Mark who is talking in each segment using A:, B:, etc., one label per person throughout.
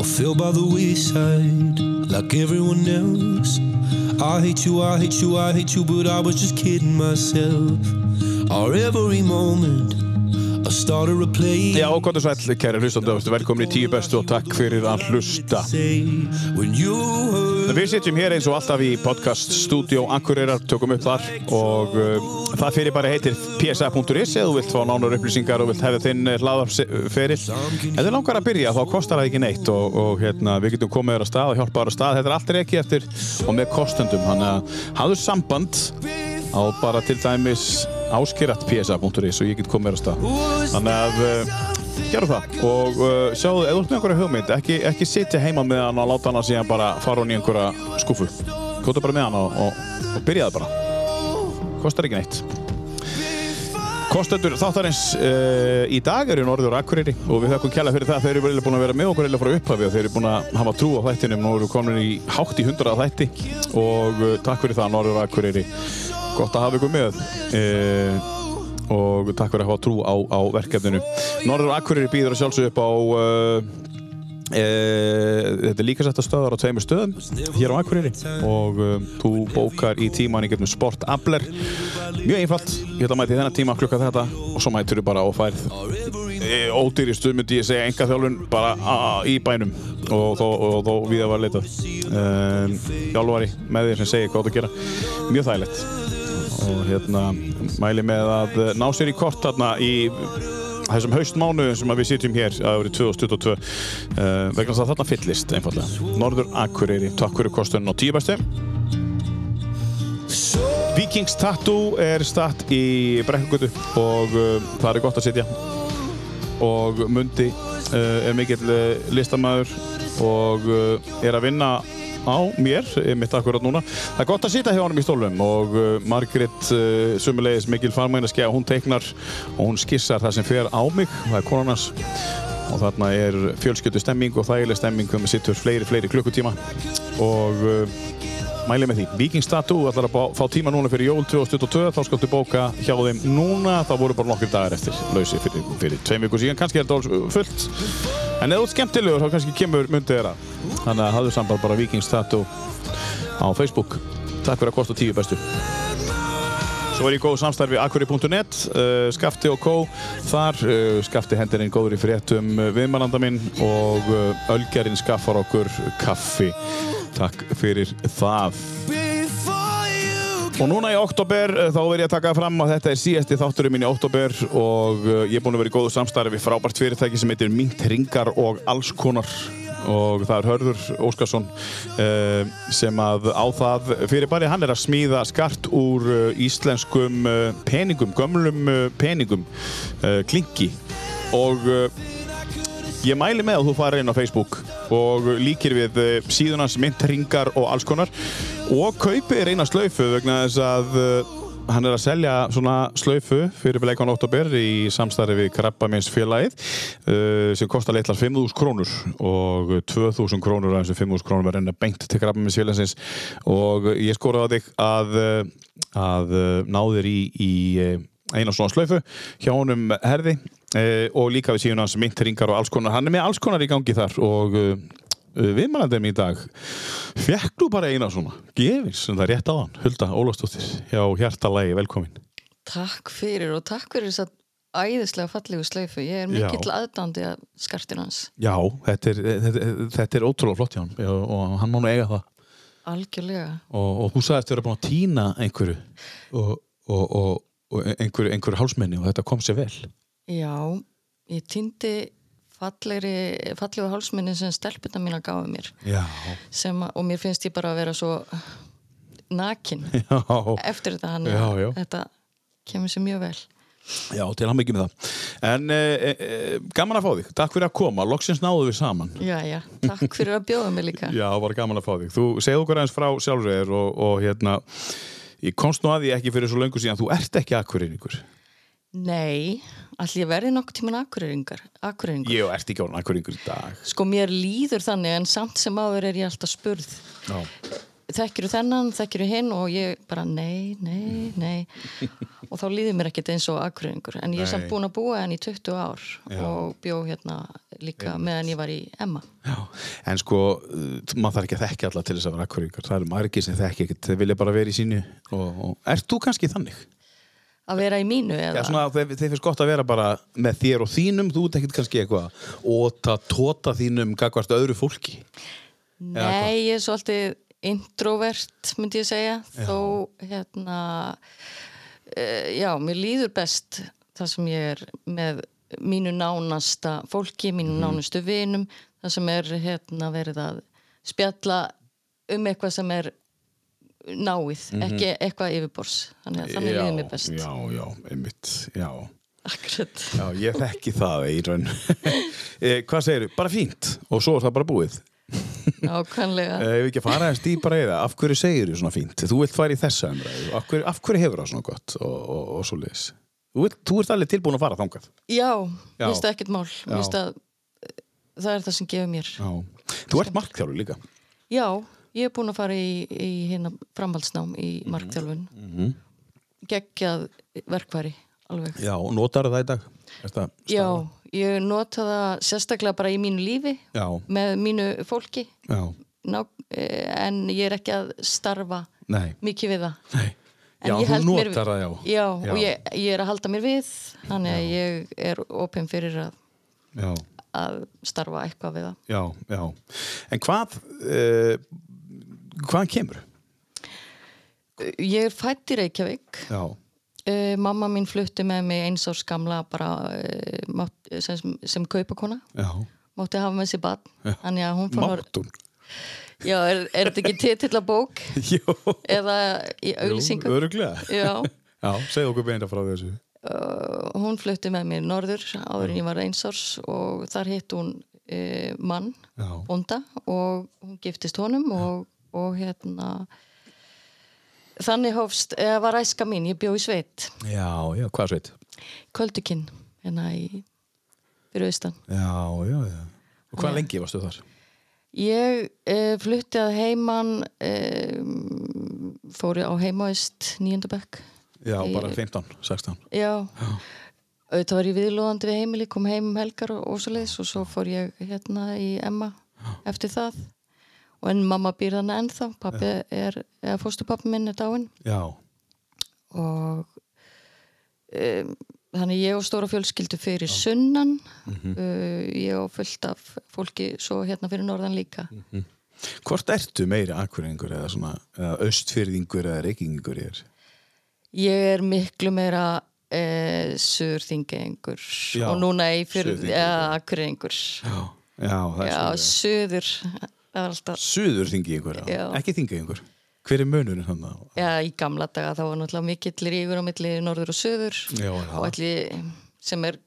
A: I fell by the wayside like everyone else. I hate you, I hate you, I hate you, but I was just kidding myself. Our every moment, I started a play.
B: Já, gott og sæll, kæri hlustandi, velkomin í tíu bestu og takk fyrir að hlusta.
A: Say, when you heard
B: Við sitjum hér eins og alltaf í podcast Studio Akureyrar, tökum upp þar og uh, það fyrir bara heitir psa.is eða þú vilt fá nánar upplýsingar og vilt hefða þinn eh, hlaðarferill. Ef þið langar að byrja þá kostar það ekki neitt og, og hérna, við getum komið þér á stað og hjálpa þér á stað. Þetta er allt reiki eftir og með kostendum, þannig að hafðu samband á bara til dæmis áskirat psa.is og ég get komið þér á stað.
A: was
B: Þannig að uh, gera það og uh, sjáðu, ef þú ert með einhverja hugmynd ekki, ekki sitja heima með hann og láta hann síðan bara fara hún í einhverja skúfu Kóta bara með hann og, og, og byrjaði bara Kostar ekki neitt Kostendur þáttarins uh, í dag eru Norður og Akureyri og við höfum kjalla fyrir það þeir eru bara eiginlega búin að vera með okkur eða frá upphafi og þeir eru búin að hafa trú á þættinum og eru komin í hátt í hundrað þætti og uh, takk fyrir það Norður og Akureyri gott að hafa ykkur með uh, og takk fyrir að hafa trú á, á verkefninu Norður og Akureyri býður að sjálfsög upp á uh, E, þetta er líka sett að stöðar á tveimur stöðum hér á Akureyri og um, þú bókar í tíman í gegnum Sport Abler mjög einfalt, ég ætla að mæti þennan tíma klukka þetta og svo mætur þú bara og færð e, ódýristu myndi ég segja enga þjálfun bara a- í bænum og þó, og, þó við að var leitað um, hjálfari með þér sem segir hvað þú átt að gera mjög þægilegt og hérna mæli með að eh, ná sér í kort þarna í þessum haustmánuðum sem að við sitjum hér að árið 2022 uh, vegna þess að þarna fyllist einfallega Norður Akureyri, takk fyrir kostunum á tíu bestu Vikings Tattoo er statt í Brekkugötu og uh, það er gott að sitja og Mundi uh, er mikill uh, listamæður og uh, er að vinna á mér, eh, mitt akkurat núna það er gott að sitja hjá honum í stólum og uh, Margrét uh, sumulegis mikil farmænaskja, hún teiknar og hún skissar það sem fer á mig, það er konan hans og þarna er fjölskyldu stemming og þægileg stemming um að sittur fleiri, fleiri klukkutíma og uh, mæli með því. Vikingstatu, þú ætlar að bá- fá tíma núna fyrir jól 2022, þá skaltu bóka hjá þeim núna, þá voru bara nokkur dagar eftir lausi fyrir, fyrir tveim viku síðan, kannski er þetta alls uh, fullt, en ef þú ert skemmtilegur þá kannski kemur myndið þeirra. Þannig að hafðu samband bara Vikingstatu á Facebook. Takk fyrir að kosta tíu bestu. Svo er ég í góð samstarfi akuri.net, uh, Skafti og Kó, þar uh, Skafti hendir inn góður í fréttum uh, viðmælanda minn og uh, Ölgerinn skaffar okkur kaffi. Takk fyrir það.
A: before you
B: Og núna í oktober eh, þá verð ég að taka það fram að þetta er síðasti þátturinn minn í oktober og eh, ég er búinn að vera í góðu samstarfi við frábært fyrirtæki sem heitir Mingt Ringar og alls konar og það er Hörður Óskarsson eh, sem að á það fyrirbæri hann er að smíða skart úr eh, íslenskum eh, peningum, gömlum eh, peningum, eh, klinki og eh, Ég mæli með að þú farir inn á Facebook og líkir við eh, síðuna hans myndringar og alls konar og kaupir eina slaufu vegna þess að eh, hann er að selja svona slaufu fyrir leikon oktober í samstarfi við Krabbaminsfélagið uh, sem kostar leitlar 5.000 krónur og 2.000 krónur af þessum 5.000 krónur verður enn að beint til Krabbaminsfélagsins og ég skoraði á þig að, eh, að náður í, í eh, eina svona slöfu hjá honum herði eh, og líka við síðan hans myndringar og alls konar, hann er með alls konar í gangi þar og uh, viðmælandum í dag fekk þú bara eina svona gefins, en það er rétt á hann, Hulda Ólafsdóttir hjá Hjartalagi, velkomin
C: Takk fyrir og takk fyrir þess að æðislega fallegu slöyfu. Ég er
B: Já.
C: mikill aðdándi að skartin hans.
B: Já, þetta er, eh, þetta, þetta er ótrúlega flott hjá hann Já, og hann má nú eiga það
C: Algjörlega.
B: og, og þú sagðist þér að búin að týna einhverju og, og, og, og einhverju, einhverju hálsmenni og þetta kom sér vel
C: Já, ég týndi fallegri, fallegu hálsminni sem stelpunna mína gáði mér.
B: Já,
C: Sem, að- og mér finnst ég bara að vera svo nakin
B: já
C: eftir þetta hann.
B: Já, já.
C: Þetta kemur sér mjög vel.
B: Já, til hann ekki með það. En e, e, gaman að fá þig. Takk fyrir að koma. Loksins náðu við saman.
C: Já, já. Takk fyrir að bjóða mig líka.
B: Já, var gaman að fá þig. Þú segðu okkur aðeins frá sjálfsögir og, og hérna, ég komst nú að því ekki fyrir svo löngu síðan. Þú ert ekki akkurýringur.
C: Nei, allir ég verði nokkuð tíman akureyringar. Akureyringar.
B: Ég ert ekki orðin akkurýringur í dag.
C: Sko mér líður þannig en samt sem áður er ég alltaf spurð.
B: Já.
C: þekkiru þennan, þekkiru hinn og ég bara nei, nei, nei og þá líði mér ekkit eins og akkuringur en ég er
B: Nei.
C: samt búin að búa henn í 20 ár
B: Já.
C: og bjó hérna líka meðan ég var í Emma
B: Já, en sko, uh, maður þarf ekki að þekki alla til þess að vera akkuríkar, það eru margir sem þekki ekkert, þeir vilja bara vera í sínu og, og ert þú kannski þannig?
C: að vera í mínu
B: Já,
C: eða
B: svona, að þeir, þeir finnst gott að vera bara með þér og þínum, þú ert ekkert kannski eitthvað óta, tóta þínum, gagvart öðru fólki. hvað?
C: Nei, ég er svolítið introvert, myndi ég segja þó hérna e, já, mér líður best þar sem ég er með mínu nánasta fólki, mínu
B: Mhm.
C: nánustu vinum, þar sem er hérna verið að spjalla um eitthvað sem er náið, ekki eitthvað yfirbors þannig að þannig líður mér best
B: Mhm. Já, já, einmitt, já.
C: Akkurat,
B: Já, ég þekki það í raun. Eh, Hvað segirðu? Bara fínt og svo er það bara búið.
C: nákvæmlega
B: Eh, Ef við ekki að fara aðeins dýpar í það, af hverju segir þú svona fínt? Þú vilt fara í þessa umræðu, af hverju, af hverju hefur það svona gott og, og, og svo leiðis? Þú, vilt- þú ert alveg tilbúin að fara þangað.
C: Já,
B: Já.
C: mér finnst það ekkert mál
B: Já.
C: mér finnst að það er það sem gefur mér
B: Já. Þú ert markþjálfur líka.
C: Já, ég er búin að fara í, í hérna framhaldsnám í
B: Mhm.
C: markþjálfun geggjað verkværi alveg.
B: Já, og notar það í dag. Ertu að-
C: Já, ég nota það sérstaklega bara í mínu lífi
B: Já,
C: með mínu fólki
B: já,
C: ná, eh, en ég er ekki að starfa
B: nei,
C: mikið við það.
B: nei.
C: En
B: Já,
C: ég
B: þú
C: held mér-
B: notar það, já.
C: Já, og ég, ég er að halda mér við þannig að ég er opinn fyrir að,
B: Já,
C: að starfa eitthvað við það.
B: já, já. En hvað, uh, hvaðan kemur?
C: Ég er fætt í Reykjavík
B: Já,
C: Uh, mamma mín flutti með mig eins árs gamla bara, uh, mátt, sem, sem kaupakona
B: já.
C: mátti hafa með sér barn þannig að hún fór
B: Máttun.
C: já, er, er þetta ekki titilla bók
B: Jó.
C: eða í auglýsingu
B: Öruglega.
C: já,
B: Já, segðu okkur beina frá þessu.
C: uh, hún flutti með mér norður áður en ég var einsors og þar hitt hún uh, mann
B: Já.
C: bónda og hún giftist honum og, og hérna þannig hófst eða var æska mín, ég bjó í sveit
B: Já, já, hvað sveit?
C: köldukinn hérna í fyrir austan
B: Já, já, já. Og hvað lengi varstu þar?
C: Ég uh, flutti að heiman uh, fóri á heimaist nýjöndabökk
B: Já, bara 15, 16.
C: Já, auðvitað var ég viðlóðandi við heimili kom heim um helgar og, og svo leiðis og svo fór ég hérna í Emma eftir það og en mamma býr þannig ennþá pappi er, eða fóstupappi minn er dáinn
B: Já,
C: og um, þannig ég og stóra fjölskyldu fyrir sunnan uh, ég og fullt af fólki svo hérna fyrir norðan líka
B: hvort ertu meiri akkuringur eða svona eða austfyrðingur eða reykingur er?
C: Ég er miklu meira e, surþingengur
B: Já,
C: og núna í fyrir
B: Suðþingeyingur.
C: eða akkurengur
B: Já, já, það er
C: Já,
B: svona.
C: suður það var alltaf
B: Suður þingi ykkur, já.
C: Já.
B: ekki þingi ykkur. Hver er mönurinn hann?
C: Já, í gamla daga þá var náttúrulega mikill rígur á milli norður og suður
B: Já, já.
C: og allir sem er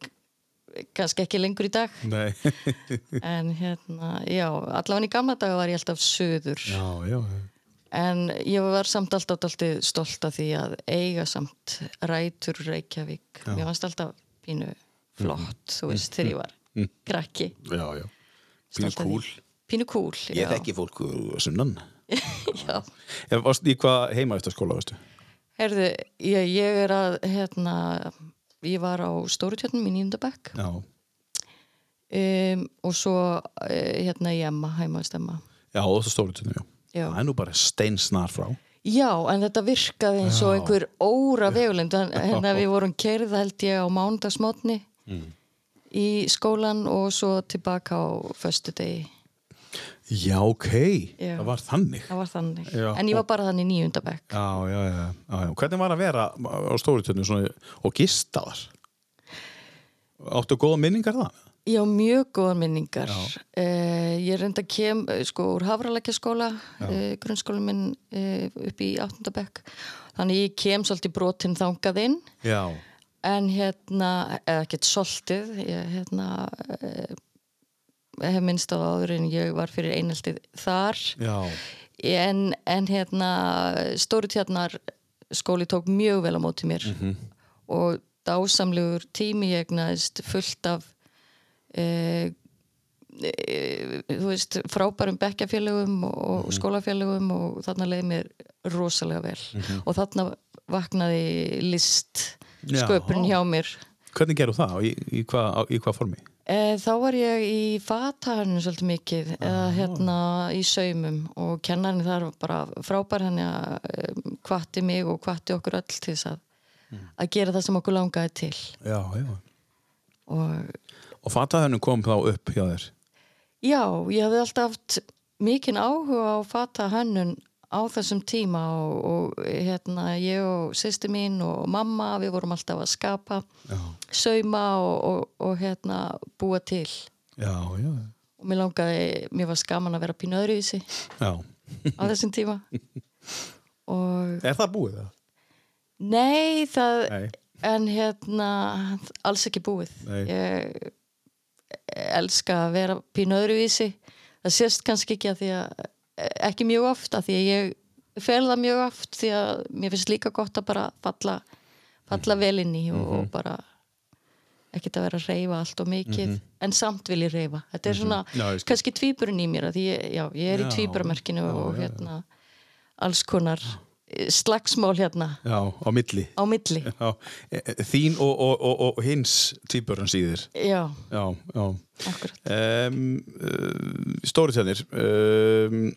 C: kannski ekki lengur í dag
B: Nei.
C: en hérna, já, allavega í gamla daga var ég alltaf suður
B: já, já, já.
C: en ég var samt alltaf dálítið stolt af því að eiga samt rætur Reykjavík mér fannst alltaf pínu
B: Mhm.
C: flott þú veist, þegar ég var krakki
B: Já, já.
C: Stolt af því. pínu kúl, já,
B: Ég þekki fólk úr sunnan.
C: já.
B: Ég varst í hvað heima eftir skóla, veistu?
C: Herðu, ég, ég er að hérna, ég var á Stórutjörnum í Nýndabæk
B: Já.
C: um, og svo uh, hérna í Emma, heimaðist Emma
B: Já, og það stóri tunni, já.
C: Já.
B: Það er nú bara steinsnar frá.
C: Já, en þetta virkaði eins og einhver óra vegulend, hérna við vorum kerð held ég á mándagsmotni
B: Mm.
C: í skólan og svo tilbaka á föstudegi,
B: Já, ok.
C: Já.
B: Það var þannig.
C: það var þannig
B: Já.
C: en ég var bara þannig nýjundabæk
B: Já, já, já, já, já. Hvernig var að vera á stóritunni svona og gista þar? Áttu góða minningar það?
C: Ég á mjög góðar minningar uh, ég reynda kem eh, sko úr Hafralækjaskóla uh, grunnskóla minn uh, upp í áttundabæk, þannig ég kem svolítið brotinn þangað inn
B: Já.
C: En hérna, eða ekkert soltið, ég hérna, eh, hef minnst á það áður en ég var fyrir einhaldið þar.
B: Já.
C: En, en hérna, stóru tjarnar skóli tók mjög vel á móti mér og dásamlegur tími ég egnaðist fullt af eh, e, þú veist, frábærum bekkjafélögum og mm. skólafélögum og þarna leiði mér rosalega vel og þarna vaknaði list
B: Já.
C: sköpun hjá mér
B: Hvernig gerðu það og í, í hvað á- í hva formi?
C: E, þá var ég í fatahannu svolítið mikið, eða hérna í saumum og kennarinn þar var bara frábær hann að kvatti mig og kvatti okkur öll til þess að, að gera það sem okkur langaði til
B: Já, já.
C: og
B: Og fataðunum kom þá upp hjá þér?
C: já, ég hafði alltaf haft mikinn áhuga á fatahannun á þessum tíma og, og hérna ég og sýsti mín og mamma, við vorum alltaf að skapa,
B: Já,
C: sauma og, og, og hérna búa til
B: já, já.
C: og mér langaði, mér var skaman að vera pínu öðruvísi
B: já.
C: á þessum tíma og
B: Er það búið það?
C: nei það
B: Nei.
C: en hérna alls ekki búið
B: Nei.
C: ég elska að vera pínu öðruvísi það sést kannski ekki að því að eh, ekki mjög oft að því að ég fel það mjög oft því að mér finnst líka gott að bara falla, falla vel inn í og,
B: Mhm.
C: og bara ekkert að vera að reyfa allt og mikið en samt vil ég reyfa þetta er svona
B: Mhm. Já, ég skil.
C: kannski tvíburinn í mér að því ég, já, ég er í
B: Já.
C: tvíburamörkinu og hérna alls konar eh, slagsmál hérna
B: Já, á milli.
C: á milli
B: Já, e- e- þín og, og, og, og hins týpur hans í þér.
C: já,
B: Já, já.
C: akkurat
B: um, uh, Stóritjarnir um,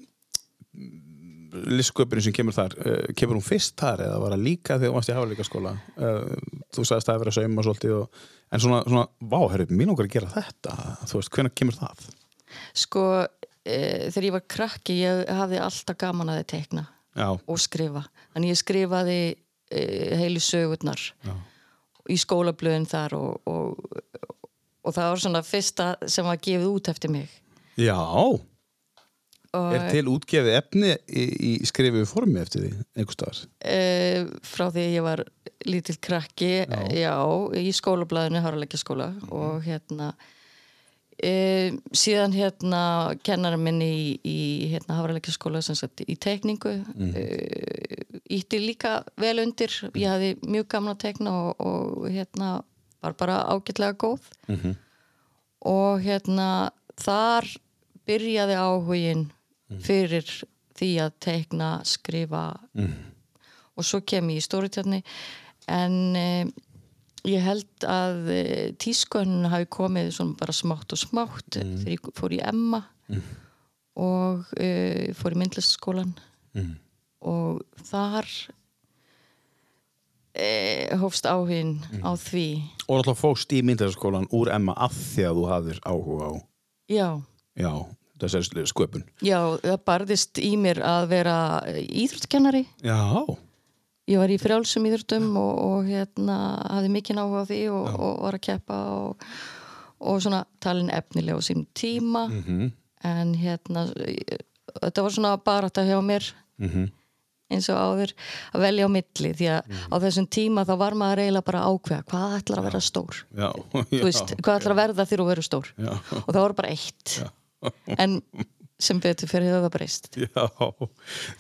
B: listsköpunin sem kemur þar uh, kemur hún fyrst þar eða var það líka þegar þú varst í hafaríkaskóla uh, þú sagðist það að vera að sauma svolítið og, en svona, svona, vá, herru, mín okkar að gera þetta þú veist, hvenær kemur það?
C: sko, e, þegar ég var krakki ég hafði alltaf gaman að þið tekna
B: Já,
C: og skrifa, þannig ég skrifaði e, heilu sögurnar
B: já,
C: í skólablöðin þar og, og, og það var svona fyrsta sem var gefið út eftir mig
B: já.
C: og
B: er til útgefið efni í, í skrifuðu formi eftir því, einhvers staðar
C: e, frá því að ég var lítill krakki, já, í skólablaðinu Háralækja skóla og hérna e, síðan hérna kennara minni í, í hérna, Háralækja skóla sem sagt í teikningu mm ítti líka vel undir, ég hafði mjög gaman að teikna og, og hérna var bara ágætlega góð og hérna þar byrjaði áhugin fyrir því að teikna, skrifa og svo kem ég í stóritjarni en eh, ég held að eh, tískunn hafi komið svona bara smátt og smátt þegar ég fór í Emma og eh, fór í myndlistaskólan
B: Mm.
C: og þar eh, hófst áhugin á því
B: og náttúrulega fóst í myndarskólan úr Emma af því að þú hafðir áhuga á
C: já
B: já, þessari sköpun
C: Já, það barðist í mér að vera eh, íþróttkennari.
B: já,
C: Ég var í frjálsum íþróttum og, og hérna, hafði mikinn áhuga á því og, og var að keppa og, og svona talin efnilega á sínum tíma.
B: Mhm.
C: -hmm. En hérna, þetta var svona bara þetta hjá mér
B: Mhm.
C: eins og áður að velja á milli því að á þessum tíma þá var maður eiginlega bara að ákveða hvað ætlar að vera stór.
B: já,
C: Þú veist, hvað ætlar að verða þegar þú verður stór.
B: Já.
C: Og það var bara eitt. en sem betur fyrir það breyst.
B: Já,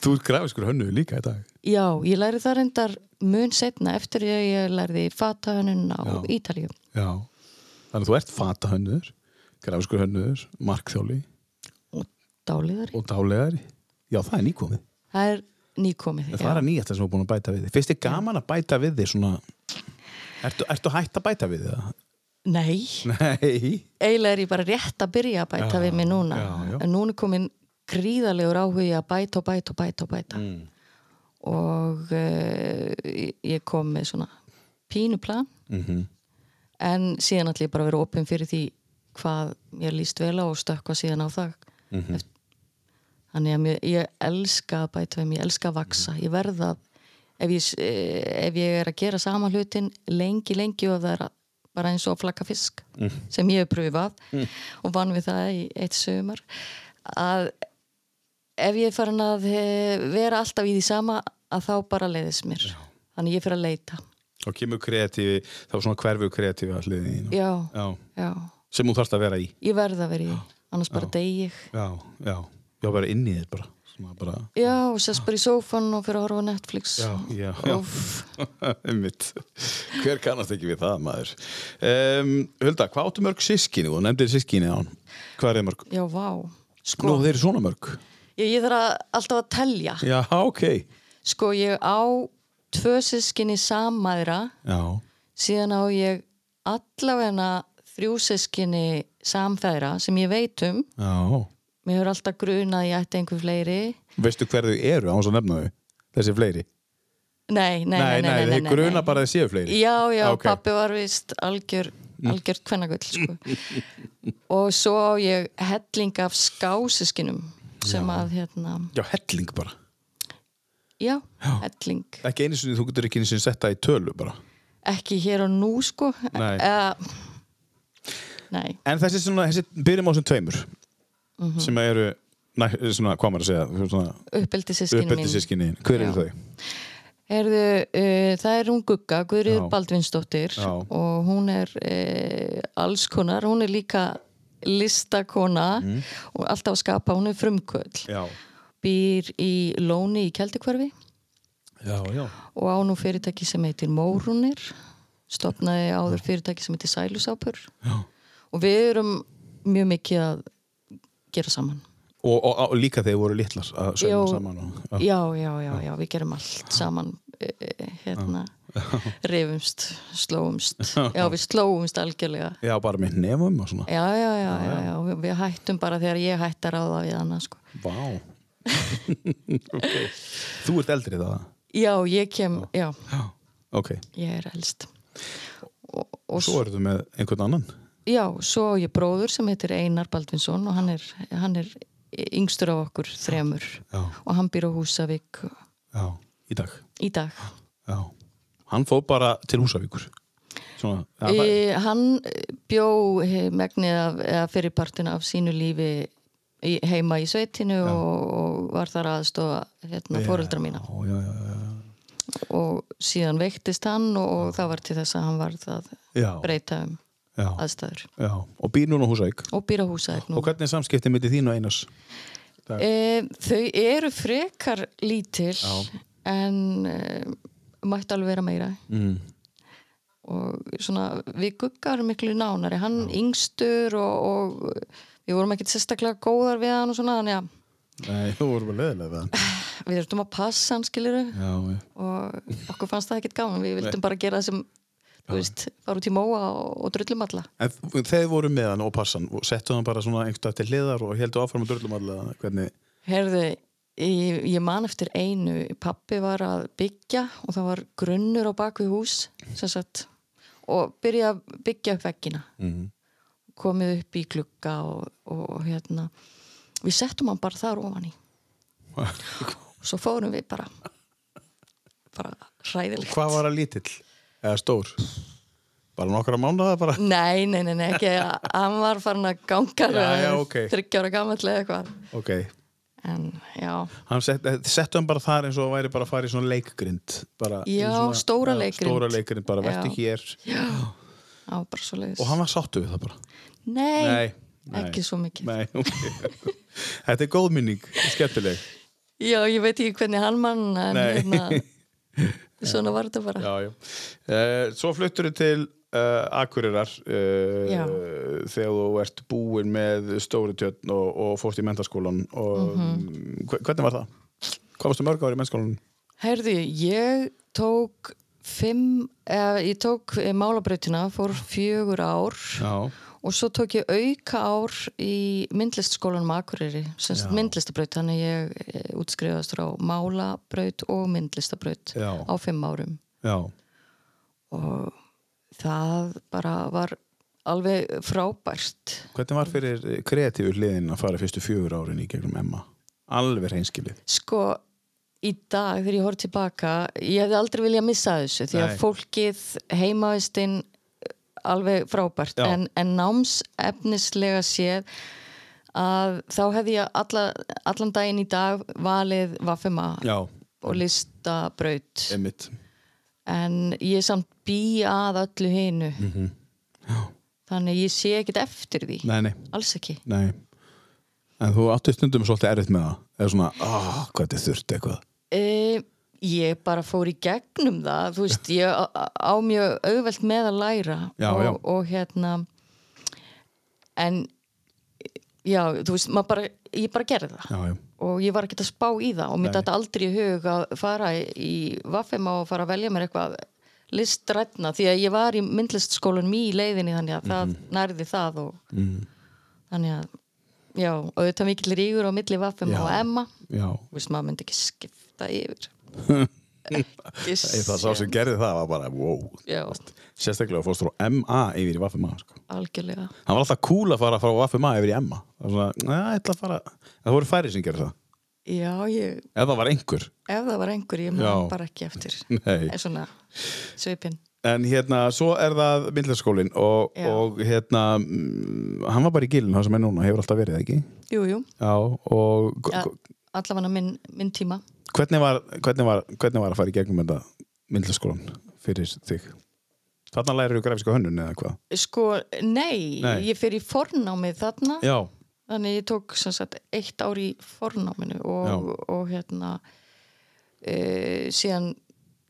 B: þú ert grafiskur hönnu líka í dag.
C: Já, ég lærði það reyndar mun setna eftir að ég lærði fatahönnun á
B: Já.
C: Ítalíu.
B: Já. Þannig að þú ert fata hönnuður, grafiskur hönnuður, markþjóli
C: Og dáliðari.
B: og dálegari. Já, það er nýkomið.
C: Það er nýkomið.
B: Það er að nýjast það sem þú er búin að bæta við þig. Finnst þið gaman að bæta við þig svona... Ertu, ertu hægt að bæta við þig það?
C: Nei,
B: Nei.
C: eiginlega er ég bara rétt að byrja að bæta við mig núna.
B: já, já.
C: En núna er komin gríðalegur áhugi að bæta og bæta og bæta og bæta.
B: Mm.
C: Og uh, ég kom með svona pínu plan.
B: Mhm.
C: En síðan ætla ég bara að vera opinn fyrir því hvað mér líst vel á og stökkva síðan á það.
B: Mhm.
C: Eft- Þannig að mér, ég elska að bæta við, mér, ég elska að vaksa. Ég verða, ef ég, s- eh, ef ég er að gera sama hlutin lengi, lengi og það er að- bara eins og að flakka fisk sem ég hef pröfað og vann við það í eitt sömur að ef ég er farin að eh, vera alltaf í því sama að þá bara leiðis mér. Þannig ég fyrir að leita.
B: Og kemur kreatífi, þá svona hverfur kreatífi allir þín.
C: Já,
B: Já.
C: já.
B: Sem þú þarfst að vera í.
C: Ég verð að vera í, annars bara degi ég.
B: Já, já. Já, bara inn í þér bara. Svona bara
C: já, og sérst bara í sófan og fyrir að horfa á Netflix
B: Já,
C: Úff.
B: einmitt. Hver kannast ekki við það, maður? Um, Hulda, hvað áttu mörg sískinni? Þú nefndir sískinni án. Hvað er þið mörg?
C: já, vá sko,
B: Nú, þeir eru svona mörg.
C: ég, ég þarf að, alltaf að telja
B: Já, ok.
C: sko, ég á tvö sískinni samæðra
B: Já,
C: síðan á ég allavegna þrjú sískinni samfæðra sem ég veit um
B: já.
C: mér hefur alltaf grunað að ég ætti einhver fleiri
B: Veistu hver þau eru án þess að nefna þau? Þessi fleiri?
C: nei, nei, nei, nei, nei, nei,
B: þeir
C: nei,
B: gruna bara að þau séu fleiri.
C: já, já,
B: Ok.
C: pappi var vist algjör, algjör kvennagull sko. og svo á ég helling af skásiskinum sem að hérna
B: Já, helling bara.
C: já, helling,
B: Ekki einu sinni, þú getur ekki einu sinni setta í tölu bara.
C: ekki hér og nú sko
B: Nei.
C: Eh, nei,
B: En þessi svona, þessi byrjum á þessum tveimur sem eru, næ, svona, hvað maður að segja, svona
C: uppeldi sískinu
B: uppeldi
C: mín
B: sískinni. Hver eru þau?
C: Herðu, uh, það er hún Gugga, Guðriður
B: Já.
C: Baldvinsdóttir
B: Já.
C: og hún er uh, alls konar, hún er líka listakona og alltaf að skapa, hún er frumkvöld
B: Mm. Já,
C: býr í Lóni í Keldikvarfi
B: já, já.
C: og á nú fyrirtæki sem heitir Mórunir stopnaði áður fyrirtæki sem heitir Sælusápur Já. og við erum mjög mikið að gera saman
B: og, og, og líka þegar voru litlar að
C: Já.
B: sauma saman og, já.
C: já, já, já, já, við gerum allt saman eh, eh, hérna rifumst, slóumst já, við slóumst algjörlega
B: já, bara með nefum og svona
C: já, já, já, já, já, við- við hættum bara þegar ég hætti að ráða við hana sko.
B: Vá okay. Þú ert eldri það
C: já, ég kem, já,
B: Já, ok
C: ég er elst og, og
B: Svo ertu með einhvern annan
C: Já, svo á ég bróður sem heitir Einar Baldvinsson og hann er, hann er yngstur af okkur þremur
B: Já.
C: og hann býr á Húsavík
B: Já, í dag
C: í dag.
B: já. Hann fóð bara til Húsavíkur Svona, já, það-
C: E, hann bjó he- megnið af, eða fyrirpartin af sínu lífi í, heima í sveitinu og, og var þar aðstofa hérna, fóreldra mína
B: já, já, já, já,
C: og síðan veiktist hann og, og það var til þess að hann var það
B: Já.
C: breyta um
B: já,
C: aðstæður
B: já. Og býr núna á Húsavík
C: og býr á Húsavík nú.
B: Og hvernig er samskiptið mitt í þínu Einars?
C: E, þau eru frekar lítil en e, mætti alveg vera meira
B: Mm.
C: og svona við guggar miklu nánari, hann yngstur og, og við vorum ekkit sérstaklega góðar við hann og svona þannig að
B: Nei, þú voru bara leðilega það
C: við þurftum að passa hann skiliru
B: Já, já
C: og okkur fannst það ekkit gaman, við vildum bara gera það sem þú veist, fara út í móa og, og drullum alla
B: En þ- þeir voru með hann og passan og settu hann bara svona einhvern til hliðar og heldu áfram að dörlum allega hvernig
C: Herði, ég, ég man eftir einu, pappi var að byggja og það var grunnur á bakvið hús sem sagt og byrja að byggja upp veggina
B: Mhm.
C: komið upp í glugga og, og hérna við settum hann bara þar ofan í og svo fórum við bara bara hræðilegt
B: Hvað var að lítill? Eða stór? Bara nokkra mánuða bara?
C: Nei, nei, nei, nei, ekki hann var farin að ganga
B: Já, já, ok.
C: þryggjára gamall eða eitthvað
B: Ok,
C: en já,
B: hann set, eh, settu hann bara þar eins og væri bara að fara í svona leikgrind bara,
C: Já,
B: svona,
C: stóra
B: já,
C: leikgrind.
B: Stóra leikgrind, bara vertu
C: Já.
B: hér
C: það var bara svo leiðis
B: Og hann var sáttu við það bara
C: nei,
B: nei.
C: ekki svo mikið
B: Nei, ok Þetta er góð minning, skemmtileg
C: Já, ég veit ekki hvernig hann mann en
B: Nei.
C: hérna svona var þetta bara
B: já, já. Eh, Svo fluttur þið til uh, Akureyrar uh,
C: Já.
B: þegar þú ert búin með stóri tjötn og, og fórst í mentaskólan og hve- hvernig var það? Hvað varstu mörg ári í mentaskólan?
C: Herði, ég tók fimm, eða, ég tók eh, málabrautina, fór fjögur ár
B: Já,
C: og svo tók ég auka ár í myndlistskólanum á Akureyri, sem sagt myndlistabraut þannig ég eh, útskrifaðist frá málabraut og myndlistabraut
B: Já.
C: á fimm árum
B: já,
C: og það bara var alveg frábært
B: hvernig var fyrir kreatífu hliðin að fara fyrstu fjögur árin í gegnum Emma? Alveg reynskilið
C: sko í dag þegar ég horf tilbaka ég hefði aldrei viljað missa þessu því að
B: Nei.
C: fólkið heimavistinn alveg frábært
B: Já.
C: en, en náms efnislega séð að þá hefði ég alla, allan daginn í dag valið vaffema
B: Já,
C: og listabraut
B: emitt
C: en ég samt bý að öllu hinu
B: Mhm.
C: þannig ég sé ekkit eftir því
B: Nei, nei,
C: alls ekki
B: nei En þú áttu stundum svolítið erfitt með það. Eða svona, ah, hvað þetta er þurft eitthvað.
C: E, ég bara fór í gegnum það, þú veist, ég á- á á mjög auðvelt með að læra
B: Já,
C: og,
B: já.
C: og hérna, en já, þú veist, maður bara, ég bara gerði það
B: Já, já.
C: og ég var ekki að spá í það og mér
B: Nei.
C: þetta aldrei í hug að fara í vaffema og fara að velja mér eitthvað listrætna því að ég var í myndlistskólanum í leiðinni þannig að
B: Mhm.
C: það nærði það og þannig að já, og þetta mikill rígur á milli vaffema
B: Já.
C: og emma
B: Já.
C: þú veist maður myndi ekki skipta yfir ekki
B: Ég, það sá sem
C: séns.
B: gerði það var bara, wow.
C: já,
B: Sérstaklega fórst frá MA yfir í Vaffema, sko.
C: algjörlega
B: Það var alltaf cool að fara frá Vaffema yfir í MA. Það var svona, "Nei, ég ætla að fara. En Það voru færi sem gerði það.
C: já, ég,
B: Ef það var einhver.
C: ef það var einhver ég
B: Já.
C: maður bara ekki eftir
B: Nei.
C: en svona svipinn
B: En hérna, svo er það myndlarskólinn og,
C: Já.
B: og hérna, mm, hann var bara í gilin, hann sem er núna, hefur alltaf verið, ekki?
C: jú, jú,
B: Já, og ja.
C: ja, allavega minn, minn tíma
B: hvernig, var, hvernig, var, hvernig var að fara í gegnum þetta myndlarskólan fyrir þig? Þarna lærir þú grafíska hönnun eða hvað?
C: Sko, nei,
B: Nei.
C: ég fyrir í fornámið þarna,
B: Já.
C: þannig ég tók sem sagt eitt ár í fornáminu og,
B: Já.
C: og hérna e, síðan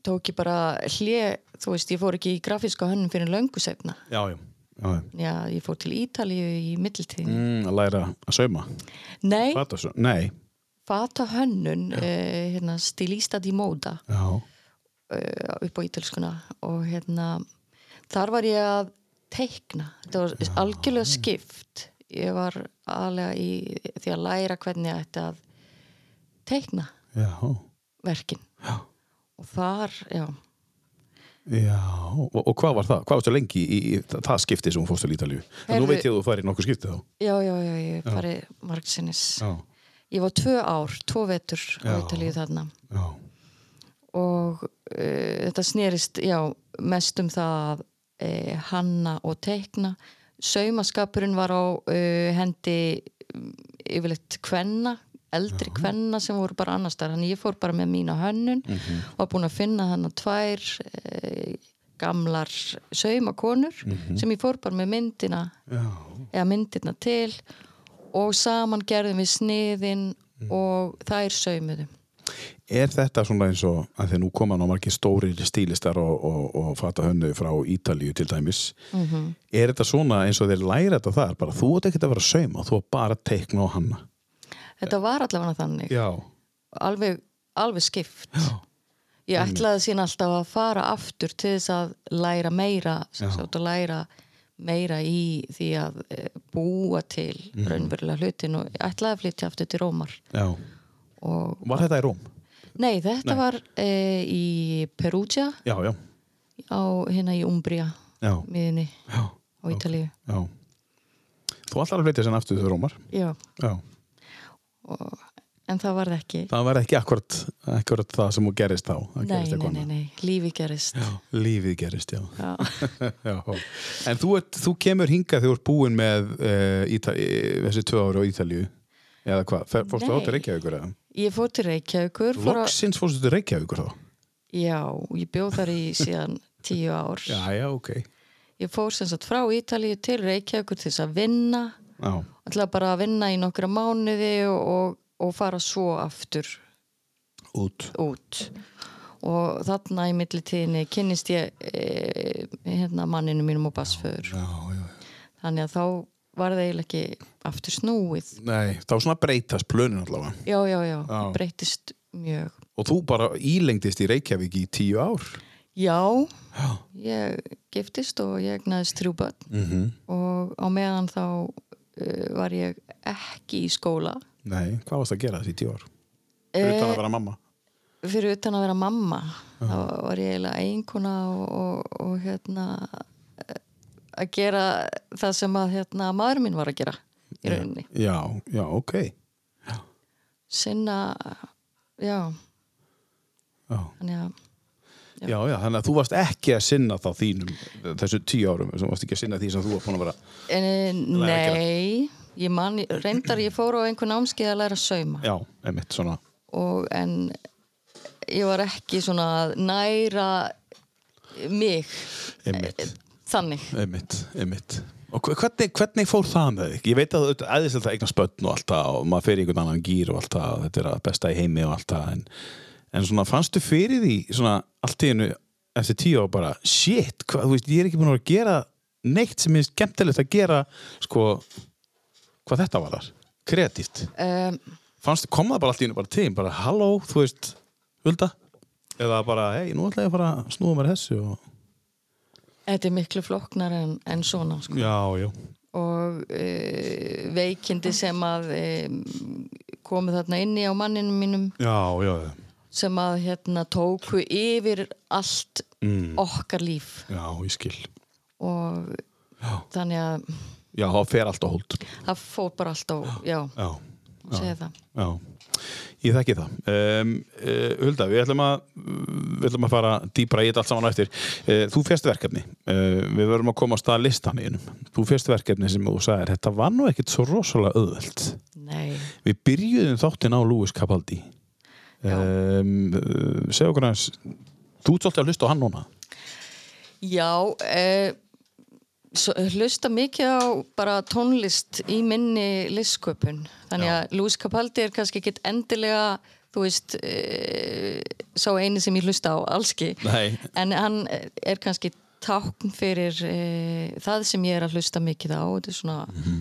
C: tók ég bara hlje, þú veist, ég fór ekki í grafíska hönnum fyrir löngu setna.
B: Já, já. já.
C: Já, ég fór til Ítalíu í middiltíðin.
B: Mm, að læra að sauma? Mm.
C: Nei,
B: Fata sauma? Nei.
C: fata hönnun, e, hérna, stilista di moda
B: Já.
C: e, upp á ítalskuna og hérna, þar var ég að teikna. Þetta var algjörlega skipt. Ég var aðlega í því að læra hvernig ég ætti að teikna
B: Já.
C: verkin.
B: Já.
C: Og þar, já,
B: Já, og, og hvað var það? Hvað varstu lengi í, í, í það skipti sem hún fórstu í Ítalíu? En Nú
C: Heyrðu-
B: veit ég að þú færi nokkuð skipti þá.
C: já, já, já, ég farið margsinnis.
B: Já,
C: Ég var tvö ár, tvo vetur
B: Já.
C: á Ítalíu þarna.
B: já.
C: og uh, þetta snerist já, mest um það uh, hanna og teikna saumaskapurinn var á uh, hendi um, yfirleitt kvenna eldri kvenna sem voru bara annars þar þannig ég fór bara með mína hönnun var búin að finna hann að tvær uh, gamlar saumakonur sem ég fór bara með myndina
B: Já.
C: eða myndirna til og saman gerðum við sniðin og þær saumuðum
B: Er þetta svona eins og að því nú koma ná margir stórir stílistar og, og, og fata hönnu frá Ítalíu til dæmis er þetta svona eins og þeir læra þetta þar bara þú átt ekkert að vera að sauma þú átt bara að teikna á hanna
C: þetta var allavega þannig
B: Já,
C: alveg, alveg skipt ég ætlaði síðan alltaf að fara aftur til þess að læra meira sem sagt að læra meira í því að eh, búa til
B: Mhm.
C: raunverulega hlutin og ég ætlaði að flytja aftur til Rómar
B: já
C: og
B: Var þetta í Róm?
C: nei þetta var e, í Perugia
B: Já, já,
C: á hérna í Umbria
B: já,
C: miðinni
B: já,
C: á Ítalíu
B: já. Þú ætlar að flytja sérna aftur til Rómar
C: já,
B: Já,
C: en það varð ekki
B: það var ekki akkurat, akkurat það sem þú gerist þá Það
C: nei,
B: gerist
C: nei,
B: eitthvað
C: nei,
B: annað.
C: nei, lífi gerist
B: Já, Lífið gerist, já
C: já,
B: Já. En þú, ert, þú kemur hingað þegar þú ert búin með uh, Íta, eh, þessi tvö ára á Ítalíu eða hvað, Fer- fórstu
C: Nei.
B: þá til Reykjavíkur eða?
C: ég fór til Reykjavíkur fór á-
B: Loksins fórstu til Reykjavíkur þá?
C: já, ég bjóð þar í síðan tíu ár
B: Já, já, ok Já,
C: Ég fór sem sagt frá Ítalíu til Reykjavíkur til þess að vinna ætlaði bara að vinna í nokkra mánuði og, og, og fara svo aftur
B: út
C: út og þarna í millitíðinni kynnist ég e, hérna manninu mínum og basföður
B: Já, já,
C: þannig að þá var það eiginlega ekki aftur snúið
B: nei, þá svona breytast plönin allavega
C: já, já, já,
B: Já.
C: breytist mjög
B: og þú bara ílengdist í Reykjavík í tíu ár
C: já,
B: Já,
C: ég giftist og ég egnaðist þrjú börn
B: mm
C: og á meðan þá uh, var ég ekki í skóla
B: nei, hvað varst að gera þessi í tíu ár? Utan að vera mamma
C: Eh, fyrir utan að vera mamma þá var ég eiginlega einkona og, og, og hérna eh, að gera það sem að hérna, maður minn var að gera í rauninni,
B: Já, já, ok
C: sinna já,
B: Já,
C: þannig að Já.
B: já, já þannig að þú varst ekki að sinna þá þínum þessu tíu árum, þú varst ekki að sinna því sem þú var búin að vera
C: en, eh,
B: Læra að
C: nei, ég man reyndar ég fór á einhvern námskeið að læra að sauma
B: Já, einmitt, svona
C: og en ég var ekki svona að næra mig
B: Einmitt,
C: þannig
B: einmitt, einmitt Og hve- hvernig, hvernig fór það með þig? Ég veit að það er aðeins að það eignar spötn og allt það og maður fer í einhvern annan gýr og allt það þetta er að besta í heimi og allt það en, en svona fannstu fyrir því svona allt í hennu eftir tíu á bara shit, hvað, þú veist, ég er ekki búin að vera að gera neitt sem er skemmtilegt að gera sko, hvað þetta var þar kreatíft
C: um,
B: fannstu, kom það bara allt í hennu bara til bara halló, þú veist, Hulda eða bara, hei, nú ætla ég að fara að snúa mér að þessu og...
C: Þetta er miklu flóknar en, en svona sko.
B: Já, já
C: og e, veikindi sem að e, komu þarna inni á manninu mínum
B: Já, já,
C: sem að hérna tóku yfir allt
B: Mm.
C: okkar líf
B: já, ég skil
C: og
B: Já.
C: þannig að
B: Já, það fer allt á hold
C: það fór bara alltaf, já,
B: Já,
C: já segja það
B: já Ég þekki það um, uh, Hulda, við ætlum að við ætlum að fara dýbra í þetta allt saman á eftir uh, Þú férst verkefni uh, Við verum að koma á stað listan í einum Þú férst verkefni sem þú sagðir Þetta var nú ekkit svo rosalega auðvelt
C: Nei,
B: Við byrjuðum þáttin á Lewis Capaldi
C: Já.
B: um, uh, Segðu okkur hans Þú ert svolítið að hlusta á hann núna
C: já e, svo, hlusta mikið á bara tónlist í minni listsköpun þannig að Lúis Capaldi er kannski ekkit endilega þú veist e, sá eini sem ég hlusta á, allski
B: Nei.
C: en hann er kannski tákn fyrir e, það sem ég er að hlusta mikið á þetta er svona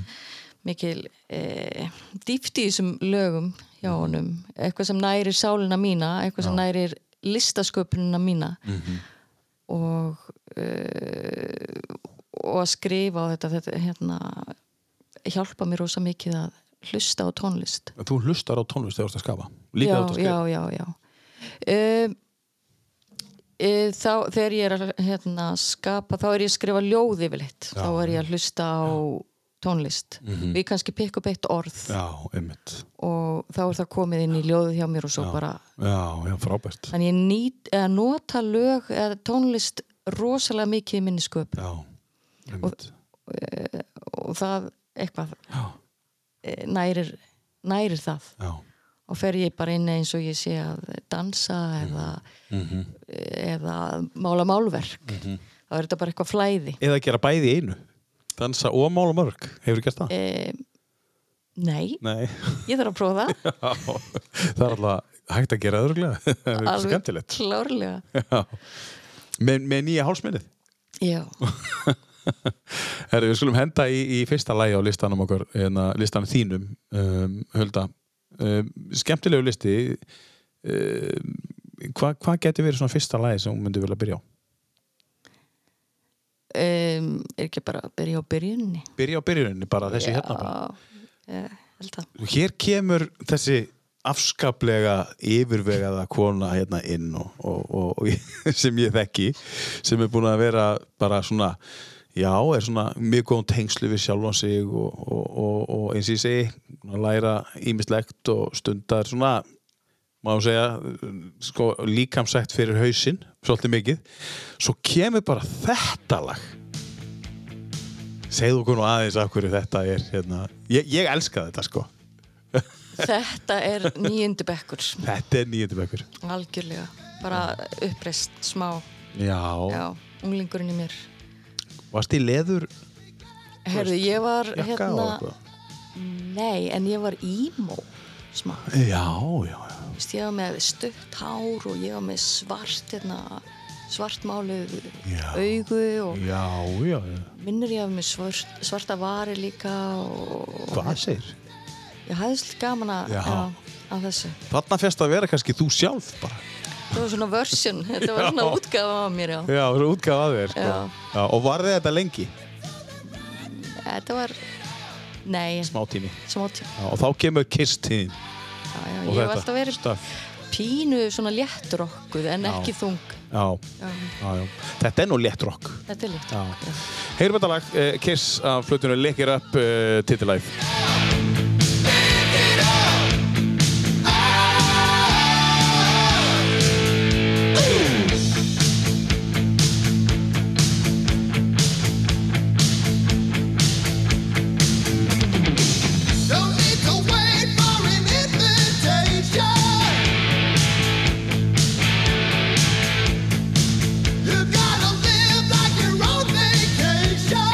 C: mikil e, dýpt í þessum lögum hjá honum, eitthvað sem nærir sálina mína, eitthvað sem nærir listasköpunina mína og uh, og að skrifa á þetta, þetta hérna, hjálpa mér rosa mikið að hlusta á tónlist
B: Þú hlustar á tónlist þegar þú ert að skapa Líka þegar þú ert að
C: já,
B: skrifa
C: já, já, já. Um, e, þá, þegar ég er að hérna, skapa, þá er ég að skrifa ljóð yfirleitt, þá er ég að hlusta á tónlist, við kannski pikk upp eitt orð
B: Mhm. Já, einmitt
C: og þá er það komið inn í ljóðu hjá mér og svo bara
B: Já, já, frábært
C: þannig ég nýt, eða nota lög eða tónlist rosalega mikið í minni sköp
B: Já, einmitt
C: og það eitthvað
B: Já.
C: eh, nærir, nærir það
B: Já,
C: og fer ég bara inn eins og ég sé að dansa eða,
B: Mhm.
C: eða mála málverk þá er þetta bara eitthvað flæði
B: eða gera bæði í einu dansa og mála mörg, hefur gert það?
C: e, nei,
B: Nei,
C: ég þarf að prófa það
B: það er alltaf hægt að gera öðruglega það er skemmtilegt
C: klárlega
B: Já. með, með nýja hálsminnið
C: já,
B: Herru, við skulum henda í, í fyrsta lægi á listanum okkur, hérna, listanum þínum um, Hulda um, skemmtilegu listi um, hvað hva getur verið svona fyrsta lægi sem hún myndi vilja byrja á?
C: e, er ekki bara að byrja á byrjunni
B: Byrja á byrjuninni bara þessi hérna bara
C: e, held að
B: Og hér kemur þessi afskaplega yfirvegaða kona hérna inn og, og, og, og sem ég þekki sem er búin að vera bara svona já, er svona mjög góðum tengslu við sjálfan sig og, og, og, og eins og ég segi, hún að læra ímislegt og stundar svona má segja, sko, líkamsætt fyrir hausinn, svolítið mikið svo kemur bara þetta lag segðu okkur nú aðeins af hverju þetta er hérna. ég, ég elska þetta sko
C: þetta er nýjundu bekkur
B: Þetta er nýjöndum ekkur
C: algjörlega, bara uppreist smá,
B: Já,
C: já, unglingurinn í mér
B: varst í leður
C: herðu, ég var
B: jakka og
C: hérna,
B: eitthvað?
C: Nei, en ég var ímó smá.
B: Já, já, já
C: Þú veist, Ég var með stutt hár og ég var með svart hérna, svartmáluð
B: Já.
C: augu og
B: Já, já, já
C: minnur ég hafði með svart, svarta vari líka og
B: Hvað segir?
C: ég hafði svolítið gaman að,
B: Já.
C: að þessu.
B: Þarna fyrst að vera kannski þú sjálf bara
C: Það var svona version, þetta var svona útgafa á mér já.
B: Já, þú útgaf að þér sko.
C: Já.
B: já Og varði þetta lengi?
C: Þetta var, nei,
B: Smá tími
C: smá tíma.
B: já, Og þá kemur kiss tíðin
C: Já, já,
B: og
C: ég hef
B: þetta
C: alltaf verið
B: stuff.
C: pínu svona léttrokkuð
B: Já.
C: en ekki þung.
B: já.
C: Já,
B: Já, já Þetta er nú létt rock
C: þetta er
B: Já
C: léttrokkuð. Já.
B: Heyrum þetta lag, eh, Kiss af flutunum Lekir upp uh, titilæð
D: Don't need to wait for an invitation. You gotta live like you're on vacation.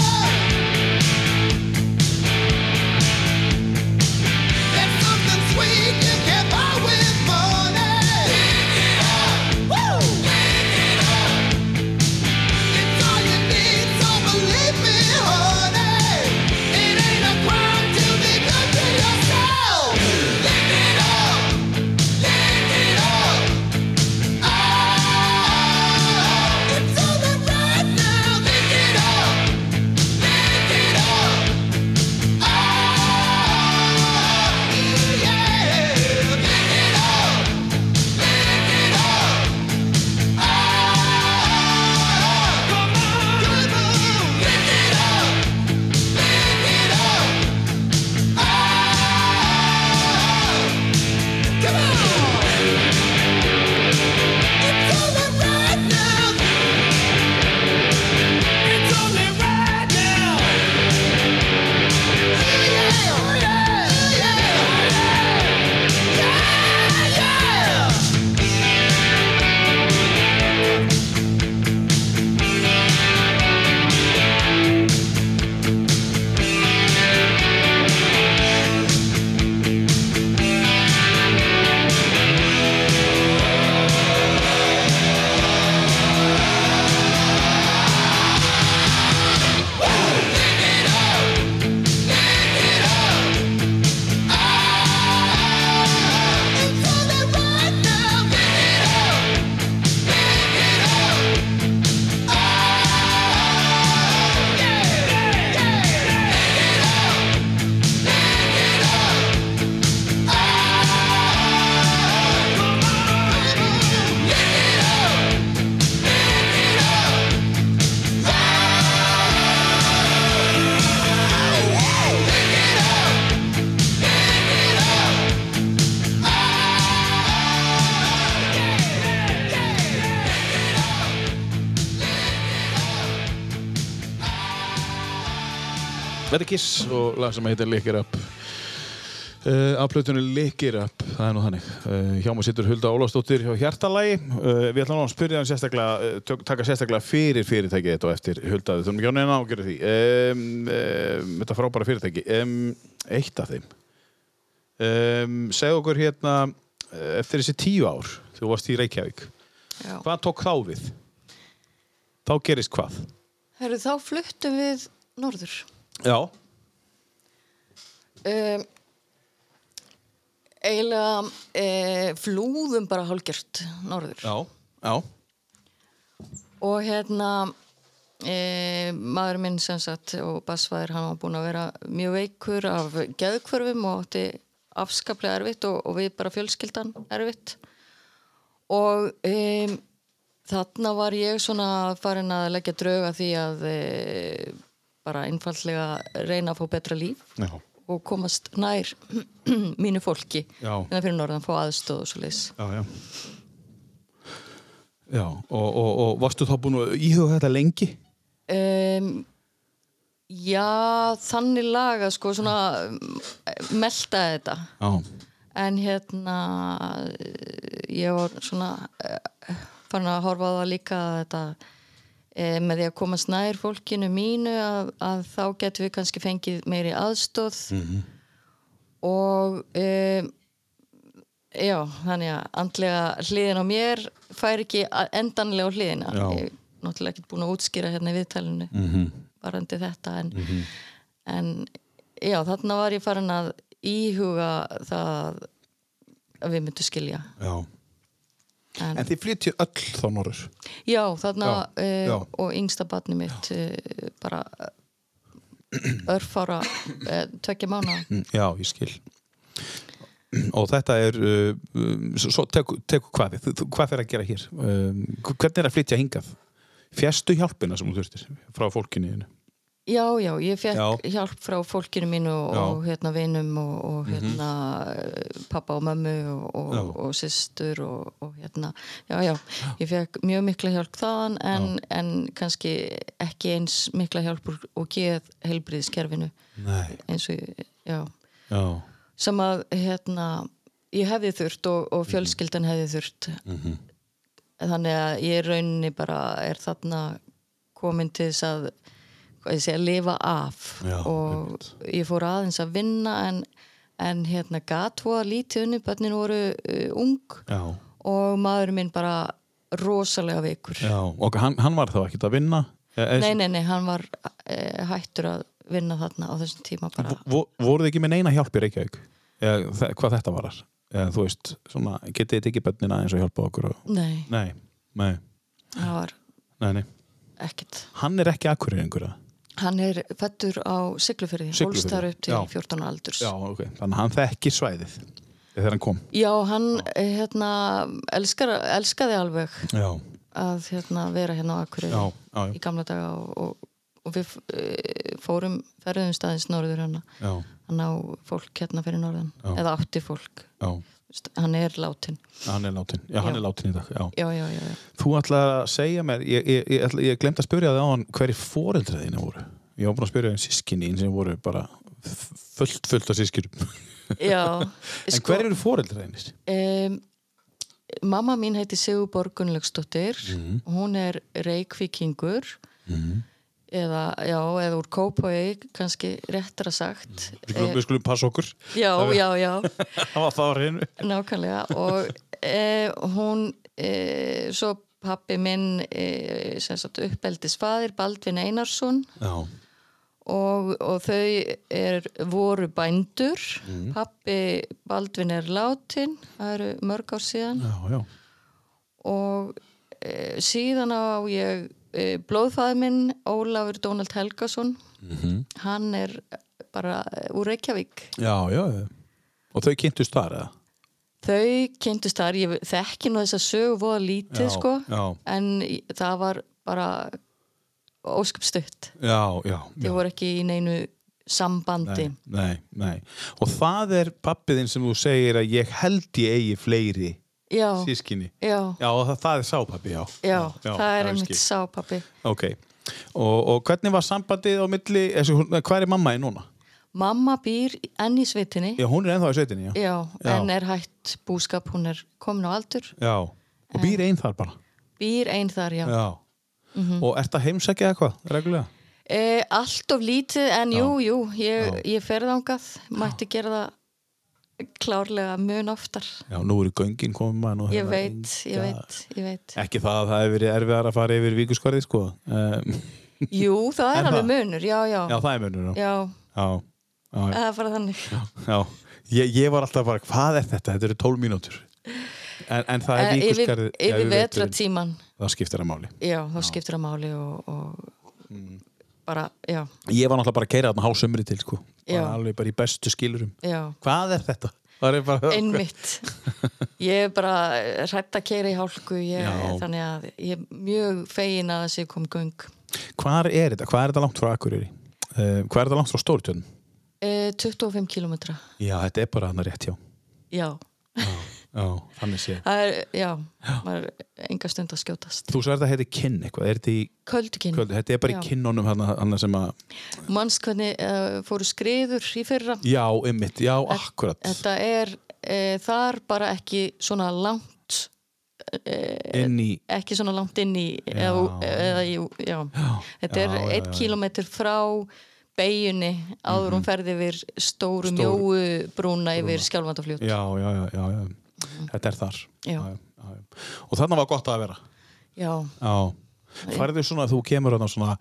B: Þetta er Kiss og lag sem heitir Lick It Up uh, Af plötunni Lick It Up, það er nú þannig uh, Hjá mig sittur Hulda Ólafsdóttir hjá Hjartalægi uh, Við ætlum nú að spyrja hann sérstaklega uh, tök, taka sérstaklega fyrir fyrirtækið þetta og eftir Hulda, við þurfum ekki á neina að gera því um, um, Þetta frábæra fyrirtæki um, Eitt af þeim um, Segð okkur hérna eh, eftir þessi tíu ár þegar þú varst í Reykjavík
C: Já.
B: Hvað tók þá við? Þá gerist hvað?
C: Herru, þá fluttum við norður.
B: Já
C: Um, eiginlega eh, flúðum bara hálgjört norður.
B: Já, já
C: Og hérna, eh, maður minn sem sagt og basfæðir, hann var búinn að vera mjög veikur af geðkvörfum og átti afskaplega erfitt og, og við bara fjölskyldan erfitt. Og um, þarna var ég svona farin að leggja drauga því að e, bara einfallega reyna að fá betra líf
B: Já,
C: og komast nær mínu fólki
B: Já.
C: en það fyrir norðan fá aðstóð og svo leis
B: já, já. Já, og, og, og varstu þá búin að íhuga þetta lengi?
C: um, Já, þannig laga sko svona um, melta þetta
B: Já.
C: en hérna eh, ég var svona eh, farin að horfa á það líka að þetta eh, með því að komast nær fólkinu mínu að, að þá getum við kannski fengið meiri aðstóð og eh, já, þannig að andlega hliðin á mér fær ekki að- endanlega á hliðina
B: Já.
C: ég er náttúrulega ekki búin að útskýra hérna í viðtælinu varandi þetta en, en já, þarna var ég farin að íhuga það að við myndum skilja
B: Já.
C: En-
B: En þið flyttu öll þá norður?
C: já, þarna
B: Já,
C: eh,
B: já.
C: og yngsta barni mitt uh, bara eh, örfára uh, tvekja mánu
B: Mm, Já, ég skil. Og þetta er, uh, um, svo- svo tekur teku hvað, þið- þú- hvað fer að gera hér? Um, hvernig er að flytja hingað? Fjastu hjálpina sem þú þurftir frá fólkinu? þínu?
C: Já, já, ég fekk
B: Já.
C: hjálp frá fólkinu mínu og,
B: Já. Mhm.
C: og hérna vinum og, og hérna eh, pappa og mömmu og,
B: Já.
C: og, og systur og, og hérna, já, já, ég fekk mjög mikla hjálp þaðan en, en kannski ekki eins mikla hjálp úr- og geð helbriðiskerfinu
B: Nei.
C: eins og, ég- já,
B: Já.
C: sem að hérna, ég hefði þurft og, og fjölskyldan hefði þurft
B: Mhm.
C: þannig að ég í rauninni bara er þarna komin til þess að hvað ég segja, lifa af
B: Já,
C: og ég fór aðeins að vinna en, en hérna gat voða lítið unni, bönnin voru uh, ung
B: Já.
C: og maður minn bara rosalega veikur
B: Já. Og hann, hann var þá ekkert að vinna?
C: nei, nei, nei, hann var uh, hættur að vinna þarna á þessum tíma bara
B: Vo- voruð þið ekki með neina hjálp í Reykjavík eða, þe- hvað þetta varar eða, þú veist, svona, getið þið ekki bönnina eins og hjálpa okkur og...
C: nei,
B: nei, nei,
C: það var
B: nei, nei
C: ekkert
B: hann er ekki akkurir einhverja
C: Hann er fættur á Siglufyrði,
B: Siglufirði,
C: hólst þar upp til
B: já.
C: 14 aldurs.
B: já, ok, þannig að hann þekkir svæðið þegar hann kom
C: Já, hann eh, hérna, elskar, elskaði alveg
B: já,
C: að hérna, vera hérna á Akureyri
B: Já, já, já.
C: í gamla daga og, og, og við eh, fórum ferðum staðins norður hana.
B: já,
C: Hann á fólk hérna fyrir norðan,
B: Já.
C: eða átti fólk.
B: já
C: St- Hann er látin.
B: hann er látin, já, hann
C: Já.
B: er látin í dag já.
C: Já, já, já, já.
B: þú ætlaði að segja mér ég, ég, ég, ætla- ég glemt að spyrja þig á hann hverju foreldra þínu voru ég var búin að spyrja um þín sískinni sem voru bara f- fullt, fullt af sískinum
C: já
B: en
C: sko,
B: hverju eru foreldra þínir?
C: Em, mamma mín heiti Sigurborg Gunnlaugsdóttir hún er reykvíkingur eða, já, eða úr Kópói kannski réttara sagt Eh,
B: Við skulum- við skulum passa okkur
C: já, já, já
B: það var það á reynu
C: nákvæmlega og e, hún e, svo pappi minn e, sem sagt uppeldisfaðir Baldvin Einarsson
B: Já,
C: og, og þau er, voru bændur pappi Baldvin er látin það eru mörg ár síðan
B: já, já.
C: og e, síðan á ég e, blóðfæði minn Ólafur Donald Helgason
B: Mhm.
C: hann er bara eh, úr Reykjavík
B: Já, já, já. Og þau kynntust þar eða?
C: þau kynntust þar, ég þekki nú þess að sögu voða lítið
B: Já,
C: sko
B: já.
C: en í- það var bara ósköp stutt
B: Já, já.
C: þau
B: já.
C: voru ekki í neinu sambandi
B: Nei, nei, nei. Og það er pappiðin sem þú segir að ég held ég eigi fleiri
C: já,
B: sískinni.
C: já,
B: Já, og það, það er sá pappi, já.
C: já, það er
B: ég
C: einmitt
B: skil.
C: sápappi
B: Ok. og, og hvernig var sambandið á milli, þessi, hún- hvað er mamma í núna?
C: Mamma býr enn í sveitinni
B: Já, hún er ennþá í sveitinni, já.
C: já,
B: Já.
C: en er hætt búskap, hún er komin á aldur
B: Já. Og býr einn þar bara.
C: býr einn þar, já, Mhm.
B: Já. Og ert að heimsækja eða hvað, reglulega?
C: E, allt of lítið, en jú, jú ég,
B: Já.
C: ég ferð ángað, mætti gera það klárlega mun oftar
B: Já, nú eru göngin koma. nú
C: ég
B: hefur-
C: veit, ég veit, ég veit
B: Ekki það að það hefur verið erfiðar að fara yfir vikuskarði, sko. Um,
C: jú, það
B: Er
C: er alveg
B: það?
C: munur, já, já
B: já, það er munur, já.
C: já,
B: Já, já, já.
C: það er bara þannig
B: já. Ég, ég var alltaf bara, hvað er þetta? Þetta eru 12 mínútur. En, en það er
C: Eh, yfir,
B: vikuskarði.
C: yfir vetratíman
B: Það skiptir að máli.
C: já, þá skiptir það máli og, og
B: Mm.
C: bara, já,
B: Ég var náttúrulega bara að keira þarna hásumri til, sko.
C: Já.
B: Bara alveg bara í bestu skilurum.
C: já
B: Hvað er þetta? Það er bara...
C: einmitt ég er bara hrætt að keira í hálku ég,
B: Já.
C: þannig að ég er mjög fegin að þessi kom göng
B: Hvar er þetta? Hvað er þetta langt frá Akureyri? Uh, hvað er þetta langt frá Stórtjörn?
C: e, 25 kilometra
B: Já, þetta er bara hann rétt hjá.
C: já,
B: Já, þannig sé.
C: það er, já, maður er enga stund að skjótast
B: Þú sagði að þetta heiti kinn eitthvað, er þetta í
C: köldukinn,
B: kvöldu? Þetta er bara
C: Já.
B: í kinnunum hann, hann sem að...
C: manns hvernig uh, fóru skriður í fyrra
B: Já, ymmit, já, akkurat.
C: þetta er e, þar bara ekki svona langt
B: Inn í...
C: ekki svona langt inn í
B: Já.
C: eða, eða, jú, já. þetta er
B: já, já,
C: já, eitt
B: já.
C: kílómetr frá beginni áður hún ferði yfir stóru
B: Stór-
C: mjóu brúna yfir skjálfandafljót
B: Já, já, já, já, já. Þetta er þar.
C: Mhm. Já.
B: já, já. Og þarna var gott að vera.
C: já,
B: Já. Færðu svona, þú kemur hann svona,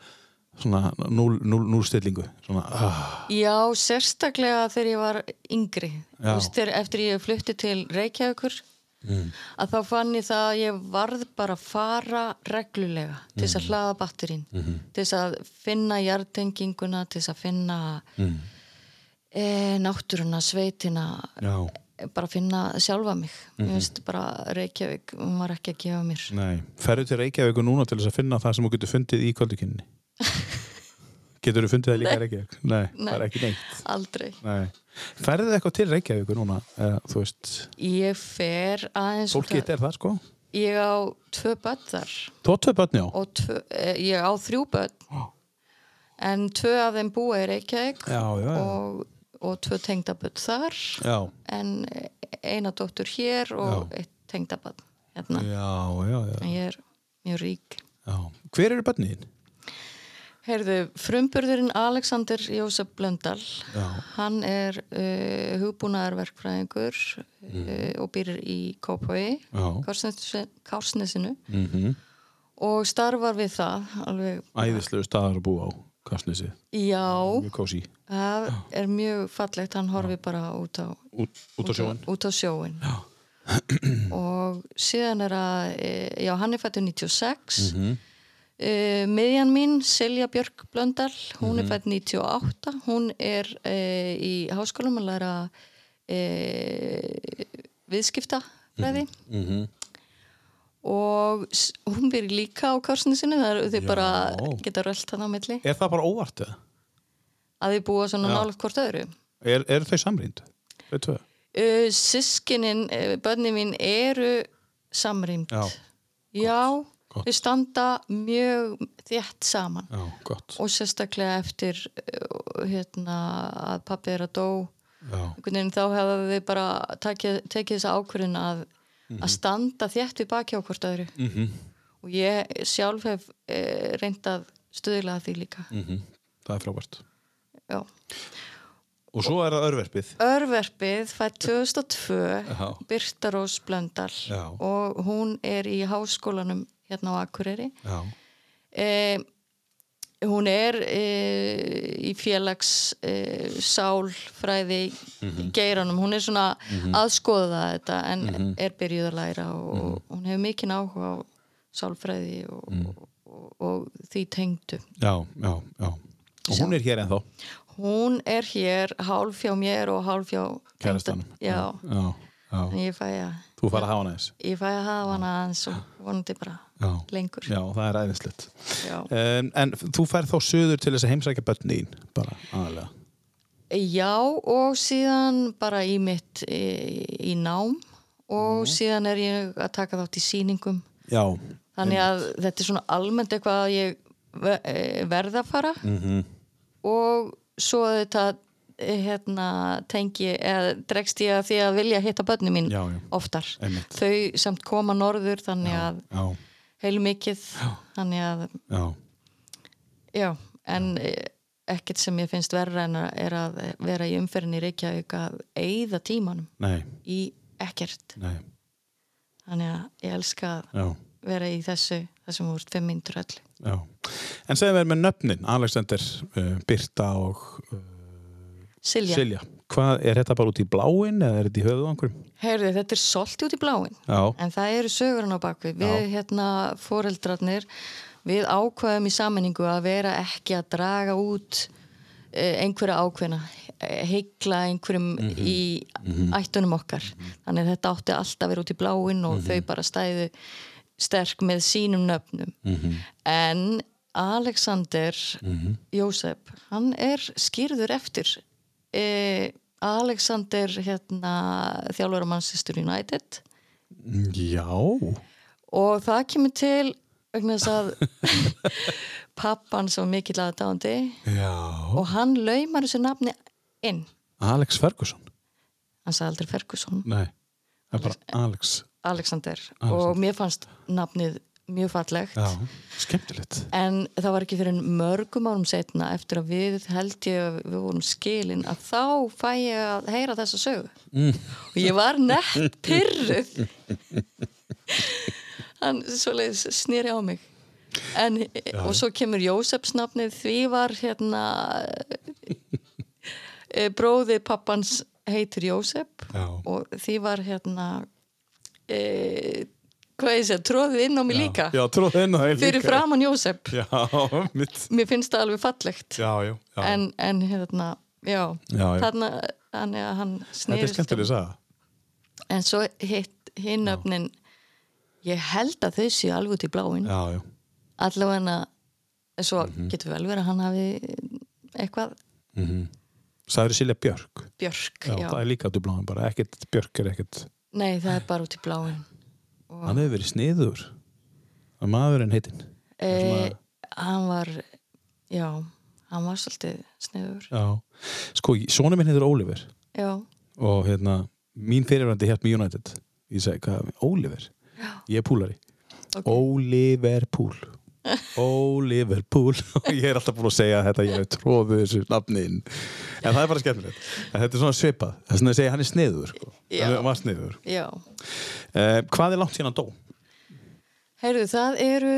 B: svona núl, núl, núlstillingu. Svona, ah,
C: já, sérstaklega þegar ég var yngri
B: Já.
C: Þú veist, þegar, eftir ég flutti til Reykjavíkur
B: Mm.
C: að þá fann ég það að ég varð bara að fara reglulega til þess
B: Mm.
C: að hlaða batterín
B: Mhm.
C: til þess að finna jartenginguna til þess að finna mm. e, náttúruna, sveitina
B: já,
C: bara finna sjálfa mig mér finnst bara Reykjavík hún var ekki að gefa mér
B: Mhm. nei. Færðu til Reykjavíku núna til þess að finna það sem þú getur fundið í kvöldukinni? getur þú fundið það líka í Reykjavík? Nei, það er ekki neitt.
C: aldrei
B: Nei. Færðu eitthvað til Reykjavíkur núna? Eða, þú veist,
C: ég fer aðeins
B: fólkið þetta er það sko.
C: ég á tvö börn þar
B: Þú átt tvö börni á?
C: og tvö, eh, ég á þrjú börn en tvö af þeim búa í Reykjavík
B: Já, já, já.
C: og, og tvö tengdaböld þar
B: Já.
C: en eina dóttur hér og
B: Já.
C: eitt tengdaböld hérna
B: Já, já, já.
C: en ég er mjög rík
B: já. Hver eru börnin þín?
C: Heyrðu, frumburðurinn Alexander Jósef Blöndal, hann er uh, hugbúnaðarverkfræðingur uh, og býrir í Kópói,
B: Mm. Já.
C: Kársnesinu
B: Mhm.
C: og starfar við það alveg,
B: Æðislegu staðar að búa á Kastnesi.
C: já,
B: Mjög kósi.
C: það er mjög fallegt, hann horfi bara út á,
B: Út, út á sjóin.
C: út á sjóin. og síðan er að, eh, já, hann er fættur 96
B: Mhm.
C: mm E, miðjan mín, Silja Björk Blöndal hún
B: Mhm.
C: er fætt 98 hún er uh, í háskólum að læra uh, viðskipta
B: Mhm.
C: fræði og s- hún byrja líka á korsinu sinni það eru þau bara geta rölt hann á milli
B: Er það bara óvart eða?
C: að þau búa svona nálega hvort öðru
B: Er, er þau samrýnd? Þau tvö?
C: uh, sískinin, uh, bönni mín eru samrýmd
B: Já.
C: Já,
B: Gott.
C: þau standa mjög þétt saman
B: Já, gott.
C: og sérstaklega eftir uh, hérna, að pappi er að dó
B: Já.
C: einhvern veginn þá hefðu þau bara tekið, tekið þessa ákvörðin að,
B: Mhm.
C: að standa þétt við baki á hvort öðru -hmm. og ég sjálf hef eh, reynd að stuðla að því líka
B: Mm. Mhm. Það er frábært.
C: Já.
B: Og svo er það örverfið.
C: Örverfið fætt 2002
B: Já.
C: Birta Rós Blöndal
B: Já.
C: og hún er í háskólanum hérna á Akureyri
B: Já.
C: eh, hún er eh, í félags eh, sálfræði
B: Mhm.
C: geiranum, hún er svona aðskoða þetta en
B: Mhm.
C: er byrjuð að læra og hún hefur mikinn áhuga á sálfræði og,
B: Mhm.
C: og, og því tengdu
B: Já, já, já. Og hún er hér ennþá.
C: hún er hér hálf hjá mér og hálf hjá
B: Kærastanum. Mhm.
C: já,
B: Já,
C: en
B: já.
C: ég fæ að
B: Þú farið að hafa hana eins.
C: ég fæ að hafa hana aðeins og vonandi bara
B: Já.
C: lengur
B: Já, það er æðislegt.
C: Já.
B: Um, en þú færð þá söður til þess að heimsækja börnin bara aðalega.
C: Já og síðan bara í mitt e, í nám og síðan er ég að taka þátt í sýningum
B: Já,
C: þannig að þetta er svona almennt eitthvað að ég ve- eh, verð að fara
B: Mhm.
C: og svo þetta hérna, tengi eða dregst ég að því að vilja hitta börnum mín
B: Já, já.
C: oftar
B: Einmitt.
C: þau samt koma norður þannig að
B: já,
C: heilmikið þannig að
B: já,
C: já, en eh, ekkert sem ég finnst verra en að, er að vera í umferðinni í Reykjavík að eyða tímanum
B: nei,
C: í ekkert
B: nei,
C: þannig að ég elska að
B: já,
C: vera í þessu þessum úr 5 mínútur öllu
B: já. En segðum við með nöfnin, Alexander, uh, Birta og uh,
C: Silja,
B: Silja. Hvað, er þetta bara út í bláin eða er þetta í höfuð á einhverjum?
C: heyrðu þetta er solti út í bláin
B: Já,
C: en það eru sögurinn á bakvið við hérna foreldrarnir við ákvæðum í sammenningu að vera ekki að draga út eh, einhverja ákveðna heikla einhverjum í ættunum okkar þannig að þetta átti alltaf að vera út í bláinn og þau bara stæðu sterk með sínum nöfnum en Alexander Jósef, hann er skýrður eftir eh, Alexander hérna, þjálfur á Manchester United
B: já,
C: og það kemur til vegna þess að pappan svo mikill aðdáðandi
B: já.
C: og hann laumar þessu nafni inn
B: Alex Ferguson,
C: hann sagði aldrei Ferguson,
B: nei, það er bara Alex,
C: eh. Alexander, og mér fannst nafnið mjög fallegt
B: já, skemmtilegt.
C: en það var ekki fyrir mörgum árum setna eftir að við held ég að við vorum skilin að þá fæ ég að heyra þessa sögu
B: Mm.
C: og ég var nett pyrruð hann svoleiðis snýri á mig en, og svo kemur Jósefs nafnið því var hérna eh, bróði pappans heitir Jósef
B: Já.
C: og því var hérna e, hvað ég segja, tróðið inn á mig líka
B: Já, eh, tróðið inn á það
C: fyrir framann Jósef
B: Já, mitt,
C: mér finnst það alveg fallegt
B: já, já, já.
C: en, en hérna, já,
B: Já, já.
C: þarna þannig að hann
B: þetta er
C: snerist
B: skemmtileg að sagða.
C: um- en svo hitt hinn öfnin ég held að þau séu alveg út í bláin
B: Já, Mhm. já,
C: allavega en svo getur vel verið að hann hafi
B: sagður
C: eitthvað
B: Mhm. Silja Björk.
C: björk
B: Já,
C: já.
B: það er líka út í bláin bara, ekkert Björk er ekkert,
C: nei það er bara út í bláin
B: hann hefur verið sniður, að maðurinn heitinn.
C: e, hann var já, hann var svolítið sniður
B: Já, sko, svona minn heitir Oliver
C: já,
B: og hérna, mín fyrirvændi hér með United. Ég segi, hvað, Oliver? Já. Ég er púlari.
C: Ok.
B: Oliver Púl. Oliver Púl. Og ég er alltaf búin að segja þetta, ég hef tróðið þessu nafnin. En það er bara skemmtilegt. En þetta er svona svipað. Það er svona að segja, hann er sniður, sko.
C: Já.
B: Hann var sniður.
C: já
B: Eh, hvað er langt síðan hann dó?
C: heyrðu það eru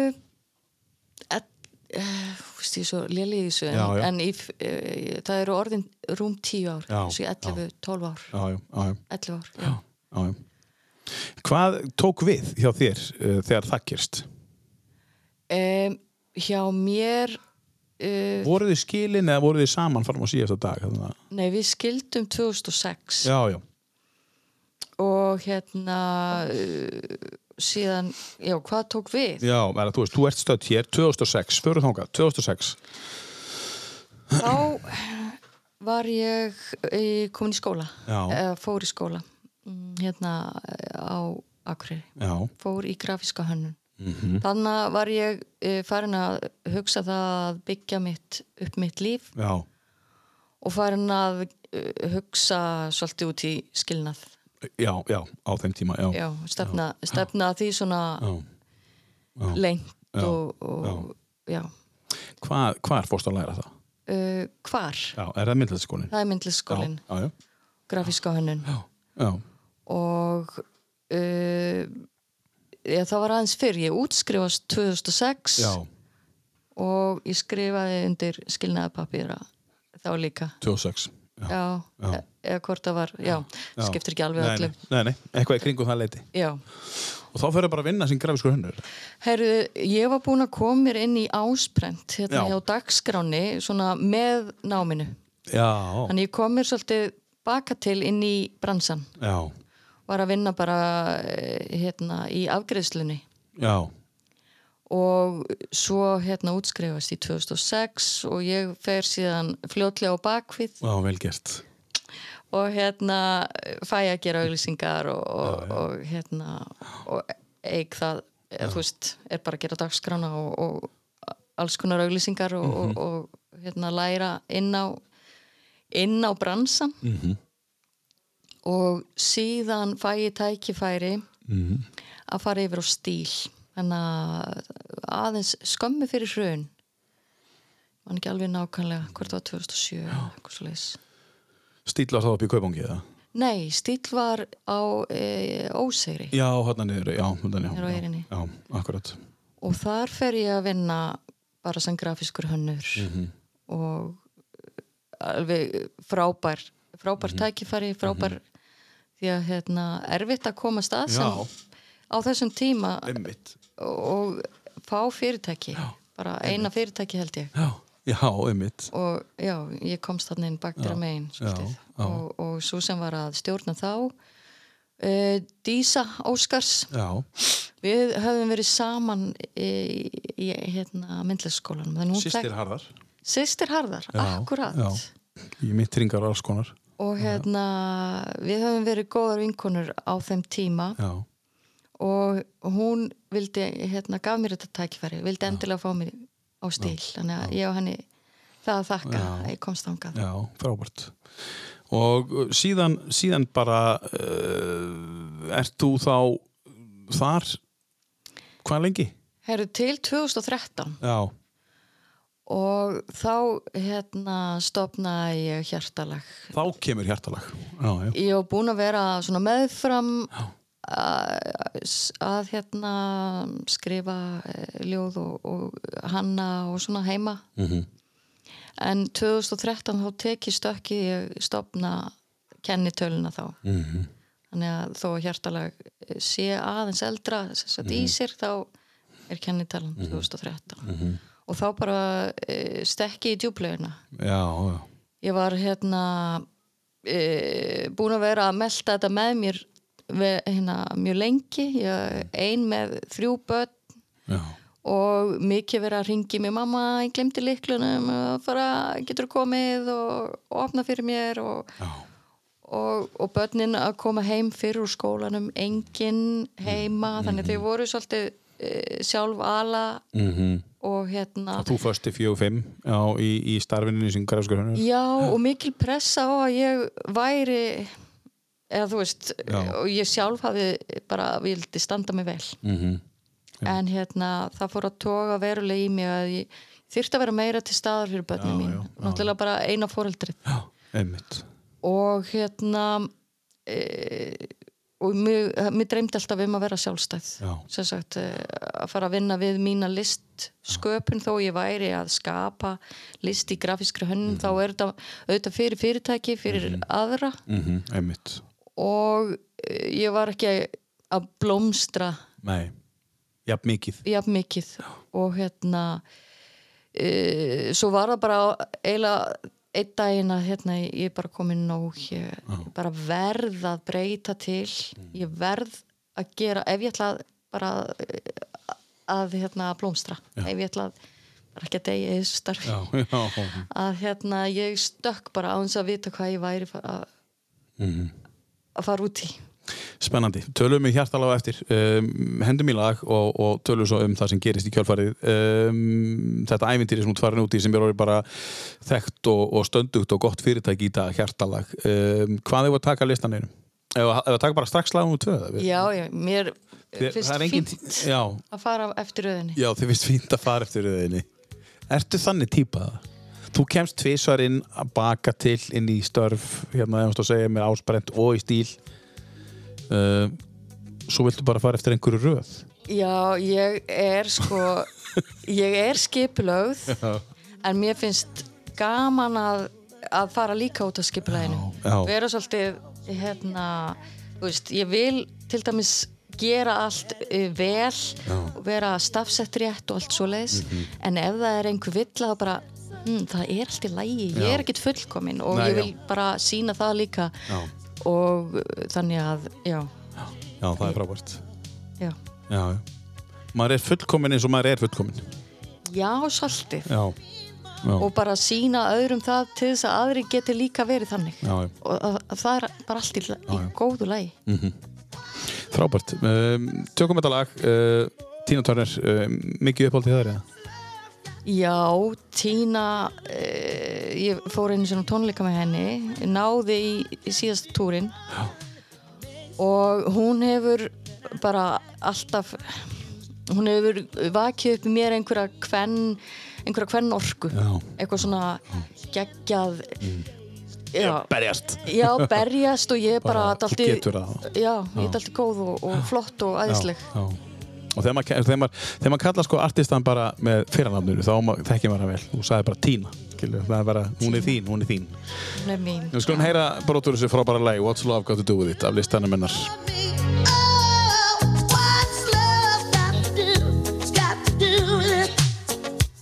C: et, eh, þú veist ég er svo léli í þessu en,
B: Já, já.
C: en í, f- eh, það eru orðin rúm 10 ár
B: Já,
C: þessu 11, 12 ár
B: Já, já, já, já.
C: 11 ár, já.
B: já, já. Hvað tók við hjá þér uh, þegar það gerst?
C: Um, hjá mér uh,
B: Voruð þið skilin eða voruð þið saman fram á síðasta dag? Þannig að-
C: nei við skildum 2006
B: Já, já.
C: og hérna uh, síðan, já hvað tók við
B: Já, er að, þú veist, þú ert stödd hér 2006, fyrir þangað, 2006
C: þá var ég eh, komin í skóla
B: Já.
C: eða fór í skóla mm, hérna eh, á Akureyri
B: Já,
C: fór í grafíska hönnun
B: Mhm.
C: þannig var ég eh, farin að hugsa það að byggja mitt, upp mitt líf
B: já,
C: og farin að eh, hugsa svolítið út í skilnað
B: já, já, á þeim tíma, já
C: já, stefna, stefna að því svona
B: Já.
C: lengt og, og já,
B: Hvar, hvar fórstu að læra það?
C: Uh, hvar?
B: Já, er það myndlætskólin?
C: það er myndlistskólin,
B: Já, já,
C: grafíska hönnun
B: já, já,
C: og uh, já, það var aðeins fyrr ég útskrifast 2006
B: já
C: og ég skrifaði undir skilnaðapapíra þá líka
B: 2006 já.
C: já,
B: Já.
C: e- eða hvort það var já,
B: Já.
C: skiptir ekki alveg
B: nei,
C: öllu
B: nei, nei, nei, eitthvað í kringum það leiti
C: já,
B: Og þá fyrir bara að vinna sem grafiskur hönnur
C: herru, ég var búin að koma mér inn í ásprent hérna
B: Já.
C: hjá dagskráni, svona með náminu,
B: Já,
C: þannig ég kom mér svolítið baka til inn í bransan
B: já,
C: var að vinna bara eh, hérna í afgreðslunni
B: já,
C: og svo hérna útskrifast í 2006 og ég fer síðan fljótlega á bakvið
B: já, vel gert
C: og hérna fæ að gera auglýsingar og, og, og hérna og eig það, eða, þú veist, er bara að gera dagskrána og, og alls konar auglýsingar og, og, og hérna, læra inn á inn á bransan og síðan fæ ég tækifæri að fara yfir á stíl þannig að aðeins skömmu fyrir hrun mann ekki alveg nákvæmlega hvort það var 2007 eitthvað svoleiðis.
B: Stíla það upp í kaupangi eða?
C: nei, stíl var á e, ósegri
B: Já, hérna niður, já, hérna niður.
C: Niður á
B: já.
C: Eyrinni.
B: Já, akkurat.
C: og þar fer ég að vinna bara sem grafiskur hönnur
B: Mhm.
C: og e, alveg frábær frábær
B: Mhm.
C: tækifæri, frábær því að hérna, erfitt að komast að sem
B: Já.
C: á þessum tíma
B: Einmitt.
C: og fá fyrirtæki bara eina fyrirtæki held ég
B: Já, já, einmitt.
C: og já, ég komst þarna inn bakdra megin svolítið.
B: já, já.
C: og, og svo sem var að stjórna þá uh, Dísa Óskars
B: Já,
C: Við höfum verið saman í, í hérna, myndlæsskólanum. Þannig hún
B: sýstir
C: fekk-
B: harðar.
C: Systir Harðar, akkurat.
B: Já, í mittringar alls konar.
C: Og hérna, við höfum verið góðar vinkonur á þeim tíma
B: Já,
C: og hún vildi, hérna, gaf mér þetta tækifæri, vildi endilega fá mér á stíl. Þannig að ég og henni það að þakka
B: Já.
C: að ég komst þangað.
B: já, frábært. Og uh, síðan, síðan bara, uh, ert þú þá þar, hvað lengi?
C: Herru, til 2013
B: Já,
C: og þá, hérna, stopnaði ég hjartalag
B: þá kemur hjartalag. Já, já.
C: ég hef búin að vera svona meðfram að, að hérna skrifa eh, ljóð og, og hanna og svona heima
B: Mhm.
C: en 2013 þá teki stökki ég stopna kennitöluna þá
B: Mhm.
C: þannig að þó að hjartalag eh, sé aðeins eldra sem sagt, í sér þá er kennitalan 2013 og þá bara e, stekki í djúbleguna
B: Já, já.
C: ég var hérna e, búin að vera að melta þetta með mér ve, hérna, mjög lengi ég, ein með þrjú börn
B: Já,
C: og mikið verið að ringi mér mamma, ég glemdi liklunum og fara, getur komið og, og opna fyrir mér og,
B: já.
C: og, og börnin að koma heim fyrir úr skólanum engin heima, þannig þau voru svolítið e, sjálf ala
B: Mm
C: og hérna
B: Þú först í fjög og fimm já, í, í starfininu sem græfskur hönnur.
C: Já, og mikil pressa á að ég væri eða þú veist,
B: Já.
C: og ég sjálf hafi bara vildi standa mig vel
B: Mm -hmm.
C: en hérna, það fór að toga verulega í mig að ég þyrfti að vera meira til staðar fyrir
B: Já,
C: börnum mín,
B: já, já.
C: náttúrulega bara eina fóreldri
B: Já, einmitt.
C: og hérna e, og mér, mér dreymdi alltaf um að vera sjálfstæð
B: Já.
C: sem sagt, eh, að fara að vinna við mína list sköpun þó ég væri að skapa list í grafískri hönnum þá er þetta auðvitað fyrir fyrirtæki fyrir aðra
B: Mm Einmitt.
C: og eh, ég var ekki að blómstra
B: Nei, jafn mikið.
C: jafn mikið og hérna e, svo var það bara eiginlega einn daginn að hérna ég er bara komin nóg ég, ég bara verð að breyta til
B: Mm.
C: ég verð að gera ef ég ætla að bara eh, að hérna blómstra ef ég ætla að bara ekki að deyja í þessu starfi
B: Já, já.
C: að hérna ég stökk bara á þess að vita hvað ég væri fa- að, að fara út í
B: Spennandi. Tölum við hjartalega á eftir. Um, hendum í lag og, og tölum svo um það sem gerist í kjölfarið. Um, þetta ævintýri sem þú ert farin út í sem er orðið bara þekkt og, og stöndugt og gott fyrirtæki í dag, hjartalag. Um, hvað hefur að taka listan einum? Eða að taka bara strax lagum úr tvöða?
C: já, já, mér
B: Þe-
C: finnst
B: það er engin-
C: fínt
B: Já.
C: að fara eftir rauðinni
B: Já, þið finnst fínt að fara eftir röðinni Ertu þannig típa það? Þú kemst tvisvar inn að baka til inn í störf, hérna ef þú segja með ásprent og í stíl uh, Svo viltu bara fara eftir einhverju röð
C: Já, ég er sko ég er skipulögð en mér finnst gaman að, að fara líka út af skipulæðinu
B: Já, já.
C: vera svolítið hérna, þú veist, ég vil til dæmis gera allt eh, vel og vera stafsett rétt og allt svo leis
B: Mhm.
C: en ef það er einhver vill að bara hm, það er allt í lægi, ég er ekkit fullkomin og
B: Nei,
C: ég
B: já.
C: vil bara sína það líka
B: Já.
C: og eh, þannig að já,
B: Já, það er frábært
C: já
B: Já, já Maður er fullkomin eins og maður er fullkomin
C: já, svolítið
B: Já,
C: og bara sína öðrum það til þess að aðri geti líka verið þannig
B: já, já
C: og að, að það er bara allt í, la- í góðu lagi
B: Mm. Frábært um, Tökum þetta lag uh, Tína Törnir, um, mikið uppált í það er það
C: Já, Tína, eh, ég fór einu sinni á tónleika með henni, náði í, í síðast túrin Já. og hún hefur bara alltaf, hún hefur vakið upp í mér einhverja kvenn, einhverja kvenn orku,
B: Já. Mm.
C: eitthvað svona geggjað, já,
B: berjast
C: já, berjast og ég er bara,
B: Bara, þú
C: dalti,
B: getur það.
C: já, ég er dalti góð og, og flott og
B: Já,
C: æðisleg.
B: já. Og þegar maður, þegar, maður, þegar maður kallar sko artistan bara með fyrirnafninu þá ma- þekkir maður hann vel. Þú sagði bara Tína. Skilur, það er bara, hún er þín, hún er þín.
C: Hún er mín.
B: Við skulum heyra brotur þessu frábæra lagi What's Love Got To Do With It af listanum hennar.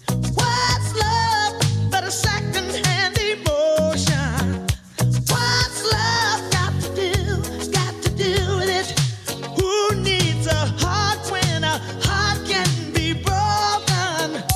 D: Oh, Oh,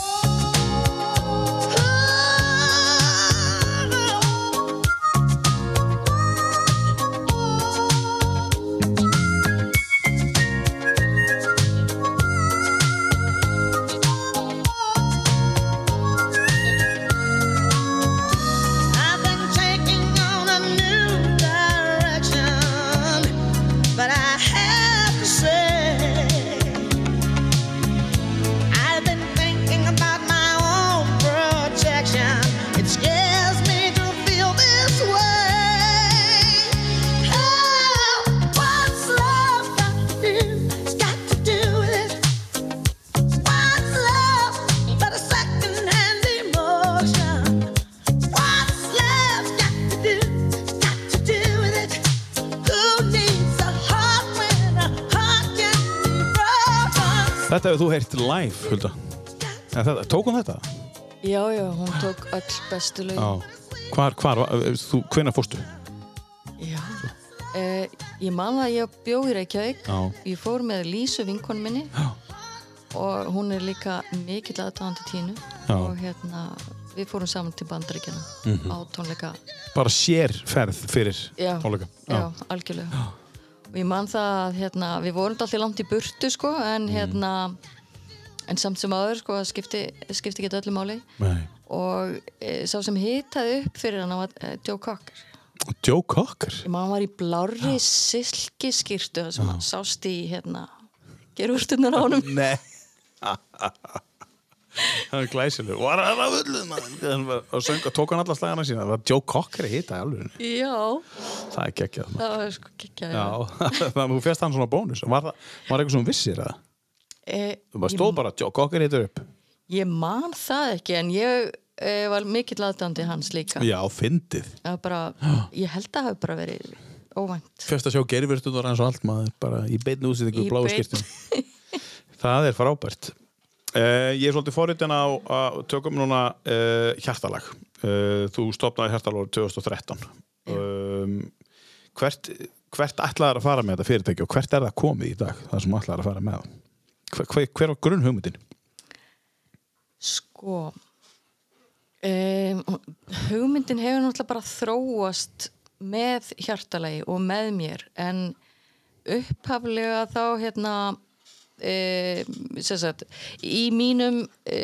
D: I've been taking on a new direction, but I have to say I've been thinking about my own protection. It scares me to feel this way. Oh, what's love got to do? It's got to do with it. What's love but a second-hand emotion? What's love got to do? Got to do with it? Who needs a heart when a heart can be broken?
B: Þetta hefur þú heyrt live, Hulda. En Þetta, tók hún þetta?
C: Já, já, hún tók öll bestu lög.
B: Hvar, hvar, var- eh, þú, hvenær fórstu?
C: Já. Eh, ég man að ég bjó í Reykjavík.
B: Já.
C: Ég fór með Lísu vinkonu minni
B: Já.
C: og hún er líka mikill aðdáðandi tínu.
B: Já. Mhm.
C: Og hérna, við fórum saman til bandaríkjana á tónleika.
B: Bara sér ferð fyrir
C: Já,
B: tónleika.
C: Já, algjörlega. Og ég man það að hérna, við vorum alltaf langt í burtu sko, en hérna, en samt sem aður sko, það skipti, skipti ekki öllu máli.
B: Nei.
C: Og e, sá sem hitaði upp fyrir hann var e, Joe Cocker.
B: Joe Cocker?
C: Ég maður var í blárri silki skýrtu sem Já. sást í hérna gerurstunar á honum
B: Nei. það er glæsileg. Var það að völluð maður? Hann var að sönga, tók hann alla slagana sína. Það var Joe Cocker að hita í alveg.
C: Já,
B: Það er geggjað. maður.
C: það var sko geggjað
B: Já, þannig að þú fjast hann svona bónus. Var það var eitthvað sem þú vissir að
C: e,
B: þú bara stóð bara Joe Cocker hitur upp.
C: Ég man það ekki en ég e, var mikill aðdandi hans líka
B: Já, fyndið.
C: Það var bara, Ég held að hafa bara verið óvænt
B: Fjast að sjá gerfyrstunar hans og allt maður bara í beinni útsýtingu
C: Í
B: bláu
C: beinni.
B: skirtum. það er frábært. Uh, ég er svolítið forritin á að tökum núna uh, hjartalag. Uh, þú stopnaði hjartalag 2013. Um, hvert, hvert ætlaðar að fara með þetta fyrirtæki og hvert er það komið í dag, það sem ætlaðar að fara með það? Hver, hver, hver var grunn hugmyndin?
C: Sko e, Hugmyndin hefur náttúrulega bara þróast með hjartalagi og með mér en upphaflega þá hérna e, sagt, í mínum e,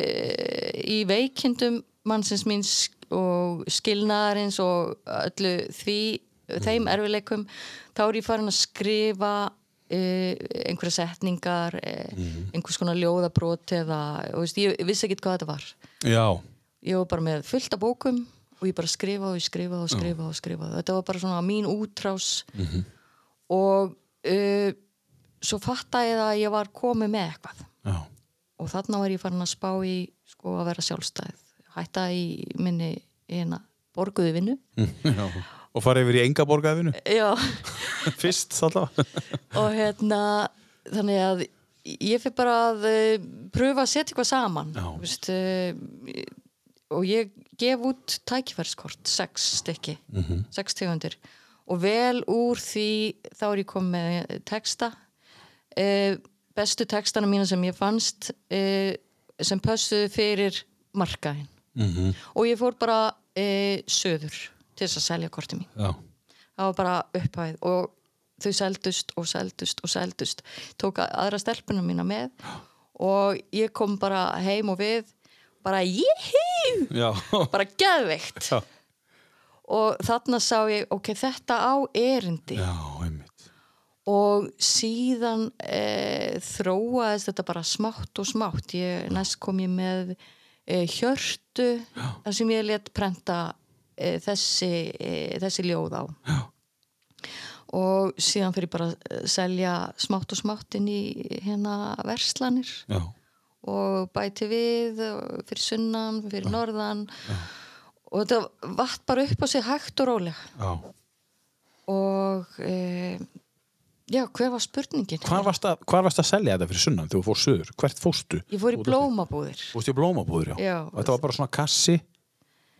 C: í veikindum mannsins míns og skilnaðarins og öllu því þeim erfileikum þá er ég farin að skrifa uh, einhverja setningar uh, einhvers konar ljóðabrot eða, og veist, ég vissi ekki hvað þetta var
B: Já.
C: ég var bara með fullt af bókum og ég bara skrifaði og ég skrifaði og skrifaði og skrifaði þetta var bara svona mín útrás og uh, svo fattaði ég það að ég var komið með eitthvað
B: Já.
C: og þarna var ég farin að spá í sko að vera sjálfstæð hætta í minni hérna borguðu vinnu
B: Já. Og fara yfir í enga borgaðinu?
C: já
B: Fyrst allavega.
C: og hérna þannig að ég fyrir bara að eh, pröfa að setja eitthvað saman
B: Já.
C: þú veist, eh, og ég gef út tækifærskort, sex stykki sex tegundir og vel úr því þá er ég kom með texta eh, bestu textana mína sem ég fannst eh, sem pössuðu fyrir markaðin -hmm. og ég fór bara eh, söður til þess að selja korti mín
B: Já.
C: það var bara upphæð og þau seldust og seldust og seldust tók a- aðra stelpunum mína með og ég kom bara heim og við bara jíhí
B: Já,
C: bara geðveikt
B: Já.
C: og þarna sá ég, ok, þetta á erindi
B: já, einmitt
C: og síðan e, þróaðist þetta bara smátt og smátt ég, næst kom ég með e, hjörtu þar sem ég let prenta e, þessi, e, þessi ljóð á Já. og síðan fyrir bara að selja smátt og smátt inn í hérna verslanir
B: Já,
C: og bæti við og fyrir sunnan, fyrir norðan og þetta vatt bara upp á sig hægt og rólega
B: já
C: og e, já, hver var spurningin?
B: Hvar varst, að, hvar varst að selja þetta fyrir sunnan þegar þú fórst söður? Hvert fórstu?
C: Ég fór í
B: Út af því?
C: blómabúðir
B: Þú fórst í blómabúður, já.
C: Já.
B: Og Þetta var bara svona kassi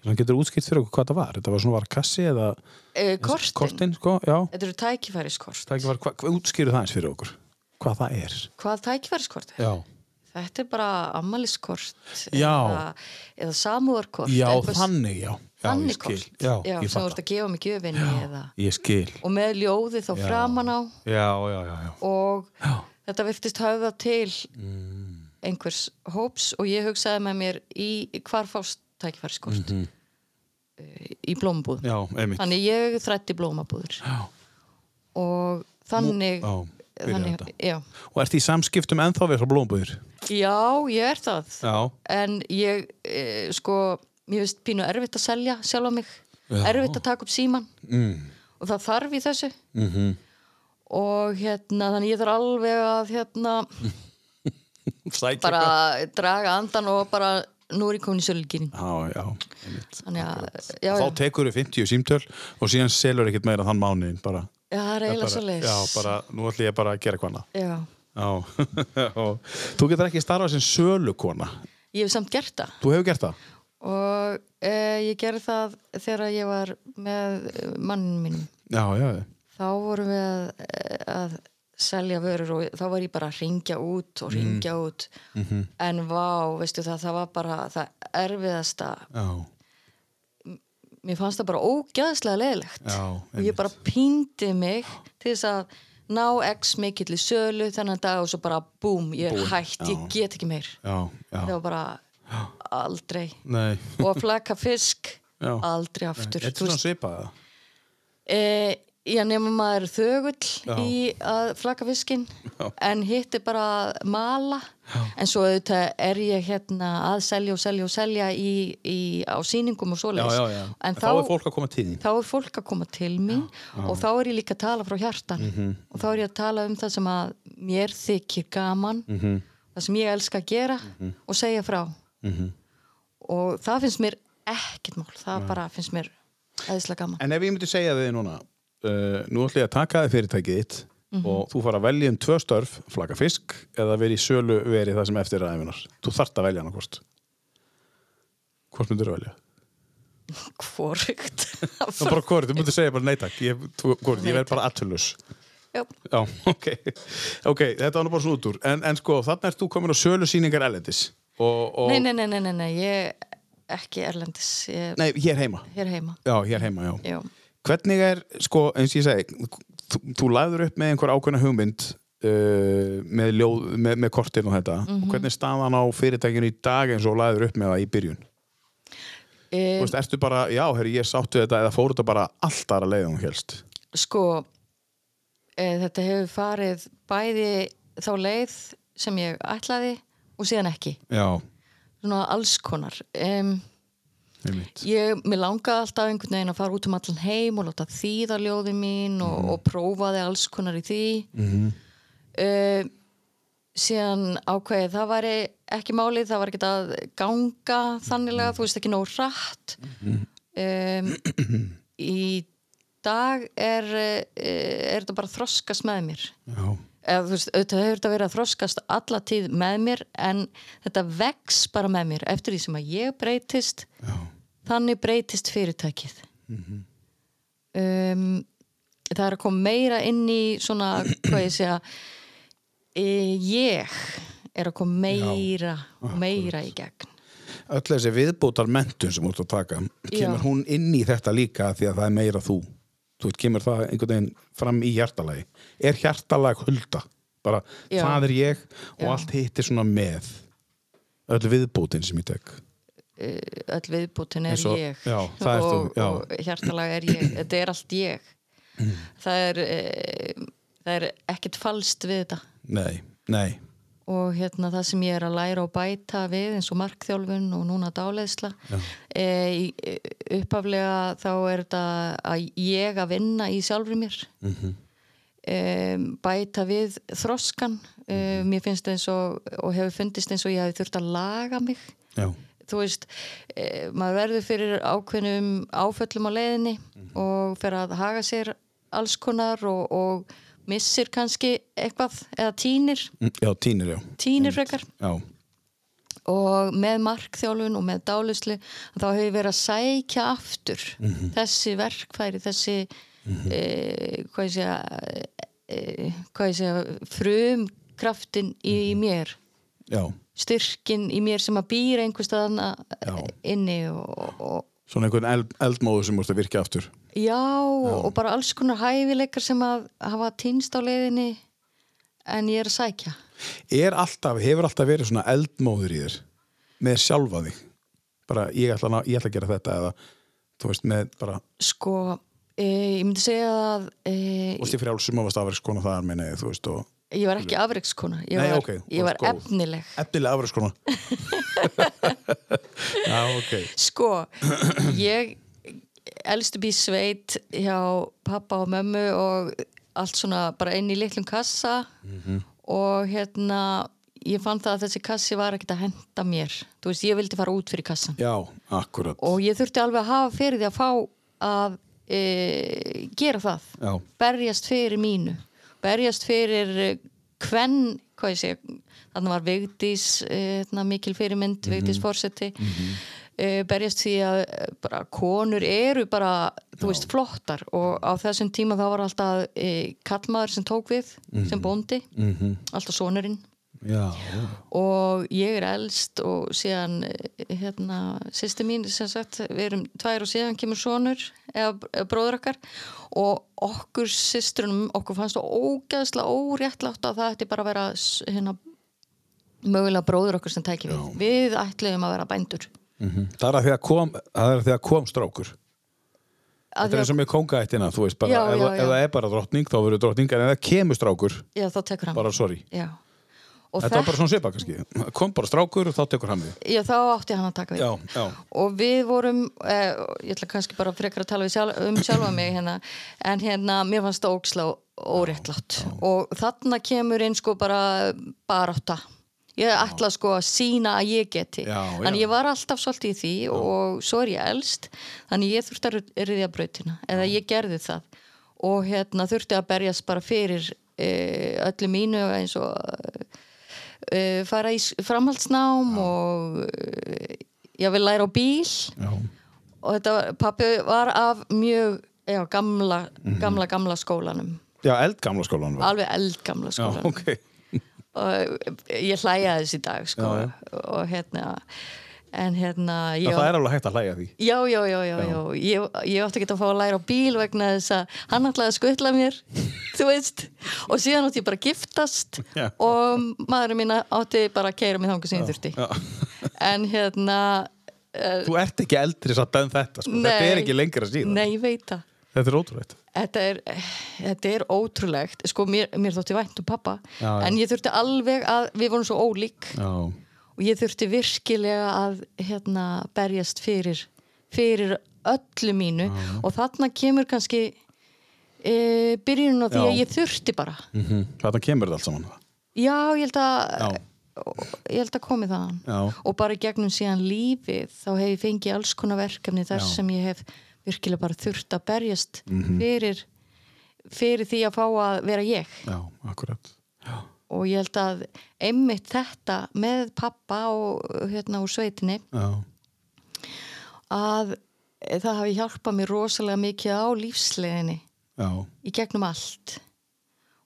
B: Þannig getur útskipt fyrir okkur hvað þetta var Þetta var svona var kassi eða
C: e, Kortin,
B: Kortin, sko, já
C: þetta eru tækifæriskort
B: Tæki var, hva, hva, Útskýru það eins fyrir okkur Hvað það er
C: Hvað tækifæriskort er?
B: Já,
C: Þetta er bara ammaliskort
B: Já.
C: eða, eða samúðarkort
B: já
C: eitthvað s-
B: þannig, já, já
C: þannig
B: ég skil.
C: kort
B: Já,
C: já,
B: ég
C: sem þú
B: fatt
C: ert að gefa mig gjöfinni eða,
B: Ég skil
C: og með ljóði þá framan á
B: Já, já, já, já Mm.
C: og þetta virtist höfða til einhvers hóps og ég hugsaði með mér í hvar fást tækifæriskort mm í blómabúð
B: Mhm. Já, einmitt
C: þannig ég þrætti blómabúður
B: Já,
C: og þannig,
B: já, byrjaði
C: þannig
B: þetta.
C: já.
B: Og ert í samskiptum ennþá við frá blómabúður?
C: já, ég er það
B: Já,
C: en ég e, sko, mér finnst pínu erfitt að selja sjálfa mig, erfitt að taka upp síman mm. og það þarf í þessu -hmm.
B: Mhm.
C: og hérna þannig ég þarf alveg að hérna
B: sækja
C: bara draga andan og bara nú er ég komin í sölgin
B: Já, já, einmitt
C: þannig að, já,
B: þá
C: já,
B: tekur við 50 símtöl og síðan selur ekkert meira þann mánuðin bara,
C: já, það er eiginlega svo
B: bara, já, bara, nú ætlum ég bara að gera eitthvað annað.
C: já,
B: já, já. þú getur ekki starfað sem sölukona
C: ég hef samt gert það
B: þú hefur gert það
C: og e, ég gerði það þegar ég var með mannin mínum
B: já, já, já.
C: þá vorum við að, eh, að selja vörur og þá var ég bara að ringja út
B: Mm.
C: og ringja út
B: Mhm.
C: en vá, veistu það, það var bara það erfiðasta,
B: já,
C: mér fannst það bara ógæðslega leiðilegt
B: Já,
C: og
B: einmitt.
C: ég bara píndi mig til þess að ná x mikill í sölu þennan dag og svo bara búm, ég er
B: Búin,
C: hætt,
B: já.
C: ég get ekki meir
B: já,
C: það
B: já.
C: var bara aldrei
B: nei
C: og að flaka fisk
B: Já.
C: aldrei aftur
B: Þetta
C: Þú
B: er svona
C: veist,
B: svipað
C: e, já nema maður er þögull
B: Já.
C: í að flaka fiskin
B: Já.
C: en hitt er bara að mala en svo auðvitað er ég hérna að selja og selja og selja í, í, á sýningum og
B: já,
C: svoleiðis
B: já, já.
C: en
B: þá er fólk að koma til þín
C: þá er fólk að koma til mín og þá er ég líka að tala frá hjartan
B: Mhm.
C: og þá er ég að tala um það sem að mér þykir gaman
B: Mhm.
C: það sem ég elska að gera og segja frá
B: Mhm.
C: og það finnst mér ekkert mál það bara finnst mér eðislega gaman
B: en ef ég myndi segja þig núna uh, nú ætlum ég að taka þig fyrirtækið þitt
C: Mhm.
B: og þú fara að velja um tvö störf flaka fisk eða verið í sölu verið það sem eftir aðeinar þú þart að velja hana hvort hvort myndir þú velja?
C: hvorugt
B: Það er bara hvort, þú mútið segja bara nei takk Ég, þú- hvort, ég verð bara aðtöluðs
C: Já.
B: Já, ok Ok, þetta var nú bara svona út úr En, en sko, þarna ert þú komin á sölusýningar erlendis og, og,
C: nei, nei, nei, nei, nei, nei, ég ekki erlendis, ég
B: Nei, hér heima
C: hér heima
B: Já, hér heima, já,
C: já,
B: Hvernig er, sko, eins og ég segi Þú, þú lagður upp með einhver ákveðna hugmynd uh, með, ljóð, með, með kortin og þetta
C: Mhm.
B: og hvernig er staðan á fyrirtækinu í dag eins og þú lagður upp með það í byrjun Þú
C: e,
B: veist, ertu bara, já, herri, ég sáttu þetta eða fóru þetta bara allt aðra leiðum helst
C: sko e, þetta hefur farið bæði þá leið sem ég ætlaði og síðan ekki
B: Já,
C: svona alls konar um,
B: einmitt
C: ég, mér langaði alltaf einhvern veginn að fara út um allan heim og láta þýða ljóði mín og, og prófaði alls konar í því mm síðan ákveðið það væri ekki málið, það var ekki að ganga þannilega, þú veist ekki nóg rætt um, í dag er eh, er þetta bara að þroskast með mér
B: Já,
C: eða þú veist, auðvitað hefur þetta verið að þroskast alla tíð með mér en þetta vex bara með mér eftir því sem að ég breytist Já. þannig breytist fyrirtækið
B: Mhm.
C: um, það er að koma meira inn í svona, hvað ég segja e, ég er að koma meira og meira í gegn
B: öll þessi viðbótar mentun sem þú ert að taka kemur
C: Já.
B: hún inn í þetta líka því að það er meira þú þú veit, kemur það einhvern veginn fram í hjartalagi er hjartalag hulda bara
C: Já.
B: það er ég og
C: Já.
B: allt hitt er svona með öll viðbótin sem ég tek
C: eh, öll viðbútin er
B: Eins og-
C: ég
B: já, það ert þú,
C: og,
B: já. Mm.
C: og hjartalag er ég þetta er allt ég það er, eh, það er ekkert falskt við þetta
B: Nei, nei
C: og hérna það sem ég er að læra og bæta við eins og markþjálfun og núna dáleiðsla e, í- uppaflega þá er þetta að ég að vinna í sjálfri mér mm bæta við þroskan e, mér finnst eins og og hefur fundist eins og ég hafi þurft að laga mig
B: Já,
C: þú veist, e, maður verður fyrir ákveðnum áföllum á leiðinni og fer að haga sér alls konar og, og missir kannski eitthvað eða tínir
B: Mm, já tínir, já
C: tínir frekar
B: Já,
C: og með markþjálfun og með dálislu þá hefur við verið að sækja aftur
B: Mhm.
C: þessi verkfæri þessi mm -hmm. e, hvað ég segja e, hvað ég segja frumkraftin
B: Mhm.
C: í mér
B: já
C: styrkin í mér sem að býra einhvers staðan
B: Já.
C: inni og, og
B: Svona einhvern eld, eldmóðu sem múst að virka aftur
C: já, og bara alls konar hæfileikar sem að hafa týnst á leiðinni en ég er að sækja
B: Er alltaf, hefur alltaf verið svona eldmóður í þér með sjálfa þig bara ég ætla, að ná- ég ætla að gera þetta eða þú veist með bara
C: sko, e, ég myndi segja að e,
B: og stíð frjáls sem að varst afverkskona það er minni þú veist og
C: Ég var ekki afreikskona, ég
B: Nei,
C: var,
B: ok,
C: ég var
B: þú varst góð.
C: efnileg.
B: efnilega afverkskona Já, ok
C: Sko, ég elst upp í sveit hjá pappa og mömmu og allt svona bara inn í litlum kassa
B: Mhm.
C: og hérna, ég fann það að þessi kassi var ekkert að henda mér. Þú veist, ég vildi fara út fyrir kassan
B: Já, akkurat
C: og ég þurfti alveg að hafa fyrir því að fá að e, gera það.
B: Já.
C: Berjast fyrir mínu, berjast fyrir eh, hvern, hvað ég segja, þannig var Vigdís, e, mikil fyrirmynd, Vigdís fórseti, mm berjast því að eh, bara, konur eru bara, þú veist, flottar og á þessum tíma þá var alltaf e, kallmaður sem tók við, sem bóndi, -hmm. alltaf sonurinn
B: Já, já,
C: og ég er elst og síðan eh, hérna, sýsti mín sem sagt, við erum tvær og síðan kemur sonur eða, eða bróður okkar og okkur sýstrunum okkur fannst það ógeðslega óréttlátt að það ætti bara að vera s- hérna, mögulega bróður okkur sem tæki við við ætluðum að vera bændur
B: mhm. Það er að því að kom, það er að því að kom strákur
C: Af
B: Þetta er
C: því
B: eins og með kongaættina, þú veist, bara
C: Já,
B: ef,
C: já,
B: ef það
C: já.
B: er bara drottning, þá verður drottning, en ef það kemur strákur,
C: já, þá tekur hann
B: bara sorry.
C: já. og
B: Þetta var bara svona svipa kannski. Kom bara strákur og þá tekur hann við.
C: já, þá átti hann að taka við
B: Já, já.
C: og við vorum eh, ég ætla kannski bara frekar að tala við sjálf, um sjálfa mig hérna, en hérna mér fannst það óksla óréttlátt og þarna kemur inn sko bara barátta ég ætla sko að sína að ég geti
B: Já, já.
C: þannig ég var alltaf svolítið í því og svo er ég elst þannig ég þurfti að riðja brautina eða ég gerði það og hérna þurfti að berjast bara fyrir e, öllu mínu eins og e, fara í s- framhaldsnám og e, ég vil læra á bíl
B: Já,
C: og þetta var, pappi var af mjög já, gamla, gamla, gamla skólanum
B: Mhm. já eldgamla skólan var.
C: alveg eldgamla
B: Já,
C: skólanum
B: ok.
C: og e, ég hlæja þess í dag sko.
B: Já, já.
C: og hérna en hérna
B: Já.
C: ég,
B: Það er alveg hægt að hlæja því.
C: já, já, já, já, já. Ég, ég átti ekki að fá að læra á bíl vegna þess að hann ætlaði að skutla mér þú veist, og síðan átti ég bara að giftast
B: Já.
C: og maðurinn mín átti bara að keira mig þangu sem ég þurfti en hérna eh,
B: Þú ert ekki eldri satt en þetta, sko. Þetta
C: nei.
B: er ekki lengra síðan.
C: nei, ég veit það
B: Þetta er ótrúleitt.
C: þetta er, þetta er ótrúlegt sko mér, mér þótti vænt um pappa
B: Já, já.
C: en ég þurfti alveg að, við vorum svo ólík
B: Já.
C: og ég þurfti virkilega að hérna berjast fyrir fyrir öllu mínu og þarna kemur kannski e, byrjunum á því
B: Já.
C: að ég þurfti bara
B: Mm -hmm. Þetta kemur þetta allt saman.
C: já, ég held að
B: Já.
C: ég held að komi þaðan
B: Já.
C: og bara í gegnum síðan lífið þá hef ég fengið alls konar verkefni
B: Já.
C: þar
B: Mhm.
C: sem ég hef virkilega bara þurft að berjast fyrir fyrir því að fá að vera ég
B: Já, akkurat. Já.
C: og ég held að einmitt þetta með pappa og hérna úr sveitinni
B: Já.
C: að eh, það hafi hjálpað mér rosalega mikið á lífsleginni
B: Já.
C: í gegnum allt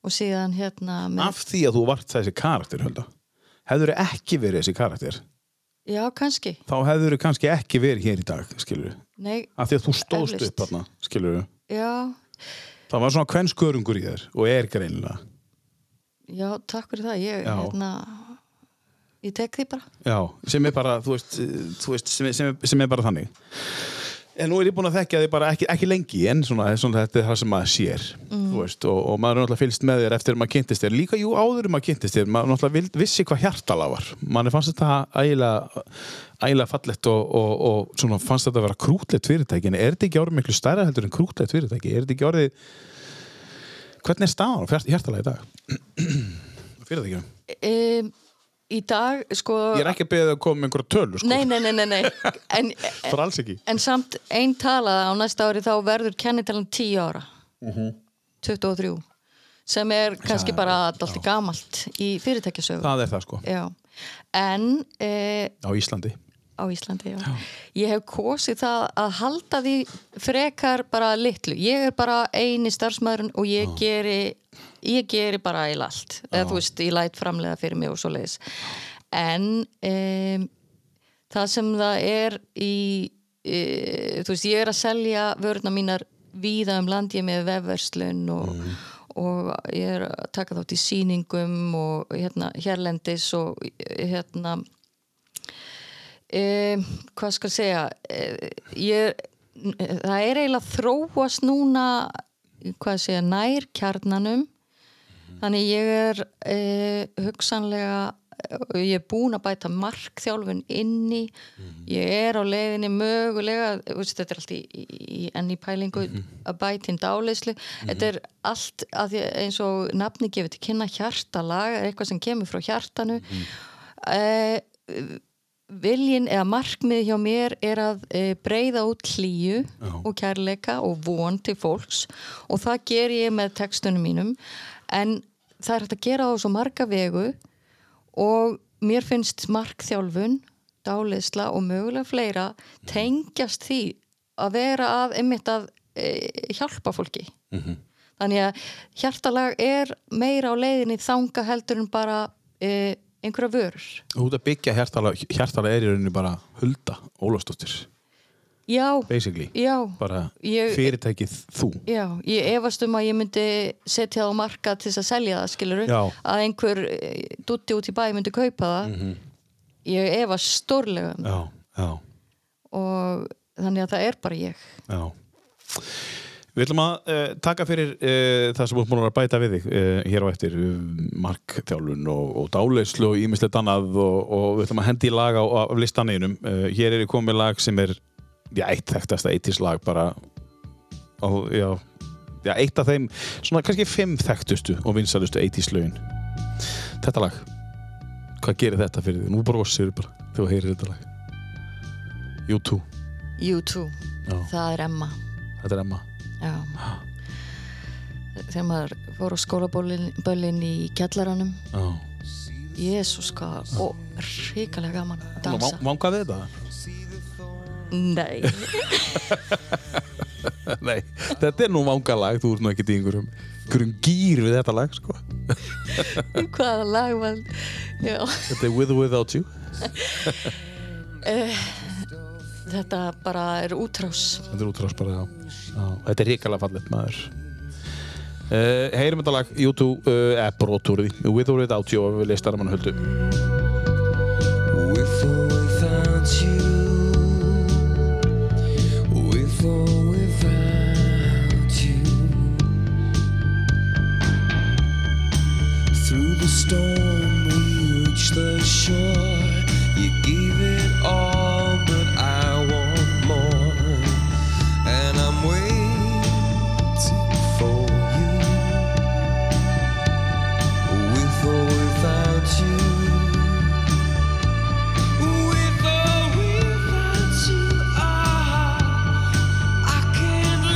C: og síðan hérna með,
B: Af því að þú vart þessi karakter, hölda. Hefur ekki verið þessi karakter,
C: já kannski,
B: þá hefur kannski ekki verið hér í dag, skilur
C: nei,
B: af því að þú stóðst
C: Eflaust.
B: upp þarna, skilur
C: já
B: það var svona kvenskörungur í þér og er greinilega
C: já, takk fyrir það ég,
B: Já.
C: hérna, ég tek því bara
B: Já, sem er bara, þú veist, eh, þú veist sem, er- sem, er- sem er bara þannig En nú er ég búin að þekka þig bara ekki, ekki lengi en svona, svona þetta er það sem maður sér þú veist, og, og maður er náttúrulega fylgst með þér eftir að maður kynntist þér, líka jú áður en maður kynntist þér maður náttúrulega vild, vissi hvað hjartala var maður fannst þetta ægilega ægilega fallegt og, og, og svona, fannst þetta að vera krútlegt fyrirtæki en er þetta ekki orðið miklu stærra heldur en krútlegt fyrirtæki er þetta ekki orðið hvernig er staðan á hjart- hjartala í dag? fyrirtækjum
C: um, í dag sko
B: Ég er ekki að beða að koma með einhverja tölu sko.
C: nei, nei, nei, nei, nei. En,
B: Það er alls ekki
C: en samt einn tala á næsta ári þá verður kennitalan 10 ára 23 sem er kannski
B: Mhm. Já,
C: bara alltaf gamalt í fyrirtækjasögu
B: Það er það sko,
C: Já. en e,
B: á Íslandi
C: á Íslandi já. ég hef kosið það að halda því frekar bara litlu ég er bara eini starfsmæðurinn og ég geri ég geri bara eil allt eða þú veist, ég læt framlega fyrir mig og svo leiðis en um, það sem það er í e, þú veist, ég er að selja vörna mínar víða um land, ég er með vefverslun og, og ég er að taka þátt í sýningum og hérna hérlendis og hérna e, hvað skal segja e, ég, það er eiginlega þróast núna hvað segja, nær kjarnanum þannig ég er e, hugsanlega og ég er búin að bæta markþjálfun inni, ég er á leiðinni mögulega, þú veist, þetta er allt í, í enni pælingu að bæta inn dáleyslu, þetta er allt að því, eins og nafni gefið til kynna hjartalag, er eitthvað sem kemur frá hjartanu Eh, mm viljin eða markmið hjá mér er að e, breyða út hlýju og kærleika og von til fólks og það ger ég með textunum mínum en það er hægt að gera á svo marga vegu og mér finnst markþjálfun, dáleysla og mögulega fleira tengjast því að vera að einmitt að e, hjálpa fólki Þannig að hjartalag er meira á leiðinni þanga heldur en bara e, einhverja vörur.
B: Út að byggja hjartala, hjartala er í rauninni bara Hulda Ólafsdóttir
C: Já,
B: Basically,
C: já,
B: bara
C: Ég-
B: fyrirtækið þú
C: já, ég efast um að ég myndi setja það á marka til þess að selja það, skiluru,
B: Já.
C: að einhver eh, dutti út í bæ myndi kaupa það. Ég efast stórlega um það
B: Mhm. Já, já,
C: og þannig að það er bara ég.
B: já Við ætlum að uh, taka fyrir uh, það sem við búin að bæta við þig uh, hér á eftir um, markþjálfun og, og dáleyslu og ímislegt annað og, og við ætlum að hendi í lag á, af listaneginum uh, Hér er ég komið lag sem er já, eitt þekktasta eittislag bara á, já, já, eitt af þeim svona kannski fimm þekktustu og vinsalustu eittislögin Þetta lag Hvað gerir þetta fyrir þig? Nú brosir bara þegar þú heyrir þetta lag U2,
C: You too,
B: já,
C: það er Emma.
B: þetta er Emma
C: Já. Þegar maður fór á skólaböllin í kjallaranum,
B: Já
C: jésus hvað, og hrikalega gaman að dansa.
B: Vangað við þetta?
C: Nei,
B: Nei, þetta er nú vangalag, þú ert nú ekki í einhverjum, einhverjum gýr við þetta lag, sko.
C: hvaða lag var, já.
B: Þetta er With or Without You.
C: Þetta bara er útrás.
B: Þetta er útrás bara, já. já. Þetta er ríkala fallet, maður. Uh, heyrum þetta lag, YouTube, uh, eða broturði, With or Without You, og við listar að mann höldu.
A: With or without you, with or without you, through the storm we reach the shore. You gave it all, but I want more, and I'm waiting for you. With or without you. With or without you, Ah. I can't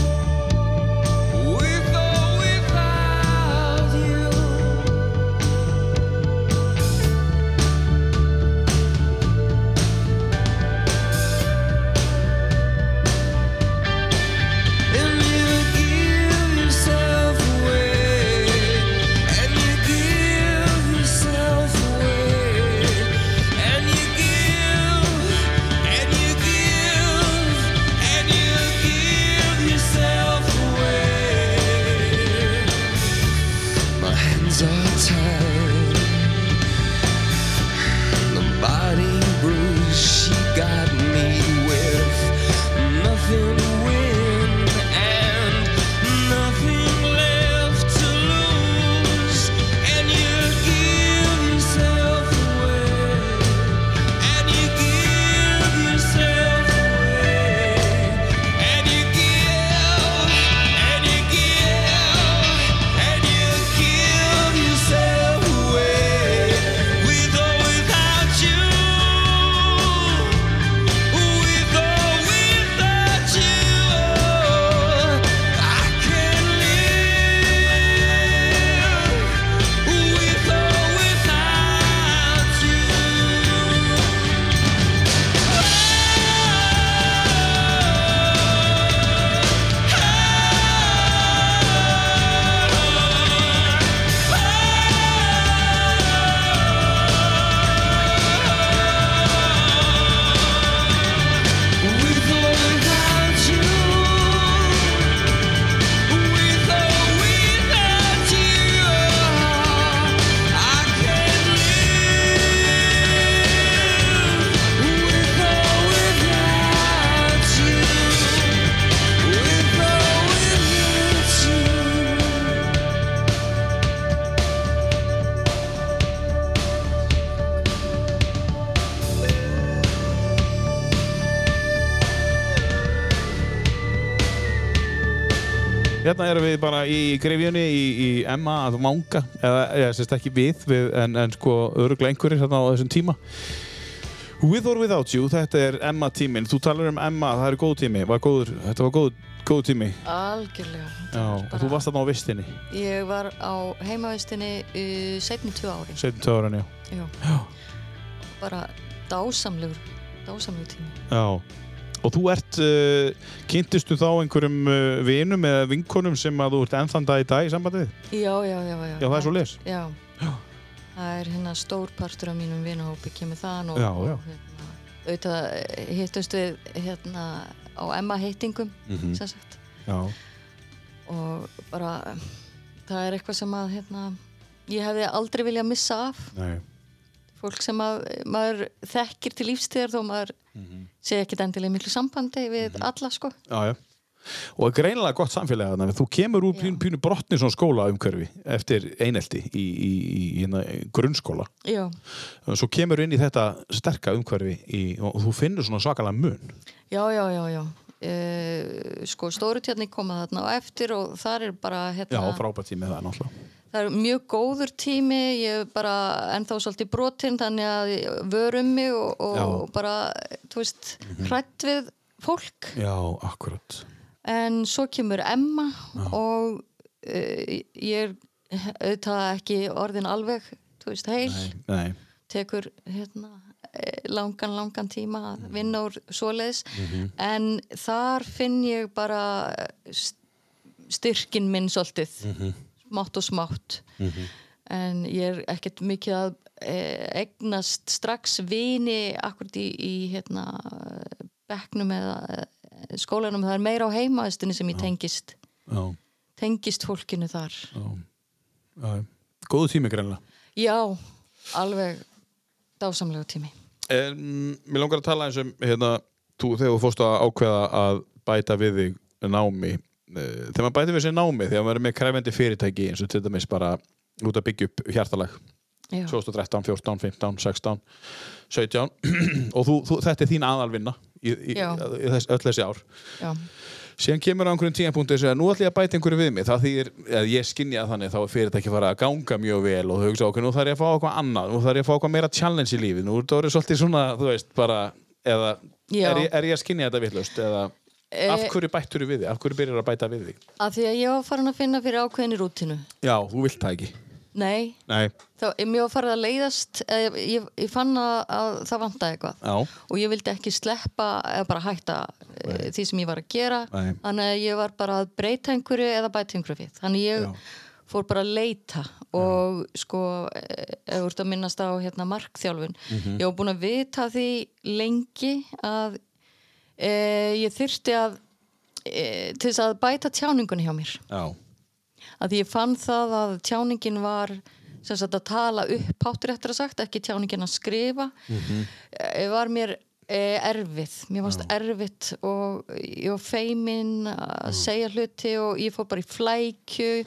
A: live. With or without you, and you give yourself away, and you give yourself away, and you give, and you give, and you give yourself away. My hands are tied.
B: Hérna erum við bara í grefjunni í, í Emma að manga eða, eða sérst ekki við, við en, en sko öruglega einhverjir hérna á þessum tíma With or without you, þetta er Emma tíminn Þú talar um Emma, það er góð tími var góður, Þetta var góð, góð tími Já,
C: algjörlega.
B: og þú varst þarna á vistinni
C: Ég var á heimavistinni uh, setni tvö ári.
B: 17 ára já.
C: Já. Bara dásamlegur, dásamlegur tími.
B: já Og þú ert, uh, kynntistu þá einhverjum uh, vinum eða vinkonum sem að þú ert ennþanda í dag í sambandi við?
C: Já, já, já. Já,
B: Já, það er svo leis
C: Já. Það er hérna stór partur af mínum vinahópi kemur þaðan og,
B: Já, já.
C: og hérna, auðvitað eh, hittumst við hérna á Emma heitingum,
B: Mhm.
C: sem sagt.
B: Já,
C: og bara eh, það er eitthvað sem að hérna, ég hefði aldrei viljað missa af
B: nei
C: fólk sem að eh, maður þekkir til lífstíðar þó maður
B: Mhm.
C: sé ekkit endilega í miklu sambandi við alla sko
B: Já, já. Og greinilega gott samfélagi þannig þú kemur úr pínu, pínu brotni svona skóla eftir einelti í, í, í, hérna, í grunnskóla
C: já,
B: svo kemur inn í þetta sterka umhverfi í, og þú finnur svona svakalega mun
C: já, já, já, já. Uh, sko stórutjarni koma þarna á eftir og þar er bara
B: Já,
C: hérna,
B: frábært tími það náttúrulega
C: það er mjög góður tími ég er bara ennþá svolítið brotinn þannig að ég vör um mig og,
B: Já. Mhm.
C: og bara, þú veist hrætt við fólk
B: Já, akkurat
C: en svo kemur Emma og uh, ég er auðvitað ekki orðin alveg, þú veist, heil
B: Nei,
C: tekur hérna eh, langan, langan tíma að vinna úr svoleiðis, en þar finn ég bara eh, st- styrkin minn svolítið, smátt og smátt en ég er ekkert mikið að eh, eignast strax vini akkurat í, í hérna bekknum eða eh, skólanum, það er meira á heimaðistinni sem ég tengist
B: já,
C: tengist fólkinu þar
B: já Góðu tími greinilega
C: já, alveg dásamlega tími
B: En mér langar að tala eins um hérna, þú, þegar þú fórst að ákveða að bæta við þig námi eh, þegar maður bætir við sér námi þegar maður er með krefendi fyrirtæki eins og til dæmis bara út að byggja upp hjartalag
C: já.
B: 2013, 14, 15, 16 17 og þú, þú, þetta er þín aðalvinna í, í, í,
C: Já.
B: í þess, öll þessi ár
C: já,
B: síðan kemur á einhverjum tíðanpunkt þess að nú ætlum ég að bæta einhverju við mig það þýr, eða ég skynja það þannig þá er fyrirtæki fara að ganga mjög vel og þau hugsa okkur, nú þarf ég að fá okkur annað nú þarf ég að fá okkur meira challenge í lífi nú er það orðið svolítið svona, þú veist, bara eða,
C: Já.
B: er ég, er ég að skynja þetta vitlaust eða, af hverju bættur við þig af hverju byrjar að bæta við þig
C: Af því að ég var farin að finna fyrir ákveðinni rútinu.
B: já, þú vilt það ekki
C: Nei,
B: Nei.
C: þá, mér var farið að leiðast, eða ég, ég, ég fann að, að það vantaði eitthvað.
B: Já.
C: Og ég vildi ekki sleppa eða bara hætta Nei. því sem ég var að gera.
B: Nei.
C: Þannig að ég var bara að breyta einhverju eða bæta einhverju við. Þannig ég
B: Já.
C: fór bara að leita og sko, eh, ef þú ert að minnast á hérna markþjálfun.
B: Mhm.
C: Ég var búin að vita því lengi að e, ég þyrfti að, e, til þess að bæta tjáningun hjá mér.
B: já,
C: að því ég fann það að tjáningin var sem sagt að tala upp hátur eftir að sagt, ekki tjáningin að skrifa mm var mér e, erfið, mér fannst erfitt og ég var feimin að segja hluti og ég fór bara í flækju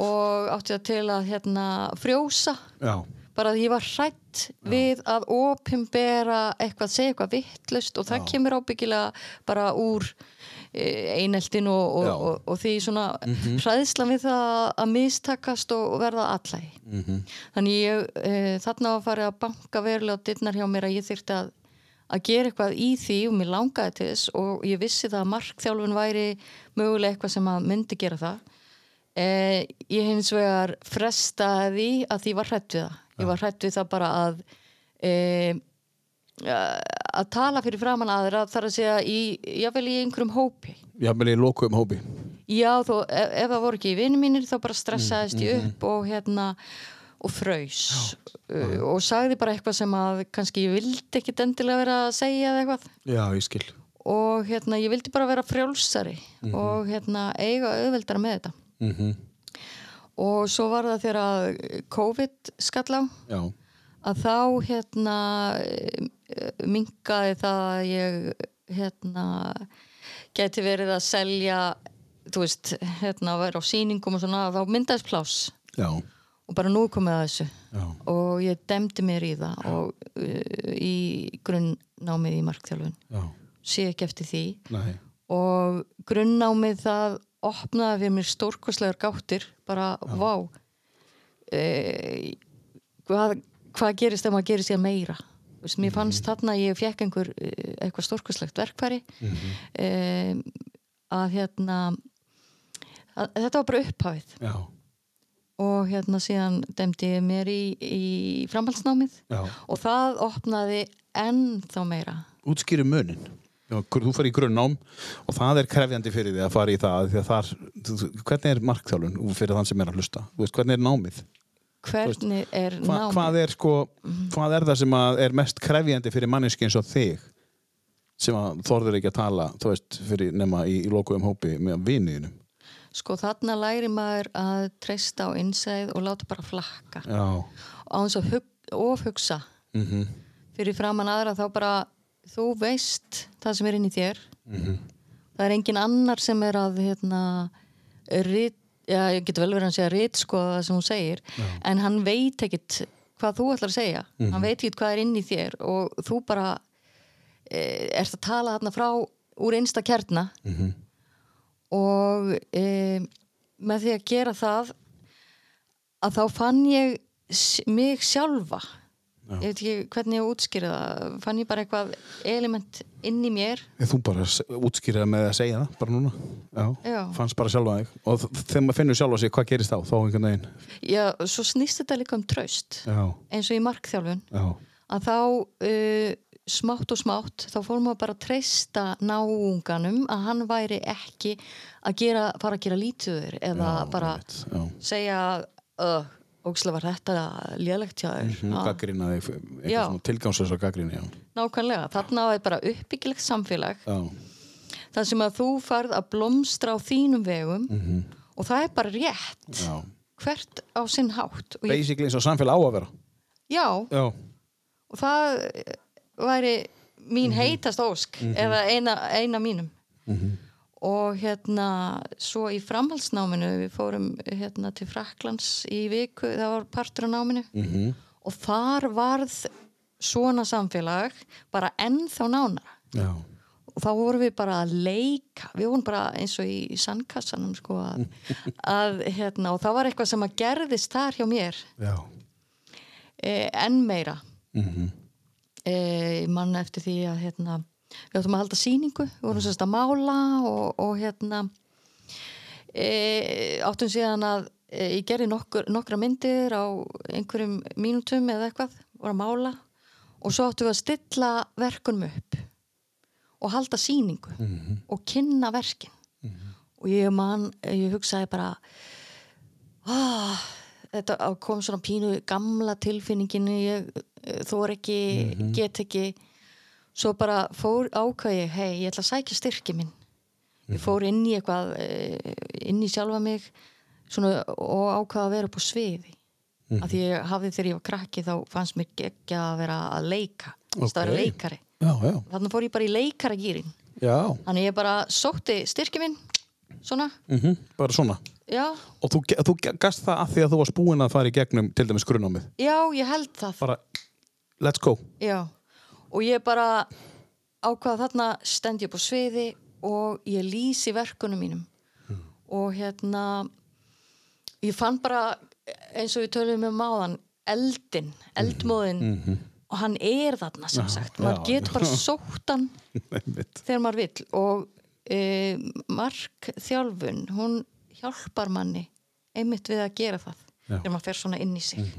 C: og átti það til að hérna frjósa
B: já,
C: bara að ég var hrætt við að opimbera eitthvað, segja eitthvað vittlust og það kemur ábyggilega bara úr eh, eineltin og,
B: Já.
C: og, og, og því svona mm við það að mistakast og og verða allæg þannig ég e, þarna var farið að banka verulega á dittnar hjá mér að ég þyrfti að að gera eitthvað í því og mér langaði til þess og ég vissi það að markþjálfun væri mögulega eitthvað sem að myndi gera það Eh, ég hins vegar frestaði því að því var hrætt við það ég var hrætt við það bara að eh, að tala fyrir framann aðra þar að segja í, jável í einhverjum hópi
B: já, menn ég loku um hópi
C: já þó ef, ef það voru ekki í vini mínir þá bara stressaðist
B: Mm,
C: ég upp og hérna og fraus uh, og sagði bara eitthvað sem að kannski ég vildi ekkit endilega vera að segja eða eitthvað
B: já, ég skil Mhm.
C: og hérna ég vildi bara vera frjálsari og hérna eiga auðveldara með þetta og svo var það þegar að COVID skall á
B: já,
C: að þá hérna mingaði það að ég hérna gæti verið að selja þú veist, hérna að vera á sýningum og svona, þá myndaðist pláss
B: já,
C: og bara nú er komið að þessu
B: já,
C: og ég demdi mér í það og uh, í grunnnámið í markþjálfun
B: já.
C: sé ekki eftir því
B: Nei.
C: og grunnnámið það opnaði við mér stórkoslegar gáttir bara, vá e, hvað, hvað gerist ef maður gerir sér meira Þú Veist, mér
B: Mhm.
C: fannst þarna að ég fekk einhver eh, eitthvað stórkoslegt verkfæri mm
B: Mhm.
C: að hérna að, þetta var bara upphafið
B: já,
C: og hérna síðan demdi ég mér í, í framhaldsnámið
B: já.
C: og það opnaði ennþá meira
B: útskýri munin Já, gr- þú fer í grunnám og það er krefjandi fyrir því að fara í það því að þar, þú- þú- hvernig er markþjálun fyrir þann sem er að hlusta, Þú veist, hvernig er námið
C: hvernig er
B: Hva,
C: námið
B: hvað er sko hvað er það sem að er mest krefjandi fyrir manneski eins og þig sem að þorður ekki að tala þú veist, fyrir nema í, í lokuðum hópi með viniðinum
C: sko þarna læri maður að treysta á innsæð og láta bara flakka
B: já,
C: á þess að hug, ofhugsa
B: Mhm.
C: fyrir framann aðra þá bara þú veist það sem er inn í þér það er engin annar sem er að hérna rit, já, ég get vel verið að hann segja rit sko það sem hún segir, en hann veit ekkit hvað þú ætlar að segja hann veit ekkit hvað er inn í þér og þú bara e, ert að tala þarna frá úr einsta kjarna og e, með því að gera það að þá fann ég s- mig sjálfa ég veit ekki hvernig ég á að útskýra það fann ég bara eitthvað element inn í mér
B: Ég, þú bara útskýrið með að segja það bara núna, já,
C: Já.
B: fannst bara sjálfa þig og þ- þegar maður finnur sjálfa sig, hvað gerist þá þá einhvern veginn,
C: Já, svo snýst þetta líka um traust
B: já,
C: eins og í markþjálfun
B: já
C: að þá uh, smátt og smátt þá fór maður bara að treysta náunganum að hann væri ekki að gera, fara að gera lítuður eða
B: Já,
C: bara
B: einmitt, já.
C: segja uh, ógislega var þetta lélegt hjá þér
B: Hún
C: Ah.
B: gaggrína þig,
C: Já.
B: eitthvað svona tilgangslega gaggrína, já.
C: nákvæmlega, þarna var bara uppbyggilegt samfélag
B: Já,
C: þar sem að þú farð að blómstra á þínum vegum og það er bara rétt
B: já.
C: hvert á sinn hátt og ég,
B: Basically eins og samfélag á að vera.
C: já,
B: Já,
C: og það eh, væri mín heitast ósk eða eina, eina mínum og hérna svo í framhaldsnáminu við fórum hérna til Fraklands í viku, það var partur á náminu -hmm. og þar varð svona samfélag bara ennþá nánara
B: já,
C: og þá vorum við bara að leika við vorum bara eins og í, í sandkassanum sko að, að hérna og það var eitthvað sem að gerðist þar hjá mér
B: já.
C: eh, enn meira eh, mann eftir því að hérna, við áttum að halda sýningu við vorum sérst að mála og, og hérna eh, áttum síðan að eh, ég gerði nokkur, nokkra myndir á einhverjum mínútum eða eitthvað voru að mála og svo áttum við að stilla verkunum upp og halda sýningu og kynna verkin og ég man, ég hugsaði bara ah, þetta á- kom svona pínu gamla tilfinninginu ég eh, þor ekki, get ekki svo bara fór ákvæði hei, ég ætla að sækja styrki minn ég fór inn í eitthvað eh, inn í sjálfa mig svona, og ákvaða að vera upp á sviði af því ég hafði þegar ég var krakki þá fannst mér ekki að vera að leika okay. að vera
B: Ókei.
C: leikari
B: Já, já,
C: þannig fór ég bara í leikaragýrin
B: já.
C: þannig ég bara sótti styrki minn svona,
B: Mhm, Bara svona.
C: já
B: Og þú, ge- þú ge- gast það af því að þú varst búin að fara í gegnum til dæmis grunnámið.
C: já, ég held það
B: Bara, let's go.
C: Já, og ég bara ákvaða þarna stend ég upp á sviði og ég lýsi verkunum mínum
B: Hmm.
C: og hérna ég fann bara eins og við töluðum um áðan eldin, eldmóðin og hann er þarna sem sagt maður
B: Hmm. já,
C: getur bara sótt hann
B: Einmitt.
C: þegar maður vill og e, markþjálfun hún hjálpar manni einmitt við að gera það
B: Já. Mhm,
C: þegar maður fer svona inn í sig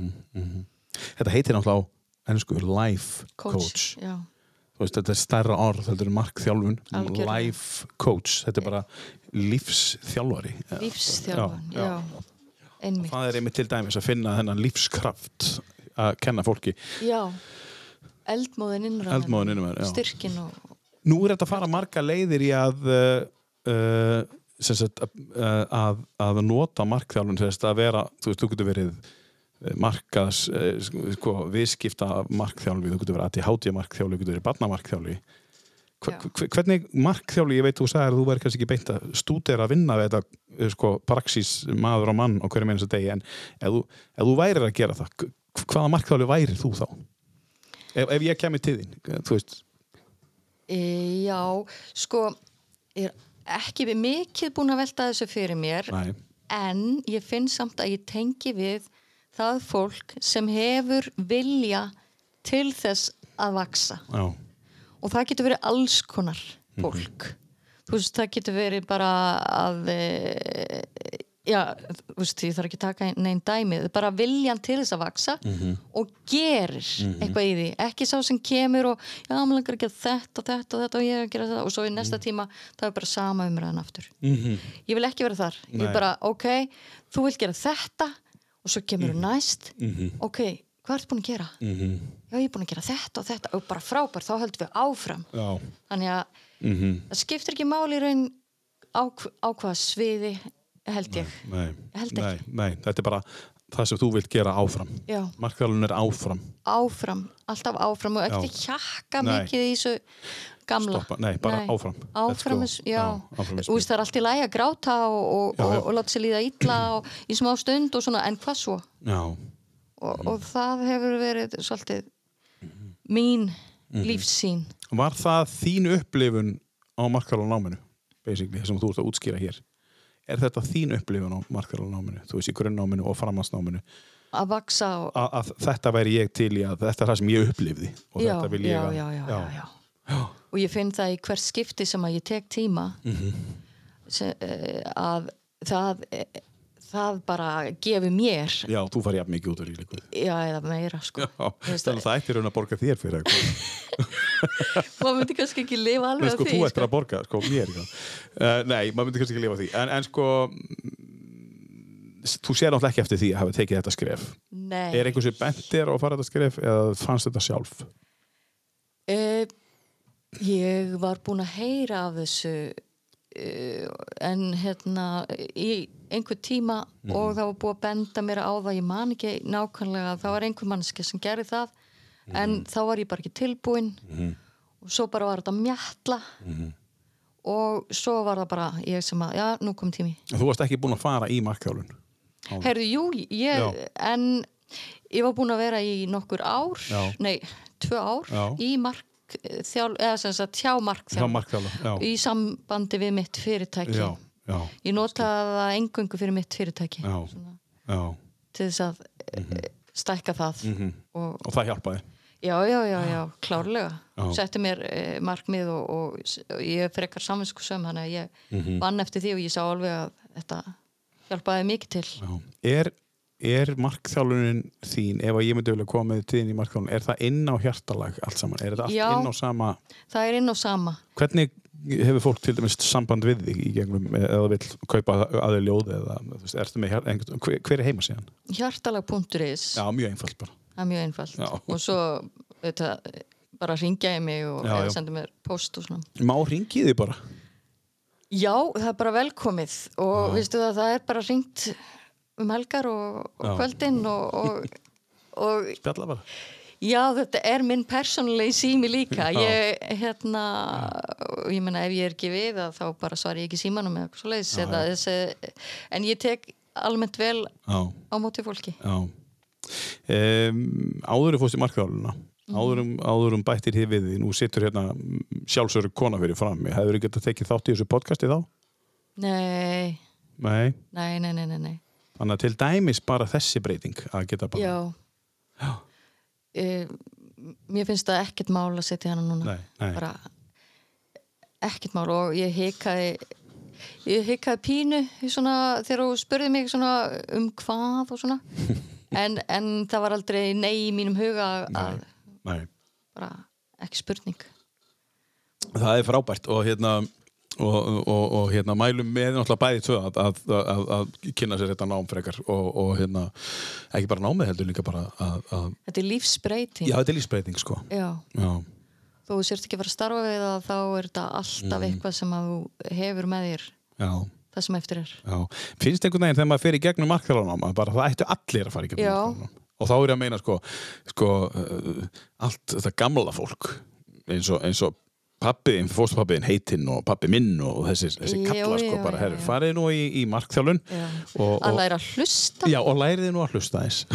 B: Þetta heitir náttúrulega á ennsku life coach.
C: coach, já,
B: Þú veist, þetta er stærra orð, þetta er markþjálfun.
C: Algjörlega.
B: Life coach. Þetta er bara lífsþjálfari.
C: lífsþjálfun já,
B: Já, já.
C: einmitt
B: Það er einmitt til dæmis að finna þennan lífskraft að kenna fólki.
C: Já, eldmóðin innræðan
B: Eldmóðinn innra með þér, já.
C: Styrkin og,
B: Nú er þetta að fara marga leiðir í að uh, uh, sem sagt, uh, að, að nota markþjálfun sem sagt, að vera, þú veist, þú getur verið eh, markas, eh, sko, viðskipta markþjálfi, þú getur verið ADHD markþjálfi, þú getur verið barnamarkþjálfi
C: Já.
B: Hva- hve- hvernig markþjálfi, ég veit þú sagðir að þú væri kannski ekki beint að stúdera að vinna við þetta, eh, sko, praxís maður á mann á hverju meins að degi, en ef þú, ef þú værir að gera það, hv- hvaða markþjálfi væri þú þá? Ef, ef ég kemur til þín, þú veist
C: e, já, sko, er ekki við mikið búin að velta þessu fyrir mér
B: Nei.
C: en ég finn samt að ég tengi við það fólk sem hefur vilja til þess að vaksa
B: Já.
C: og það getur verið alls konar fólk þú veist, það getur verið bara að e, já, þú veist, ég þarf ekki að taka neinn dæmið, bara viljan til þess að vaksa og gerir eitthvað í því, ekki sá sem kemur og já, maður langar að gera þetta og þetta og þetta og ég er að gera þetta og svo í næsta tíma það er bara sama umræðan aftur -hmm. ég vil ekki vera þar, ég
B: Nei.
C: er bara ok, þú vilt gera þetta og svo kemur mm næst ok, hvað ertu búin að gera? -hmm. já, ég er búin að gera þetta og þetta og bara frábær, þá höldum við áfram
B: Já.
C: þannig að það skiptir ekki máli í raun á, hv- á hvaða sviði held ég
B: Nei.
C: Ég held
B: nei,
C: ekki.
B: nei, þetta er bara það sem þú vilt gera áfram.
C: Já.
B: Markþjálfun er áfram.
C: áfram, alltaf áfram og
B: Já.
C: ekkert að hjakka
B: Nei.
C: mikið í þessu gamla
B: Stoppa, nei, bara áfram. Let's go.
C: áfram, eins- já,
B: Já, áfram eins
C: Þú veist, það er allt í lagi að gráta og, og,
B: Já, já.
C: og, og láta sér líða illa og, í smá stund og svona, en hvað svo
B: Já.
C: og,
B: Mm.
C: og það hefur verið svolítið
B: Mhm.
C: mín lífsýn
B: Var það þín upplifun á markþjálfun náminu? Basically, það sem þú ert að útskýra hér. Er þetta þín upplifun á markþjálfun náminu? Þú veist, í grunnnáminu og framhansnáminu.
C: að vaksa og,
B: Að, að þetta væri ég til í að þetta er það sem ég upplifði. og
C: já,
B: þetta vil ég
C: já,
B: að-
C: já, já, já, já. og ég finn það í hvert skipti sem að ég tek tíma sem, eh, að það eh, það bara gefur mér
B: Já, þú farið jafn mikið út úr í líkuð.
C: já, eða meira sko
B: Já,
C: veist,
B: þannig að það ættir raun að borga þér fyrir eitthvað.
C: maður myndi kannski ekki lifa alveg
B: Nei,
C: af
B: sko,
C: því
B: þú ættir að borga, sko, mér já. uh, Nei, maður myndi kannski ekki lifa á því En, en sko mm, s- Þú sér náttúrulega ekki eftir því að hafa tekið þetta skref
C: Nei.
B: Er einhvers sem bent þér á að fara þetta skref eða fannst þetta sjálf?
C: Eh, ég var búin að heyra af þessu uh, en hérna í einhver tíma og það var búið að benda mér á það ég man ekki nákvæmlega það var einhver mannski sem gerði það en þá var ég bara ekki tilbúin og svo bara var þetta mjalla og svo var það bara ég sem að, já, nú kom tími
B: En Þú varst ekki búin að fara í markkjálun
C: Herðu, jú, ég,
B: Já.
C: en ég var búin að vera í nokkur ár,
B: Já.
C: nei, tvö ár
B: Já.
C: í mark þjál, eða sem sagt hjá
B: Hjá
C: markþjálf
B: markkjálun, já
C: í sambandi við mitt fyrirtæki.
B: Já, já,
C: Ég notaði það engungu fyrir mitt fyrirtæki
B: já, Mhm. já
C: til þess að mm stækka það
B: Mhm.
C: og
B: Og það hjálpaði
C: já, já, já, já, klárlega
B: Já.
C: setti mér eh, markmið og, og, s- og ég er frekar saminskusum þannig að ég
B: Mhm.
C: vann eftir því og ég sá alveg að þetta hjálpaði mikið til
B: já. Er, er markþjálunin þín, ef að ég myndi vilja koma með tíðin í markkjálun, er það inn á hjartalag allt saman? Er þetta allt
C: Já.
B: inn á sama
C: það er inn á sama
B: Hvernig hefur fólk til dæmis samband við þig í gegnum eða vill kaupa aðeins ljóði eða þú veist, ertu með hér, einhvern, hver, hver er heima síðan?
C: hjartalag.is
B: Já, mjög einfalt bara.
C: það er mjög einfalt
B: Já.
C: og svo þetta, bara ringja ég mig og
B: Já, já.
C: já, senda mér post og svona
B: Má ringið þig bara?
C: já, það er bara velkomið og veistu það, það er bara ringt um helgar og,
B: Já.
C: og kvöldin og, og, og
B: Spjalla bara?
C: já, þetta er minn persónulegi sími líka
B: Já.
C: ég, hérna og ég meina ef ég er ekki við að þá bara svar ég ekki símanum eða eitthvað svoleiðis eða þessi, en ég tek almennt vel
B: Já,
C: á móti fólki
B: já. Um, áður er fórst í markaðaluna. Áður um, áður um bættir þið við því. Nú situr hérna sjálfsögur kona fyrir fram. Ég hefur ekki getað tekið þátt í þessu podcasti þá?
C: nei,
B: Nei.
C: nei, nei, nei, nei, nei.
B: Þannig að til dæmis bara þessi breyting að geta bara...
C: Já. Eh, mér finnst það ekkert mál að setja hana núna.
B: Nei, nei.
C: Bara ekkert mál og ég hikaði ég hikaði pínu í svona, þegar þú spurði mig svona um hvað og svona en, en það var aldrei nei í mínum huga að
B: Nei.
C: bara ekki spurning
B: Það er frábært og hérna og, og, og hérna mælum með náttúrulega bæði tvö að, að, að, að kynna sér þetta nám frekar og, og hérna ekki bara námið heldur líka bara að, að
C: Þetta er lífsbreyting
B: já, þetta er lífsbreyting sko
C: Já.
B: já,
C: Þú sért ekki að fara að starfa við það þá er þetta alltaf
B: Mm.
C: eitthvað sem að þú hefur með þér
B: já,
C: það sem eftir er
B: já finnst einhvern veginn þegar maður fer í gegnum markþjálfanám að bara það ættu allir að fara í gegnum
C: Já.
B: markþjálfanám og þá er ég að meina sko, sko uh, allt þetta gamla fólk eins og, eins og pappiðin, fóstupappiðin heitinn og pappi minn og þessi, þessi
C: Já,
B: kalla sko
C: já,
B: bara,
C: já,
B: herru,
C: já.
B: farið nú í, í markþjálun
C: Já.
B: og,
C: Að læra að hlusta
B: Já, og lærið nú að hlusta þess.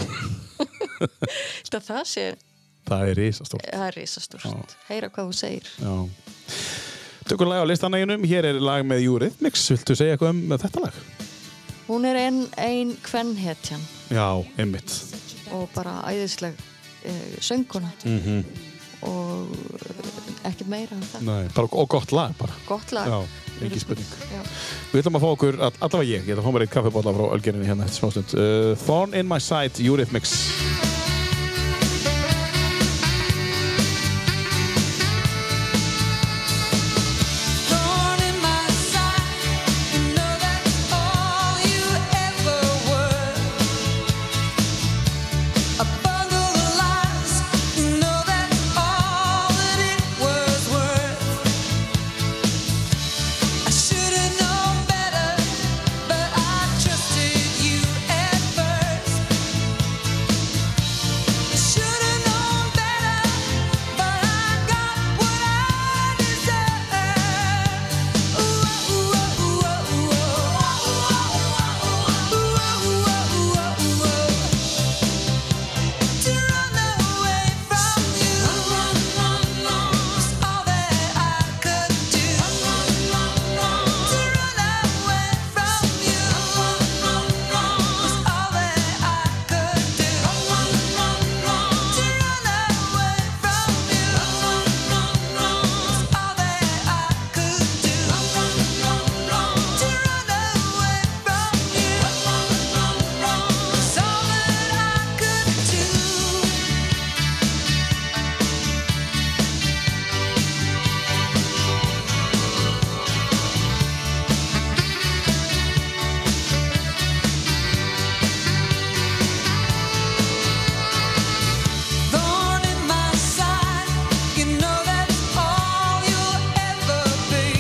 C: Þetta það sé,
B: Það er risastórt.
C: það er risastúrt. Heyra hvað þú segir.
B: Já. Tökum lag á listanæginum, hér er lag með Eurythmics, viltu segja eitthvað um þetta lag?
C: Hún er enn ein kvennhetjan
B: Já, einmitt.
C: og bara æðisleg uh, sönguna og eh, ekkert meira en það.
B: Nei, bara, og gott lag bara.
C: Gott lag.
B: Já, engin spurning.
C: Já.
B: Við ætlum að fá okkur, all- allavega ég, ég ætla að fá mér eitt kaffibólla frá Ölgerinni hérna eftir smástund. Uh, Thorn in my side, Eurythmics.
E: Thorn in my side, you know that's all you ever were. A bundle of lies, you know that's all that it was worth. I should have known better, but I trusted you at first. I should have known better, but I got what I deserved. Ooh ooh ooh ooh ooh ooh ooh ooh ooh to run away from you, was all that I could do. To run away from you, was all that I could do. To run away from you, was all that I could do. To run away from you, was all that I could do. Thorn in my side, you know that's all you'll ever be.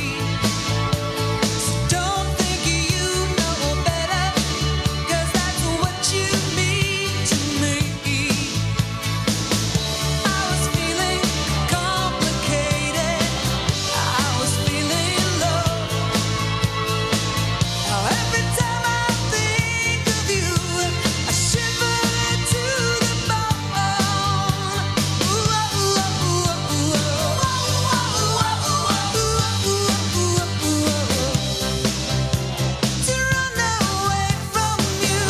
E: Don't think you know better, 'cause that's what you mean to me. I was feeling complicated, I was feeling low. Now every time I think of you, I shiver to the bone. Ooh ah ooh ah ooh ah ooh ah ooh ah ooh to run away from you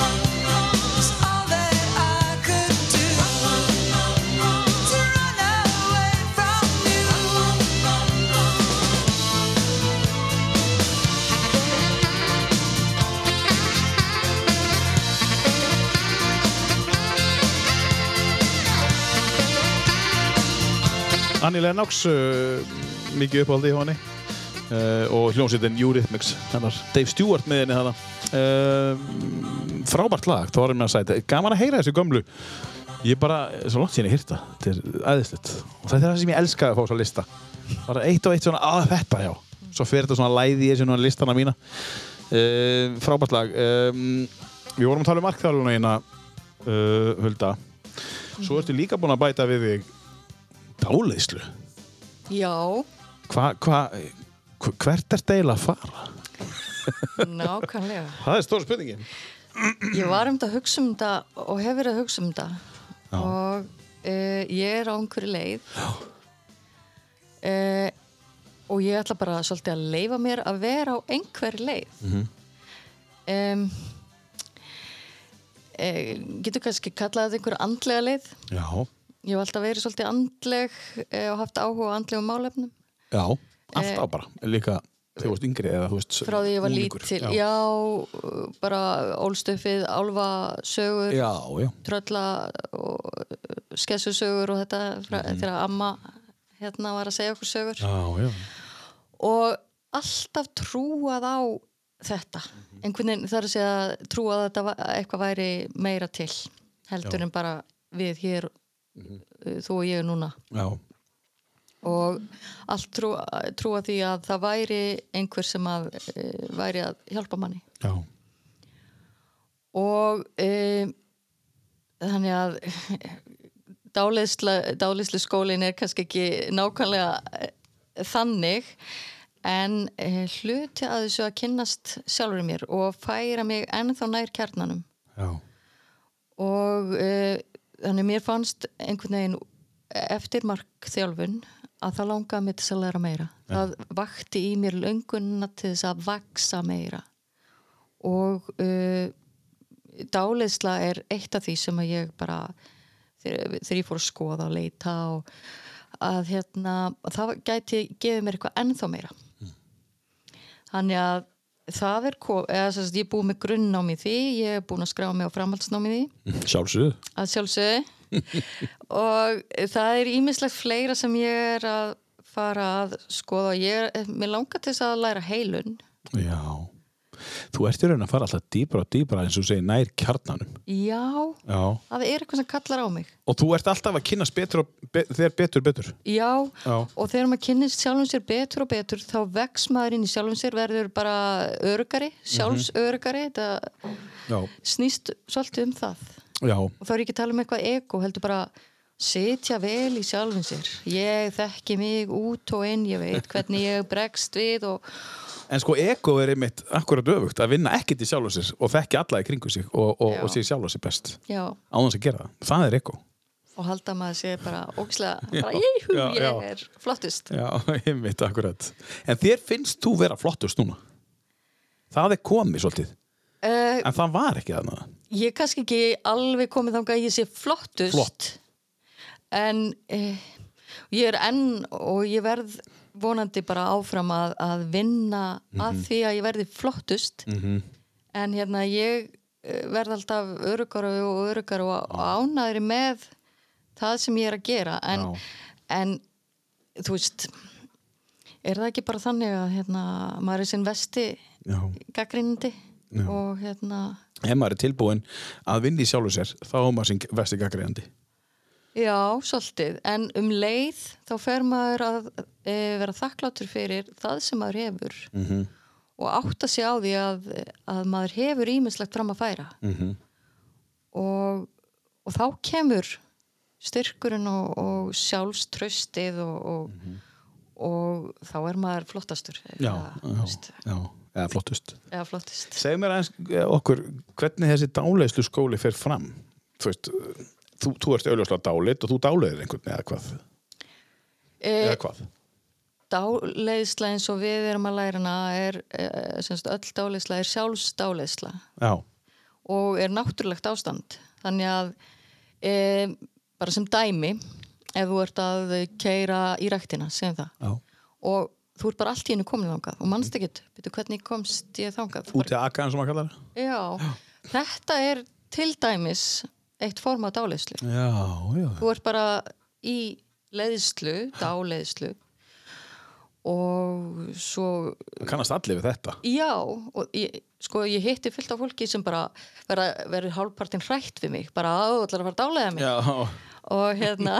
E: was all that I could do. To run away from you.
B: Annie Lennox, uh, mikið uppáldi hjá henni uh, og hljómsveitin Eurythmics, hennar Dave Stewart með henni þarna. Uh, frábært lag, Thorn in my side. Gaman að heyra þessu gömlu. Ég bara, svo langt síðan ég hýrta, þetta er æðislegt. Og þetta er það sem ég elskaði að fá svo lista. Bara eitt og eitt svona, að þetta já. Svo fer þetta svona læði í þessu núna listana mína. Uh, frábært lag. Um, við vorum að tala um markþjálfuna hérna, uh, Hulda. Svo ertu líka búin að bæta við þig dáleiðslu.
C: Já,
B: Hva, hva, hv- hvert er deila að fara?
C: nákvæmlega.
B: Það er stór spurningin.
C: Ég var um þetta að hugsa um þetta og hef verið að hugsa um þetta og uh, ég er á einhverju leið uh, og ég ætla bara svolítið að leifa mér að vera á einhverju leið mm -hmm. e, Getur kannski kallað þetta einhverju andlega leið
B: Já,
C: Ég hef alltaf verið svolítið andleg eh, og haft áhuga á andlegum málefnum
B: já, alltaf bara. Líka þegar þú veist yngri eða þú veist
C: Eh, frá því ég var
B: unglingur.
C: lítil. Já,
B: Já,
C: já bara ólstöfið, álfasögur,
B: já. já.
C: trölla og uh, skessusögur og þetta frá, þegar amma hérna var að segja okkur sögur
B: Já, já.
C: og alltaf trúað á þetta einhvern veginn þarf að segja trúað að þetta va- að eitthvað væri meira til heldur en bara við hér uh, þú og ég núna
B: Já,
C: og allt trú, trúa því að það væri einhver sem að e, væri að hjálpa manni
B: já.
C: og e, þannig að dálislu skólin er kannski ekki nákvæmlega eh, þannig en e, hluti að þessu að kynnast sjálfur mér og færa mig ennþá nær kjarnanum
B: Já,
C: eh, og e, þannig mér fannst einhvern veginn eftir markþjálfun að það langaði mig til þess að læra meira það vakti í mér löngunna til þess að vaksa meira og uh, dáleysla er eitt af því sem að ég bara þegar þegar ég fór að skoða og leita og að hérna það gæti gefið mér eitthvað ennþá meira þannig að það er kom, eða, sem sagt, ég er búið með grunnnámi í því ég er búin að skrá mig á framhaldsnámi í því
B: Sjálfsögðu.
C: að sjálfsögðu og það er ímislegt fleira sem ég er að fara að skoða ég er, mér langar til þess að læra heilun
B: Já. Þú ert í raun að fara alltaf dýbra og dýbra eins og þú segir nær kjarnanum.
C: já,
B: Já.
C: það er eitthvað sem kallar á mig
B: Og þú ert alltaf að kynast betur og be þér betur betur.
C: já,
B: Já.
C: og þegar maður kynnist sjálfum sér betur og betur þá vex maður inn í sjálfum sér verður bara örgari, sjálfsörgari þetta
B: Já.
C: snýst svolítið um það
B: Já.
C: og þá er ég ekki að tala um eitthvað ego heldur bara sitja vel í sjálfum sér ég þekki mig út og inn ég veit hvernig ég bregst við og,
B: En sko ego er einmitt akkurat öfugt að vinna ekkit í sjálfu sér og þekki alla í kringu sig og, og,
C: Já.
B: og sé sjálfu sér best.
C: já,
B: Á þess að gera það. Það er ego.
C: og halda að maður sé bara ógislega,
B: Já,
C: bara jíhú,
B: já,
C: ég
B: já.
C: er flottust
B: Já, einmitt akkurat. En þér finnst þú vera flottust núna. Það er komið svolítið.
C: uh,
B: En það var ekki þarna.
C: ég er kannski ekki alveg komið þangað að ég sé flottust
B: Flott.
C: en uh, ég er enn og ég verð vonandi bara áfram að, að vinna að því að ég verði flottust
B: Mhm.
C: en hérna ég eh, verð alltaf örugara og örugara og ánæðri með það sem ég er að gera en,
B: Já.
C: en þú veist er það ekki bara þannig að hérna, maður er sinn vesti
B: Já.
C: gaggrindi
B: Já.
C: og hérna
B: Ef maður er tilbúin að vinna í sjálfu sér, þá er maður sem vesti gaggræðandi.
C: já, svolítið, en um leið þá fer maður að e, vera þakklátur fyrir það sem maður hefur -hmm. og átta sig á því að, að maður hefur ímislegt fram að færa -hmm. og, og þá kemur styrkurinn og, og sjálfströstið og, og, og þá er maður flottastur eða, þú veist,
B: já. Eða flottust.
C: eða flottist
B: Segðu mér aðeins eh, okkur, hvernig þessi dálæslu skóli fer fram? Þú veist, þú, þú ert auðvitað dálit og þú dálæðir einhvern eða hvað?
C: e,
B: Eða hvað?
C: dáleiðsla eins og við erum að læra hana er, eh, sem sagt, öll dáleiðsla er sjálfsdáleiðsla
B: Já.
C: og er náttúrulegt ástand þannig að e, bara sem dæmi ef þú ert að keira í ræktina segjum það
B: já.
C: og þú ert bara allt í hennu komin þangað og mannst ekkert, veitu hvernig komst ég þangað Þú
B: Úti að akka, eins og maður kallar það?
C: já, þetta er til dæmis eitt form af dáleiðslu
B: Já, já.
C: þú ert bara í leiðslu, dáleiðslu og svo
B: Það kannast allir við þetta.
C: Já, og ég, sko ég hitti fullt af fólki sem bara verða verið hálfpartinn hrætt við mig, bara að þú ætlar að fara að dálega mig
B: Já.
C: og hérna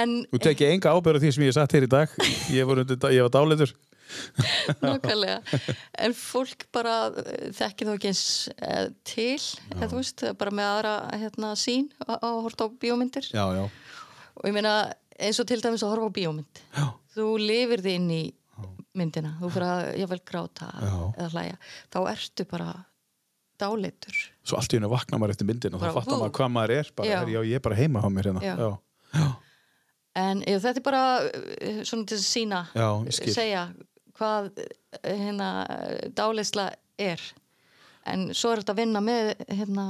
C: en
B: Þú tekið enga ábyrðu því sem ég satt hér í dag. Ég var, undir, ég var dálitur.
C: nákvæmlega en fólk bara eh, þekkir þá ekki eins eh, til, eða, þú veist, bara með aðra hérna, sín á að horta á bíómyndir
B: Já, já.
C: og ég meina eins og til dæmis að horfa á bíómynd
B: Já.
C: þú lifir þið inn í myndina þú fyrir að jáfnvel gráta
B: Já.
C: eða hlæja, þá ertu bara dáleitur
B: Svo allt í hennu vakna maður eftir myndin og þá
C: Bara,
B: fattar
C: vú.
B: maður hvað maður er. Bara,
C: Já.
B: já. já, ég er bara heima á mér hérna.
C: Já.
B: Já.
C: En já, þetta er bara eh, svona til að sína,
B: Já, ég skil.
C: segja hvað eh, hérna, dálisla er. En svo er þetta að vinna með hérna,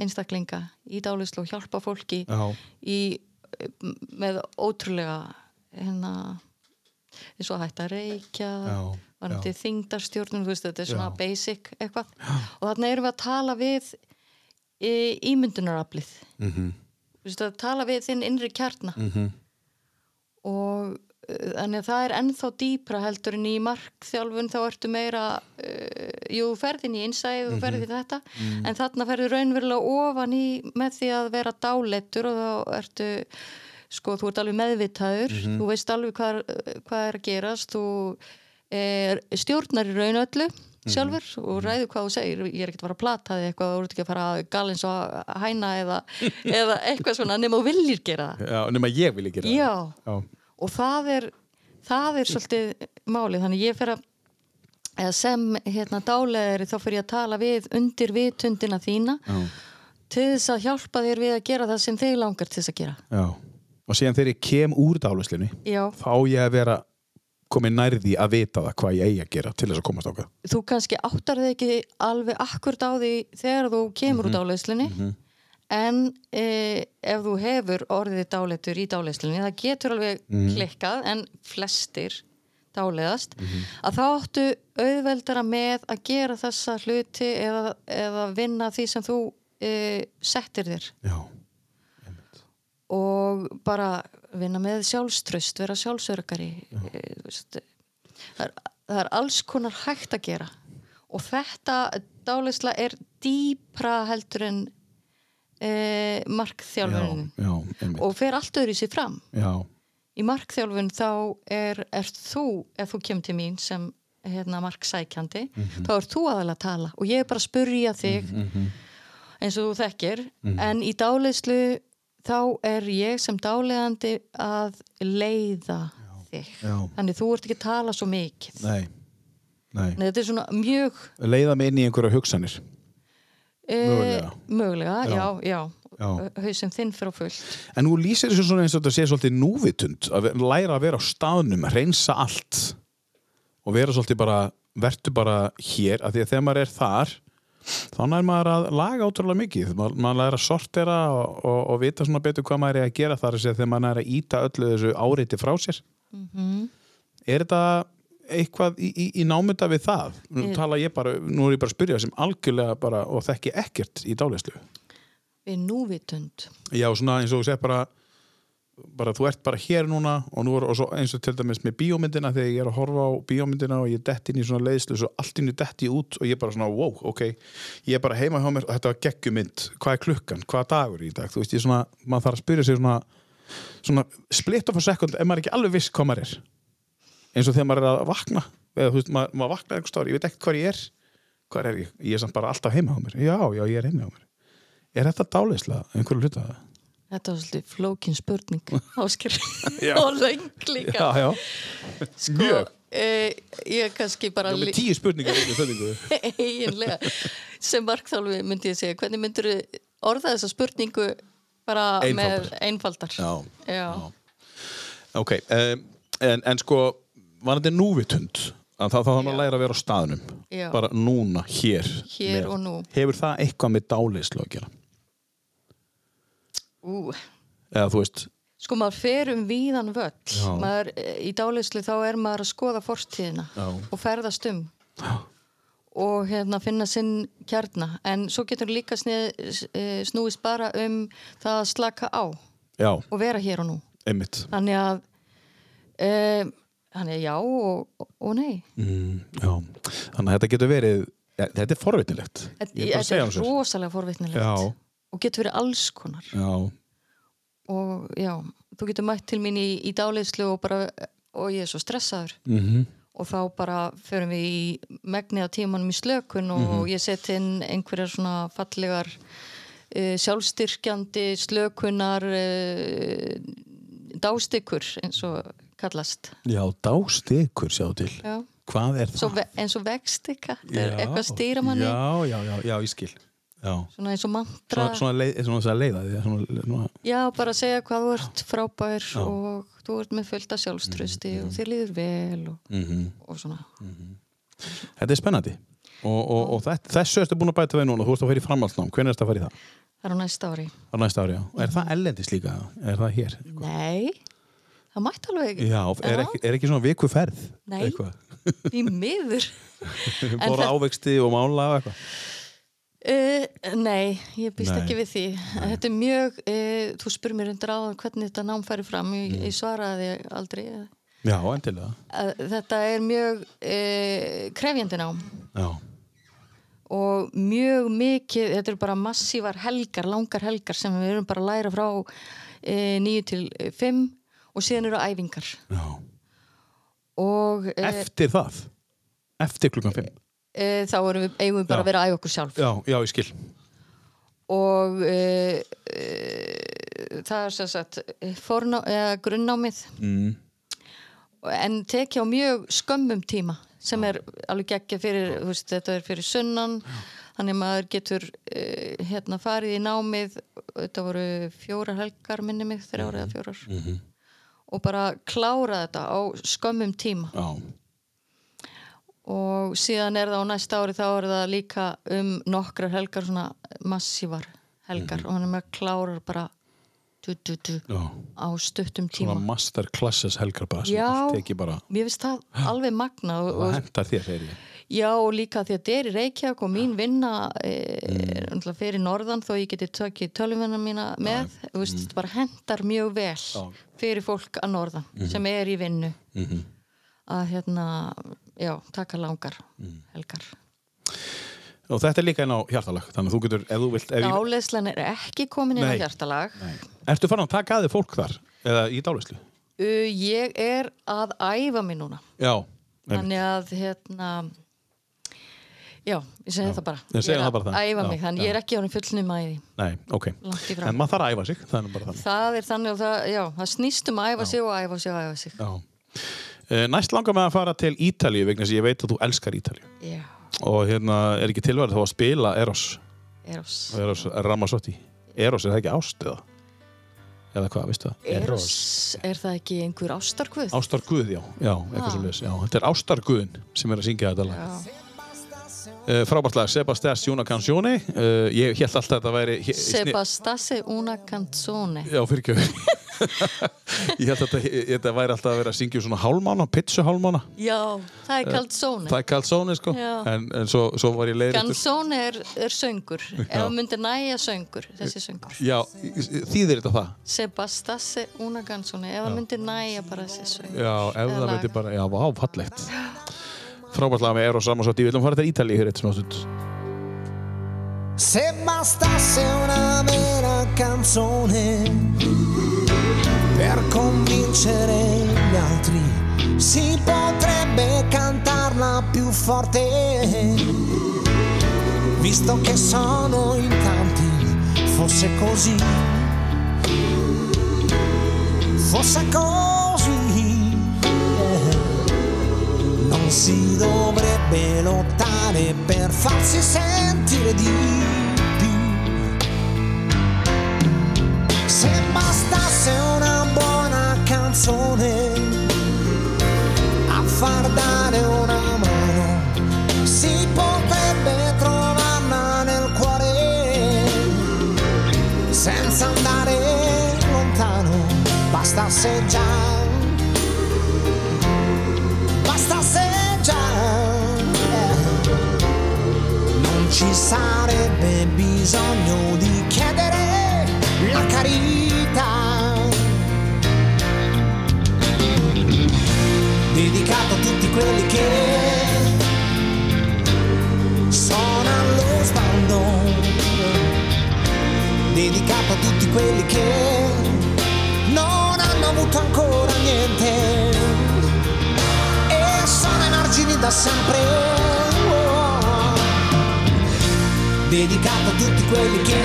C: einstaklinga í dálislu og hjálpa fólki
B: Já.
C: í, eh, m- með ótrúlega hérna, eins og að hætta að reykja,
B: Já,
C: varandi þingdarstjórnum, þú veist, þetta er svona
B: Já.
C: basic eitthvað. Og þarna erum við að tala við e, ímyndunaraflið. Mm
B: Mhm.
C: -hmm. Þú veist, að tala við þinn innri kjarna og eh, þannig að það er ennþá dýpra heldur en í markþjálfun þá ertu meira uh, jú ferðin í innsæð og ferðin í þetta en þarna ferðu raunverulega ofan í með því að vera dálettur og þá ertu sko þú ert alveg meðvitaður þú veist alveg hvað, er- hvað er að gerast þú er, stjórnar í raun öllu sjálfur og ræður hvað þú segir ég er ekkert að fara að plata þig eitthvað þú ert ekki að fara að galins og hæna eða, eða eitthvað svona nema þú viljir gera það
B: Já, nema ég vil ekki gera
C: já
B: það. Já.
C: og það er það er svolítið málið þannig ég fer að eða sem hérna dálegri þá fer ég að tala við undir vitundina þína
B: Já.
C: til þess að hjálpa þér við að gera það sem þig langar til þess að gera
B: Já. og síðan þegar ég kem úr dáluslunni
C: Já,
B: þá á ég að vera komið nærði að vita það hvað ég eigi að gera til þess að komast ákveð
C: þú kannski áttar þig ekki alveg akkurt á því þegar þú kemur út á leyslinni en e, ef þú hefur orðið dáleitur í dáleyslinni það getur alveg klikkað en flestir dáleiðast að þá áttu auðveldara með að gera þessa hluti eða, eða vinna því sem þú e, settir þér
B: Já,
C: og bara vinna með sjálfströst, vera sjálfsörgari e, þú veist, það, er, það er alls konar hægt að gera og þetta dálisla er dýpra heldur en e,
B: já,
C: markþjálfunin
B: já, einmitt
C: og fer allt öðru sér fram
B: Já,
C: í markþjálfun þá er, er þú ef þú kemur til mín sem hérna, marksækjandi
B: Mhm.
C: þá er þú aðalega að tala og ég er bara að spurja þig eins og þú þekkir
B: Mhm.
C: en í dáleyslu þá er ég sem dáleðandi að leiða þig
B: já.
C: þannig þú ert ekki að tala svo mikið
B: nei, nei
C: Nei, þetta er svona mjög
B: Leiða mig inn í einhverja hugsanir
C: e,
B: Mögulega.
C: mögulega já, já,
B: Já.
C: hausinn þinn fyrir á fullt
B: En nú lýsir þessu svona eins og þetta sé svolítið núvitund að ver- læra að vera á staðnum, reynsa allt og vera svolítið bara vertu bara hér, af því að þegar maður er þar þannig er maður að laga ótrúlega mikið, Ma, maður læra að sortera og, og, og vita svona betur hvað maður er að gera þar þess að þegar maður er að íta öllu þessu áriti frá sér Er þetta eitthvað í, í, í námynda við það? Nú tala ég bara, nú er ég bara að spyrja sem algjörlega bara og þekki ekkert í dálæslu
C: við núvitund
B: Já, svona eins og þú segir bara bara þú ert bara hér núna og nú er og svo eins og til dæmis með bíómyndina þegar ég er að horfa á bíómyndina og ég dett inn í svona leiðslu svo allt inn í dett ég út og ég bara svona wow, ok, ég er bara heima hjá mér og þetta var geggjumynd, hvað er klukkan, hvað er dagur í dag, þú veist ég svona, maður þarf að spyrja sig svona svona split of a second ef maður er ekki alveg viss hvað maður er eins og þegar maður er að vakna eða þú veist, maður, maður vaknar einhvers stóri, ég veit ekkert hvað ég er hvað er ég, ég er samt bara alltaf heima á mér já, já, ég er heima á mér er þetta dálislega, einhverju hluta það?
C: Þetta var svolítið flókin spurning ásker
B: Já.
C: og löng líka
B: já, já.
C: sko,
B: mjög.
C: eh, Ég kannski bara
B: Ég er með
C: lí-
B: tíu spurningar í spurningu.
C: eiginlega sem markþálfi myndi ég segja hvernig myndur orða þessa spurningu bara
B: Einfaldar.
C: með einfaldar
B: Já.
C: Já.
B: Ok, um, en, en sko, var þetta núvitund? Að það þá þarf maður að læra að vera á staðnum.
C: Já.
B: Bara núna, hér.
C: Hér og nú.
B: Hefur það eitthvað með dálislu að gera?
C: Ú,
B: Eða þú veist,
C: sko maður fer um víðan völl
B: Já.
C: maður, eh, í dálislu þá er maður að skoða fortíðina
B: Já.
C: og ferðast um og hérna finna sinn kjarna en svo getur líka snið, eh, snúist bara um það að slaka á
B: já,
C: og vera hér og nú
B: einmitt.
C: þannig að um, þannig að já og, og nei
B: Mm, já. Þannig að þetta getur verið, ja, þetta er forvitilegt. Ég er bara að
C: Þetta
B: segja
C: er
B: um sér.
C: rosalega forvitnilegt
B: Já.
C: og getur verið alls konar
B: Já,
C: og já, þú getur mætt til mín í, í dáleyslu og bara og ég er svo stressaður
B: mhm.
C: og þá bara förum við í megnið af tímanum í slökun og
B: Mhm.
C: ég set inn einhverjar svona fallegar uh, sjálfstyrkjandi slökunar uh, dástykkur eins og kallast
B: já dástekur sjá til.
C: já.
B: Hvað er það?
C: Svo, ve- eins og vegstykka þetta er
B: Já,
C: eitthvað að stýra manni
B: Já, já, já, já, ég skil. Já.
C: svona eins og
B: Svona,
C: mantra
B: svona, leið, svona þess að leiða því. Svona, svona,
C: Já, bara að segja hvað þú ert frábær og þú ert með fullt af sjálfströsti
B: Mm,
C: og þér líður vel og,
B: Mhm.
C: og svona.
B: Þetta er spennandi og, og, og þetta, þessu ertu búin að bæta við núna þú ert að fara í framhaldsnám, hvernig ertu að fara í það?
C: Það er á næsta ári.
B: á næsta ári, já, og er það ellendis líka? er það hér?
C: Nei, það mætti alveg
B: Já, er ekki, er ekki svona viku ferð?
C: Nei.
B: eitthvað?
C: í miður.
B: Bóra
C: það-
B: ávexti og mála og eitthvað
C: Uh, nei, ég býst
B: Nei.
C: ekki við því. Þetta er mjög, uh, þú spurði mér undir áðan hvernig þetta nám færi fram, ég,
B: Mm.
C: ég svaraði aldrei.
B: Já, endilega
C: Uh, þetta er mjög uh, krefjandi nám
B: Já,
C: og mjög mikið, þetta eru bara massívar helgar, langar helgar sem við erum bara að læra frá e, 9 til 5 og síðan eru æfingar
B: já.
C: og e,
B: Eftir það? Eftir klukkan 5?
C: e, þá erum við, eigum við bara
B: Já.
C: að vera að æfa okkur sjálf
B: Já, já, ég skil
C: og e, e, það er sem sagt forná, e, grunnámið
B: mm.
C: en tekja á mjög skömmum tíma sem er alveg geggja fyrir, þú veist, þetta er fyrir sunnan þannig að maður getur e, hérna farið í námið þetta voru fjórar helgar minni mig, þrjár eða fjórar og bara klára þetta á skömmum tíma
B: Já,
C: og síðan er það á næsta ári þá er það líka um nokkrar helgar svona massívar helgar og hann er með að klára bara du, du, du,
B: Mhm. já.
C: á stuttum tíma
B: Svona masterclasses helgar bara sem
C: Já.
B: allt tekið bara
C: mér finnst það alveg magna og,
B: og
C: og,
B: hentar þér, segir ég.
C: já og líka því að þetta er í Reykjavík og mín vinna e,
B: Mm.
C: er náttúrulega fyrir norðan þó ég geti tökið tölvunum mína með þú
B: Mm.
C: veist, þetta bara hendar mjög vel fyrir fólk að norðan
B: Mhm.
C: sem er í vinnu að hérna, já, taka langar
B: Mm.
C: helgar
B: Og þetta er líka inn á hjartalag, þannig að þú getur, ef þú vilt, ef ég...
C: Dáleðslan er ekki komin inn á
B: Nei.
C: hjartalag.
B: Ertu farin að taka að þið fólk þar, eða í dálislu?
C: Uh, ég er að æfa mig núna.
B: Já. einmitt.
C: Þannig að, hérna, já, ég segi það bara.
B: Ég segi
C: er
B: það
C: að
B: bara það.
C: æfa
B: Já,
C: mig, þannig
B: já.
C: ég er ekki ánum fullnum æði.
B: Nei, ok.
C: Langt í frá.
B: En maður þarf að æfa sig, það er nú bara þannig.
C: Það er þannig að það, já, það snýst um að æfa sig og æfa sig og æfa sig.
B: Já. Eh, Næst langar með að fara til Ítalíu vegna þess að ég veit að þú elskar Ítalíu
C: Já,
B: og hérna er ekki tilværi þá að spila Eros,
C: eros.
B: Eros Ramazzotti Eros er það ekki ást eða eða hvað, veistu það?
C: Eros, er það ekki einhver ástarkvöð?
B: Ástar Guð, já, já, eitthvað
C: Ah.
B: sem já, þetta er Ástar Guðin sem er að syngja þetta lag
C: Já,
B: uh, Frábært lag, Sebastián Canzoni uh, ég held alltaf að þetta væri he- sni-
C: Sebastase una canzone.
B: Já, fyrir Ég held að þetta, þetta væri alltaf að vera að syngja svona hálmána, pitsu hálmána
C: Já, það er kallt zone.
B: Eh, Það er Calzoni, sko
C: Já.
B: en, en svo, svo var ég leiðréttur
C: Gansón er, er söngur, ef það myndir næja söngur, þessi söngur.
B: Já, í- í- þýðir þetta það?
C: Sebastase una gansóni, ef það
B: Ah.
C: myndir næja bara þessi söngur.
B: Já, ef
C: Eða
B: það
C: lag.
B: veitir bara, já, vá, fallegt Frábært lag með Eros Ramazzotti, við viljum fara til Ítalíu hér eitt svona stund
F: Se bastasse una mera canzone per convincere gli altri, si potrebbe cantarla più forte. Visto che sono in tanti, fosse così. Fosse così. eh. Non si dovrebbe lottare per farsi sentire di più. Se bastasse una buona canzone a far dare una mano, si potrebbe trovarla nel cuore senza andare lontano, bastasse già basta se già eh, non ci sarebbe bisogno di chiedere la carità. Dedicato a tutti quelli che sono allo sbando. Dedicato a tutti quelli che non hanno avuto ancora niente e sono ai margini da sempre. oh. Dedicato a tutti quelli che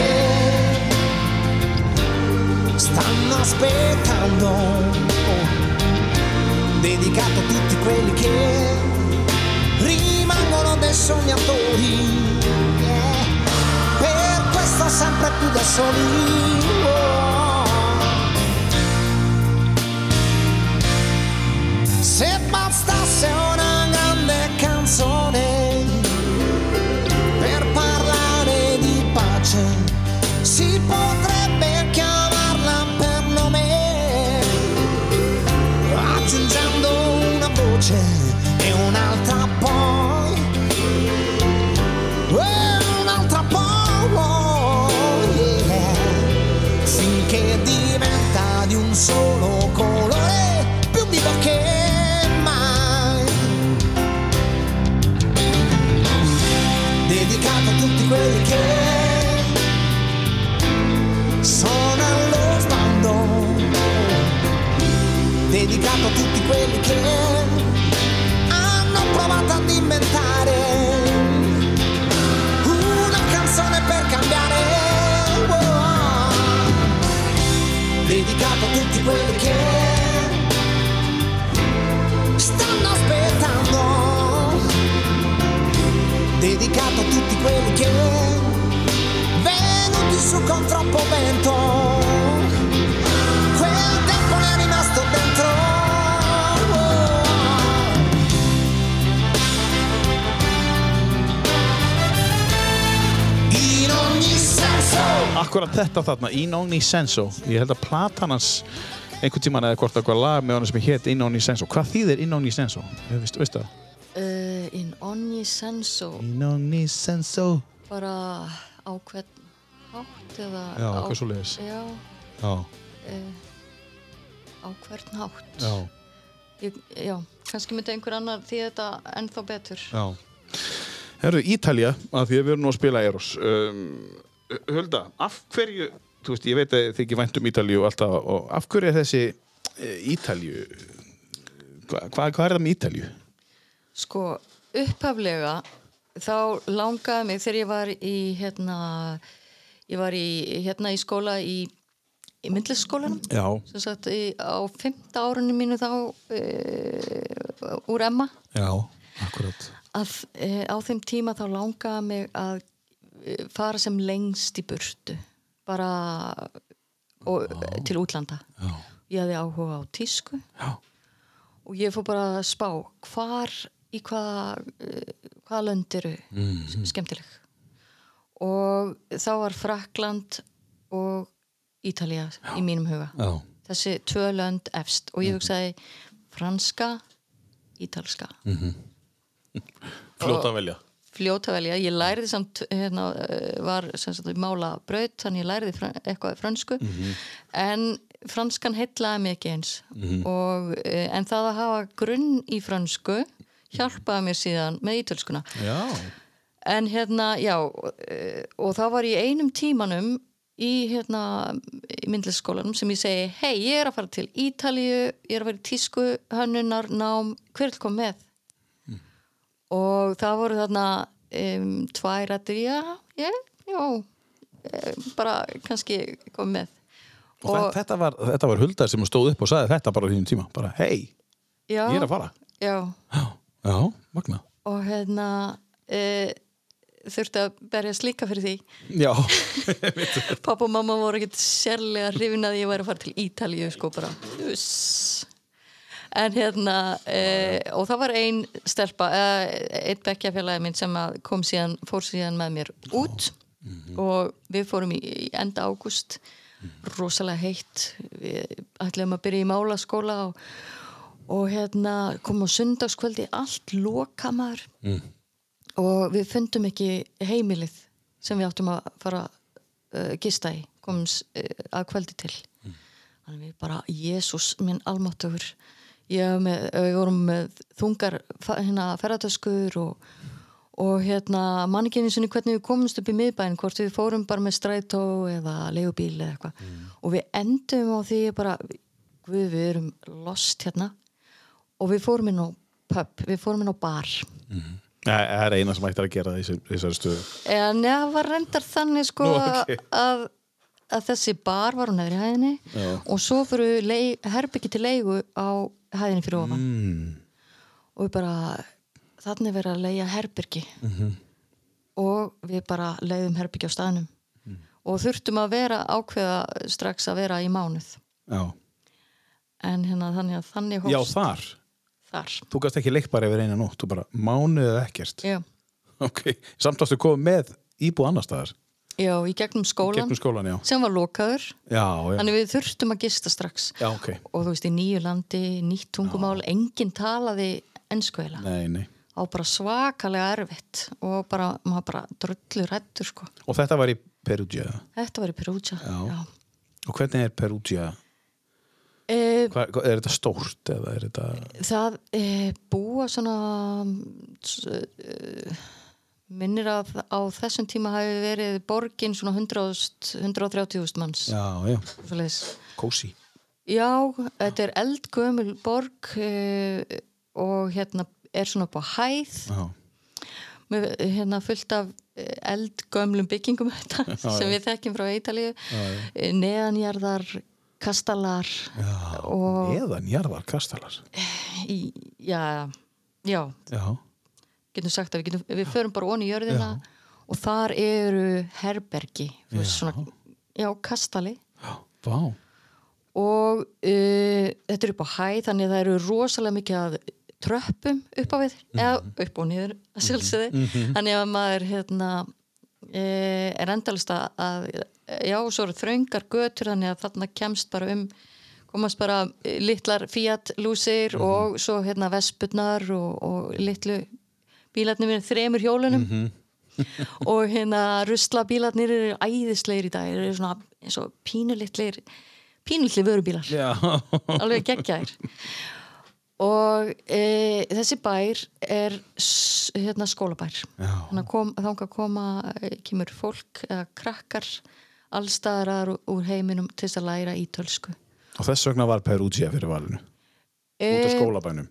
F: stanno aspettando. oh. Dedicato a tutti quelli che rimangono dei sognatori. yeah. Per questo sempre più da soli. oh. Se bastasse una grande canzone per parlare di pace, si potrebbe chiamarla per nome, aggiungendo una voce e un'altra poi, e un'altra poi. yeah finché diventa di un solo colore più vivo che mai. Dedicato a tutti quelli che sono allo sbando, dedicato a tutti quelli che hanno provato ad inventare una canzone per cambiare. oh. Dedicato a tutti quelli che stanno aspettando. Dedicato a tutti quelli che vedono con troppo vento. Quel tempo mi è rimasto dentro. In ogni senso.
B: Akkurat þetta þarna, In Only Senso Ég held að platan hans einhvern tímann eða hvort eitthvað lag með honum sem hétt In Only Senso Hvað þýðir In Only Senso? Ég Veist, veist það?
C: Uh, in ogni senso
B: In Only Senso
C: bara á hvern hátt eða
B: Já,
C: á,
B: eitthvað svoleiðis.
C: já,
B: Já,
C: á hvern hátt
B: já,
C: Ég, já, kannski myndi einhver annar því þetta ennþá betur
B: já Herðu, Ítalja, að því að við erum nú að spila Eros um, Hulda, af hverju Þú veist, ég veit að þið ekki vænt um Ítalju og alltaf og af hverju er þessi eh, Ítalju Hva, hvað, hvað er það með Ítalju?
C: Sko, upphaflega þá langaði mig þegar ég var í hérna ég var í, hérna í skóla í, í myndlisskólanum
B: Já,
C: sem sagt í, á fimmta árunni mínu þá e, úr Emma
B: já, akkurat
C: að e, á þeim tíma þá langaði mig að e, fara sem lengst í burtu bara og, til útlanda
B: Já,
C: ég hafði áhuga á tísku
B: já,
C: og ég fór bara að spá hvar í hvaða eh, hvaða lönd eru
B: Mhm.
C: skemmtileg og þá var Frakland og Ítalía í mínum huga
B: já, Mhm.
C: þessi tvö lönd efst og ég hugsaði franska, ítalska
B: fljóta að velja
C: fljóta að velja, ég læriði samt hérna, eh, var sem sagt mála braut, þannig ég læriði fran eitthvað í frönsku en franskan heillaði mig ekki eins og, eh, en það að hafa grunn í frönsku hjálpaði mér síðan með ítölskuna
B: Já,
C: en hérna, já eh, og þá var ég einum tímanum í hérna í myndlisskólanum sem ég segi, hei, ég er að fara til Ítalíu, ég er að fara í tísku hönnunar, nám, hver vil kom með og það voru þarna um, tvær að já, ég, já um, bara kannski kom með
B: Og, og þetta, var, þetta var Hulda sem stóð upp og sagði þetta bara á þínum tíma bara hei,
C: já,
B: ég er að fara
C: já,
B: já, já magna
C: og hérna uh, þurfti að berjast líka fyrir því
B: já,
C: Pappa og mamma voru ekkert sérlega hrifin að ég væri að fara til Ítalíu sko bara Uss. en hérna eh, og það var ein stelpa eh, einn bekkjafélagi minn sem að kom síðan fór síðan með mér út og við fórum í, í enda ágúst rosalega heitt við ætlum að byrja í málaskóla og, og hérna kom á sundagskvöldi allt lokamar og við fundum ekki heimilið sem við áttum að fara uh, gista í, komum uh, að kveldi til þannig við bara, Jésús minn almáttugur ég var með, eh, við vorum með þungar fa- hérna, ferðartöskur og, og hérna manninginni sinni hvernig við komumst upp í miðbæn hvort við fórum bara með strætó eða leigubíl eða eitthvað og við endum á því bara við, við erum lost hérna og við fórum inn á pub, við fórum inn á bar
B: það er eina sem ættir að gera þessi, þessari stöðu
C: En Eh, það var reyndar þannig sko
B: Nú, ok.
C: að, að þessi bar var á neðri hæðinni og svo fyrir leig, herbyggi til leigu á hæðinni fyrir ofan mm. og við bara þannig verið að leiga herbyggi
B: Mhm.
C: og við bara leiðum herbyggi á staðnum
B: Mm.
C: og þurftum að vera ákveða strax að vera í mánuð
B: já.
C: en hérna þannig að þannig
B: já,
C: hófst
B: þar,
C: þar
B: þú gast ekki leikt bara yfir eina nótt, þú bara mánuðið ekkert
C: Já.
B: ok, samt ástu komið með íbúð annar staðar,
C: Já, í gegnum skólan
B: gegnum skólan, já
C: sem var lokaður
B: já, já,
C: þannig við þurftum að gista strax
B: já, ok
C: og þú veist, í nýju landi, nýtt tungumál, enginn talaði ennsku eila.
B: nei, nei.
C: Það var bara svakalega erfitt og bara, maður bara drullu rættur, sko.
B: og þetta var í Perugia
C: Þetta var í Perugia.
B: Já. og hvernig er Perugia,
C: E,
B: hva, hva- er þetta stórt eða er þetta,
C: það e, búa svona, e, minnir að á þessum tíma hafi verið borgin svona 100.000 130.000 manns.
B: já, já
C: Svoleiðis.
B: kósi,
C: Já, þetta er eldgömul borg e, og hérna er svona upp á hæð.
B: já,
C: með hérna fullt af eh, eldgömlum byggingum þetta, sem við þekkjum frá Ítalíu Eh, neðanjarðar kastalar og
B: neðan jarðar kastalar
C: í, já, já
B: já,
C: getum sagt að við, getum, við förum bara onni í jörðina og þar eru herbergi þú veist, svona já, kastali
B: Vá.
C: og uh, þetta er upp á hæð þannig að það eru rosalega mikið að tröppum upp á við eða upp og niður að sjálfsögði þannig að maður hérna, uh, er endalist að, að já, svo eru þröngar götur þannig að þarna kemst bara um komast bara eh, litlar Fiat lúsir og svo hérna vespurnar og, og litlu bílarnir með þremur hjólunum og hérna rusla bílarnir eru æðislegir í dag þeir eru svona eins og pínulitlir pínulitlir vörubílar
B: Já.
C: alveg geggjær og e, þessi bær er s- hérna skólabær þannig að kom, þanga koma eh, kemur fólk eða krakkar allstaðar úr heiminum til þess að læra ítölsku
B: Og þess vegna var Perugia fyrir valinu. Út af
C: Eh,
B: skólabænum.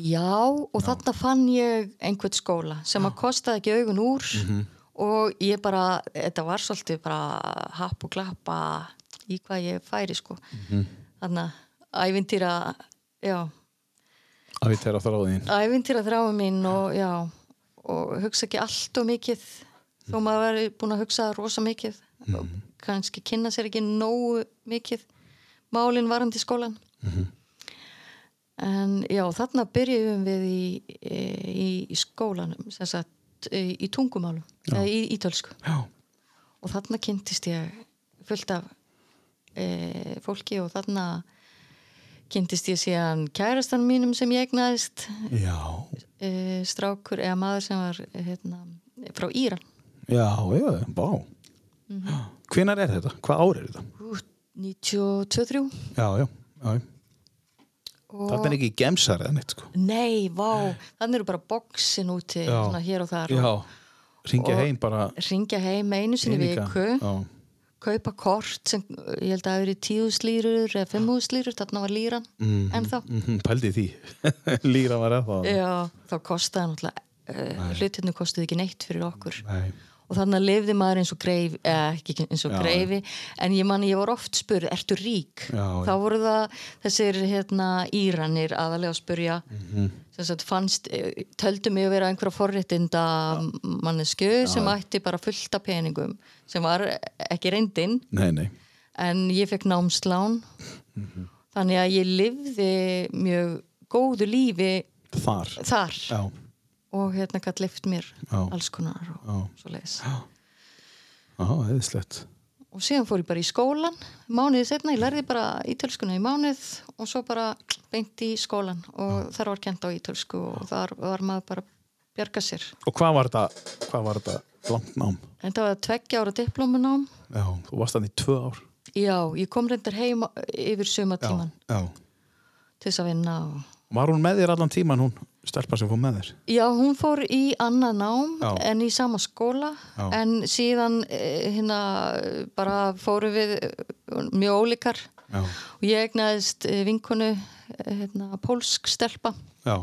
C: Já, og þarna fann ég einhvern skóla sem að kostaði ekki augun úr
B: Mhm.
C: og ég bara, þetta var svolítið bara happ og klappa í hvað ég færi sko.
B: Mhm.
C: Þannig að ævintýra, já,
B: Að við tæra þráðin.
C: ævintýra þráum mín og já, og hugsa ekki allt og mikið þó maður væri búin að hugsa rosa mikið og kannski kynna sér ekki nógu mikið málin varandi skólan en já, þarna byrjuðum við í, e, í, í skólanum sem sagt, e, í í tungumálum eða í ítölsku
B: Já.
C: og þarna kynntist ég fullt af e, fólki og þarna kynntist ég síðan kærastan mínum sem ég egnaðist
B: Já.
C: e, strákur eða maður sem var eh, hérna, frá Íran
B: Já, já, vá.
C: Mhm.
B: Hvenar er þetta? Hvað ár er þetta?
C: Ú, 92-3
B: Já, já, já.
C: og
B: Þetta er ekki gemsar eða neitt, sko.
C: nei, vá, þannig eru bara boksin úti
B: Já.
C: svona, hér og þar
B: Já.
C: og
B: Ringja
C: Og-
B: heim bara
C: ringja heim einu sinni
B: eininga.
C: viku
B: Já.
C: kaupa kort sem eh, ég held að hafi verið tíðuslýrur eða fimmúslýrur, þarna var líran mm. en þá,
B: Mhm, Pældi í því. Lýra var eða það.
C: já, þá kostaði náttúrulega uh, hlutinu kostiði ekki neitt fyrir okkur
B: Nei.
C: og þannig að lifði maður eins og greifi eða ekki eins og
B: Já,
C: greifi en ég manni, ég var oft spurð, ertu rík?
B: Já, já.
C: þá voru það þessir hérna, Íranir aðalega að spurja
B: Mhm.
C: sem sagt fannst eh, töldu mig að vera einhverja forréttinda mannesku sem ætti bara fullta peningum sem var ekki reyndin
B: Nei, nei.
C: en ég fekk námslán
B: Mhm.
C: þannig að ég lifði mjög góðu lífi
B: Þar.
C: þar
B: Já.
C: og hérna gætt lift mér
B: Já.
C: alls konar og svo leiðis
B: Já, eðislegt.
C: og síðan fór ég bara í skólan mánuðið setna, ég lærði bara ítölskuna í mánuð og svo bara beint í skólan og þar var kent á ítölsku og þar var maður bara að bjarga sér
B: Og hvað var þetta, hvað var þetta langt nám?
C: en það var tveggja ára diplómunám
B: Já, þú varst þannig í tvö ár.
C: já, ég kom reyndar heim yfir sumatíman
B: Já.
C: til þess að vinna og...
B: Var hún með þér allan tíman hún, stelpa sem fór með þér?
C: já, hún fór í annað nám
B: Já.
C: en í sama skóla
B: Já.
C: en síðan eh, hérna eh, bara fórum við eh, mjög ólíkar
B: Já.
C: og ég egnaðist eh, vinkonu eh, hérna, pólsk stelpa
B: Já.